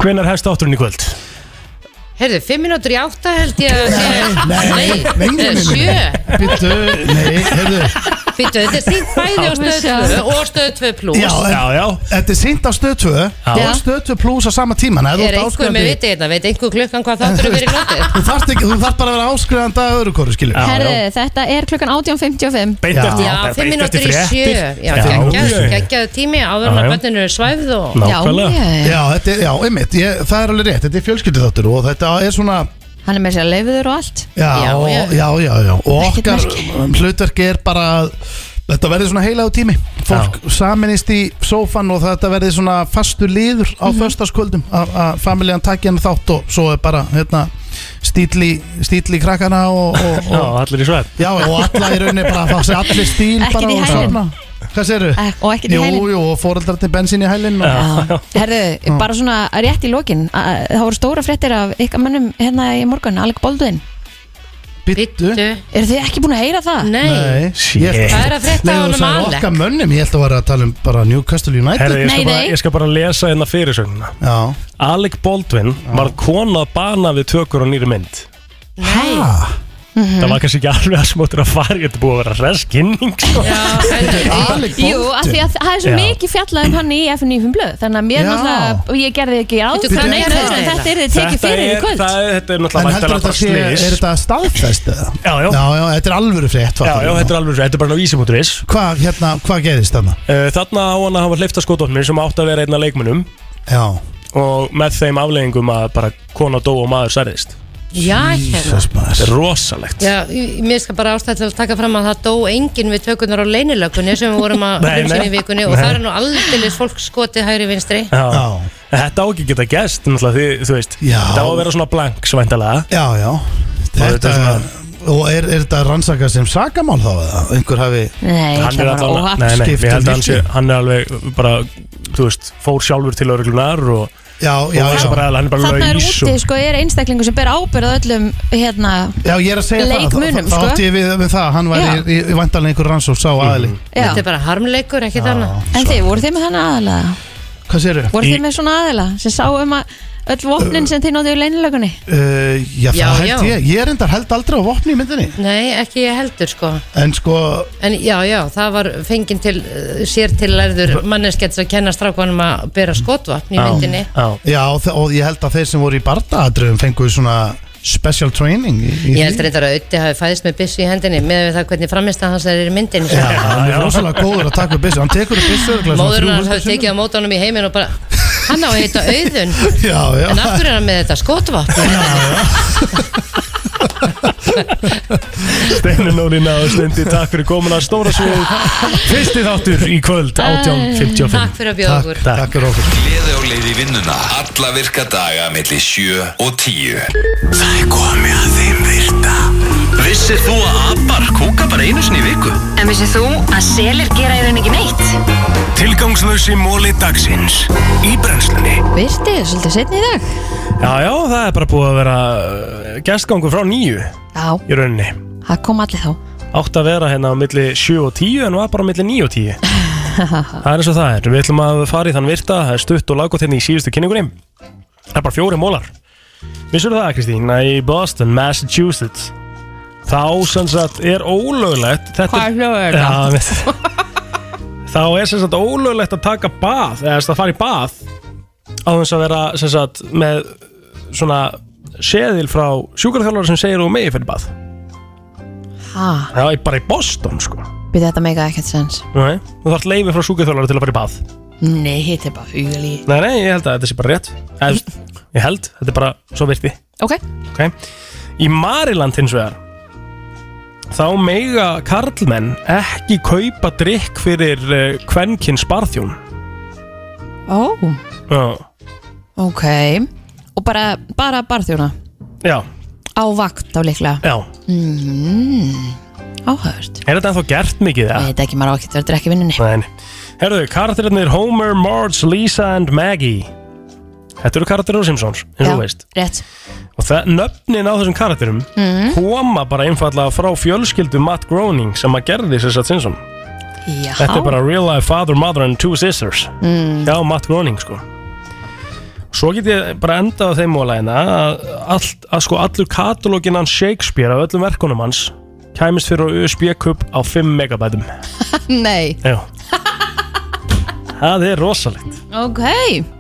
C: Hvenær hefst átturinn í kvöld?
G: Heyrðu, fimm mínútur í átta held ég að sé
H: Nei, nei, nei,
G: eh,
H: nei, nei.
G: Sjö
H: Bittu, nei, heyrðu
G: Býtu, þetta er sínt bæði á stöð 2 og stöð 2 plus
H: Já, en, Þetta er sýnt á stöð 2 og stöð 2 plus á sama tíma Nei, þú
G: Er
H: ert
G: einhver með
H: áskrifandi-
G: vitið þetta, veit einhver klukkan hvað þáttur er verið glótið
H: Þú þarft ekki- þú þarft bara að vera áskrifandi að öðru koru, skiljum
B: Herðu, þetta er klukkan 18.55
H: Beint
G: Já,
H: eftir-
G: já
H: bara
G: fimm
H: beint
G: mínútur
H: eftir
G: í
H: fréttir.
G: sjö Já,
H: Já,
G: geggjaður-
H: já.
G: geggjaður tími áður en
H: Já,
G: að
H: já.
G: börninu er svæfð og
H: Já, þetta er, já, einmitt, ég, það er alveg rétt Þetta er fjölskyldið þáttur og þetta er svona
B: Hann er með sér að leifiður og allt
H: Já,
B: Já,
H: já,
B: já.
H: já, já, Og
B: Ekkert
H: okkar
B: merki.
H: um, hlutverk er bara að Þetta verður svona heilaðu tími Fólk saminist í sófan og þetta verður svona fastur liður á
B: Mhm.
H: mm að að familjan taki hann þátt og svo er bara, hérna stíli, stíli krakkana og, og,
C: Já,
H: og
C: allir í svepp
H: Já, og alla í rauninni bara að fá sér allir stíl
B: Ekkert
H: bara
B: í
H: og
B: hælinn.
H: svona. Hvað segirðu?
B: Eh, og ekkert í hælinn.
H: Jú, jú, og foreldrarnir bensin í hælinn og...
B: Já. Herðu, bara svona rétt í lokin að- Það voru stóra fréttir af ykkar mönnum hérna í morgun, Alec Baldwin
H: Bittu
B: Eru þið ekki búin að heyra það?
H: Ég-
B: Það er að frétta
H: Nei,
B: af
H: þú
B: honum
H: sagðir
B: Alec.
H: Okkar mönnum, ég held að vera að tala um bara Newcastle United
C: Herri, ég, skal
B: Nei,
C: bara,
B: nei.
C: ég skal bara lesa hérna fyrirsögnina
H: Já.
C: Alec Baldwin varð kona að bana við tökur á nýri mynd
G: Nei
B: Mhm.
C: Það var kannski ekki alveg að smóttur að fara Þetta er búið að vera hress kynning sko. Alec Baldwin.
B: Jú, af því að það er svo
C: Já.
B: mikið fjallað um hann í FNÍFum blöð Þannig að mér
C: Já.
B: náttúrulega, og ég gerði ekki ráð
G: Veitu,
B: fyrir
G: hvað
B: neinu
G: gerðist
B: þessu, en
G: eiginlega?
B: Þetta er þið tekið fyrir í
C: er-
B: kvöld
C: það er- Þetta er
H: En
C: náttúrulega væntanlega
H: heldur þetta
C: bara
H: sé,
C: slys.
H: er þetta staðfest eða?
C: Já, já.
H: Já, já, þetta er alvöru frétt
C: Já, já, þetta er alveg svo, þetta er bara ná ísimúturis
H: Hvað, hérna, hvað gerist þarna?
C: Uh, Þarna á hann að hafa hlifta skotofnir sem átti að vera einn af leikmunum
H: Já
C: Og með þeim afleggingum að bara kona dó og maður særðist
G: Já, hérna
C: Þetta er rosalegt
G: Já, ég- mér skal bara ástæða til að taka fram að það dó enginn við tökurnar á leynilökunni sem við vorum að
C: Nei,
G: hrumsinn
C: nei.
G: í vikunni og
C: Nei.
G: það er nú aldeilis fólk skotið hægri vinstri
C: Já. En Þetta á ekki að geta gæst náttúrulega því, þú veist
H: Já.
C: Þetta á að vera svona blank svæntalega
H: Já, já Þetta, og er, er þetta rannsaka sem sakamál þá eða? Einhver hafi
B: Nei,
C: Hann er allavega, nei, nei,
H: Skipt
C: ég held að
H: um
C: hann sé,
H: lífstíl.
C: hann er alveg bara, þú veist, fór sjálfur til örglunar og
H: Já, já,
C: og
H: já.
C: Bara, hann er bara
B: Þannig er
C: laus
B: úti, sko, er einstaklingu sem ber ábyrð á öllum, hérna
H: Já, ég er að segja
B: Leikmunum,
H: það, það,
B: sko.
H: það átti ég við, við það, hann væri
B: Já.
H: í, í vandalega einhver rannsók, sá
C: Mhm.
H: aðili
C: Mm.
B: Já.
G: Þetta er bara harmleikur, ekkert annað
B: En þið, voru þið með þannig aðalega?
H: Hvað sérðu?
B: Voru þið með svona aðila sem sá um að öll vopnin sem þið nótið í leinilögunni?
H: Uh, já, það
G: Já,
H: held
G: já.
H: ég, ég er endar held aldrei á vopni í myndinni
G: Nei, ekki ég heldur sko
H: En sko,
G: En já, já, það var fenginn til uh, sér til lærður manneskett sem kenna strákunum að bera skotvapn í myndinni
H: Já, og, þe- og ég held að þeir sem voru í bardaadröfum fengu svona special training í, í
G: Ég held
H: því.
G: reyndar að Ötti hafi fæðist með byssu í hendinni með við það hvernig framist að hans er í myndinni
H: Já, hann er rosalega góður að taka upp byssu Hann tekur upp byssu örugglega svona
G: Móðurinn hans hafi
H: 300
G: tekið á mót honum í heiminn og bara Hann á að heita auðun
H: Já, já.
G: En af hverju er hann með þetta skotvapn?
C: Steinu Nólina og Steindi, takk fyrir komin að stóra svo Fyrsti þáttur í kvöld, 18.55
G: Takk fyrir að bjóða okkur.
C: Takk,
H: takk fyrir okkur
K: Gleði á leið í vinnuna Alla virka daga melli 7 og 10 Það er komið að þeim virta Vissir þú að abar kúka bara einu sinni í viku?
O: En vissið þú að selir gera í raun ekki neitt?
K: Tilgangslösi móli dagsins Í brennslunni
B: Virti, svolítið setni í dag
C: Já, já, það er bara búið að vera uh, gestgangur frá nýju
B: Já,
C: í rauninni
B: það kom allir þá
C: Átt að vera hérna á milli 7 og 10 en var bara á milli 9 og 10 Það er eins og það er, við ætlum að fara í þann virta það er stutt og laggótt hérna í síðustu kynningunni Það er bara fjóri mólar Vissur það Kristín, að í Boston, Massachusetts Þá sem sagt er ólöglegt Hvað er hljóðlega? Þá er sem sagt ólöglegt að taka bað eða sem sagt að fara í bað á þess að vera sem sagt með svona seðil frá sjúkarþjálfara sem segir og megi fyrir bað
B: Ha,
C: Það er bara í Boston sko
B: byrði þetta meika ekkert sens
C: Nei, þú þarf leiði frá sjúkarþjálfara til að fara í bað
B: Nei, þetta er bara hugalí
C: Nei, nei, ég held að þetta sé bara rétt Ég, ég held, þetta er bara svo virti
B: Ok,
C: okay. Í Mariland hins vegar Þá mega karlmenn ekki kaupa drikk fyrir uh, kvenkin sparþjón
B: ó,
C: Já,
B: ok Og bara, bara barþjóna
C: já,
B: Á vakt á líklega
C: já.
B: mm, Áhört
C: Er þetta ennþá gert mikið það?
B: Nei, þetta ekki maður ákvæmt verður ekki vinninni
C: Nei, herðu, karakterinnir Homer, Marge, Lisa and Maggie Þetta eru karakterir á Simpsons, eins og þú veist
B: Rétt
C: Og það, nöfnin á þessum karakterum
B: Mhm.
C: koma bara einfallega frá fjölskyldu Matt Groening sem að gerði sér satt Simpson
B: Já
C: Þetta er bara real life father, mother and two sisters
B: Mm.
C: Já, Matt Groening sko Svo get ég bara endað á þeim mólægina að, allt, að sko allur katalógin hans Shakespeare af öllum verkunum hans kæmist fyrir á USB-kup á 5 megabætum
B: Nei,
C: Já Það er rosalegt
B: ok,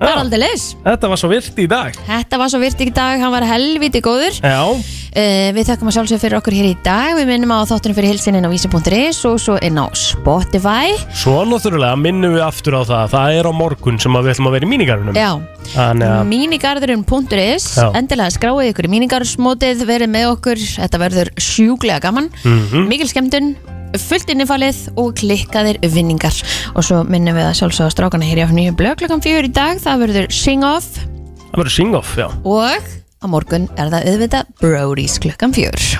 B: bara aldrei leys
C: Þetta var svo vilt í dag
B: Þetta var svo virt í dag, hann var helviti góður
C: Já
B: Uh, við þakkum að sjálfsög fyrir okkur hér í dag Við minnum á þáttunum fyrir hilsin inn á vísi.is og svo inn á Spotify
C: Svo náttúrulega minnum við aftur á það Það er á morgun sem að við ætlum að vera í mínigarunum
B: Já.
C: Þannig að
B: Mínigarðurinn.is
C: Já.
B: Endilega skráið ykkur í mínigarðsmótið Verið með okkur, þetta verður sjúglega gaman
C: Mhm.
B: Mikil skemmtun fullt innifalið og klikkaðir vinningar og svo minnum við að sjálfsögða strákana hér í nýju blöð klokkan fjör í dag það verður sing-off
C: það verður sing-off, já
B: og á morgun er það auðvitað Brody's klukkan fjör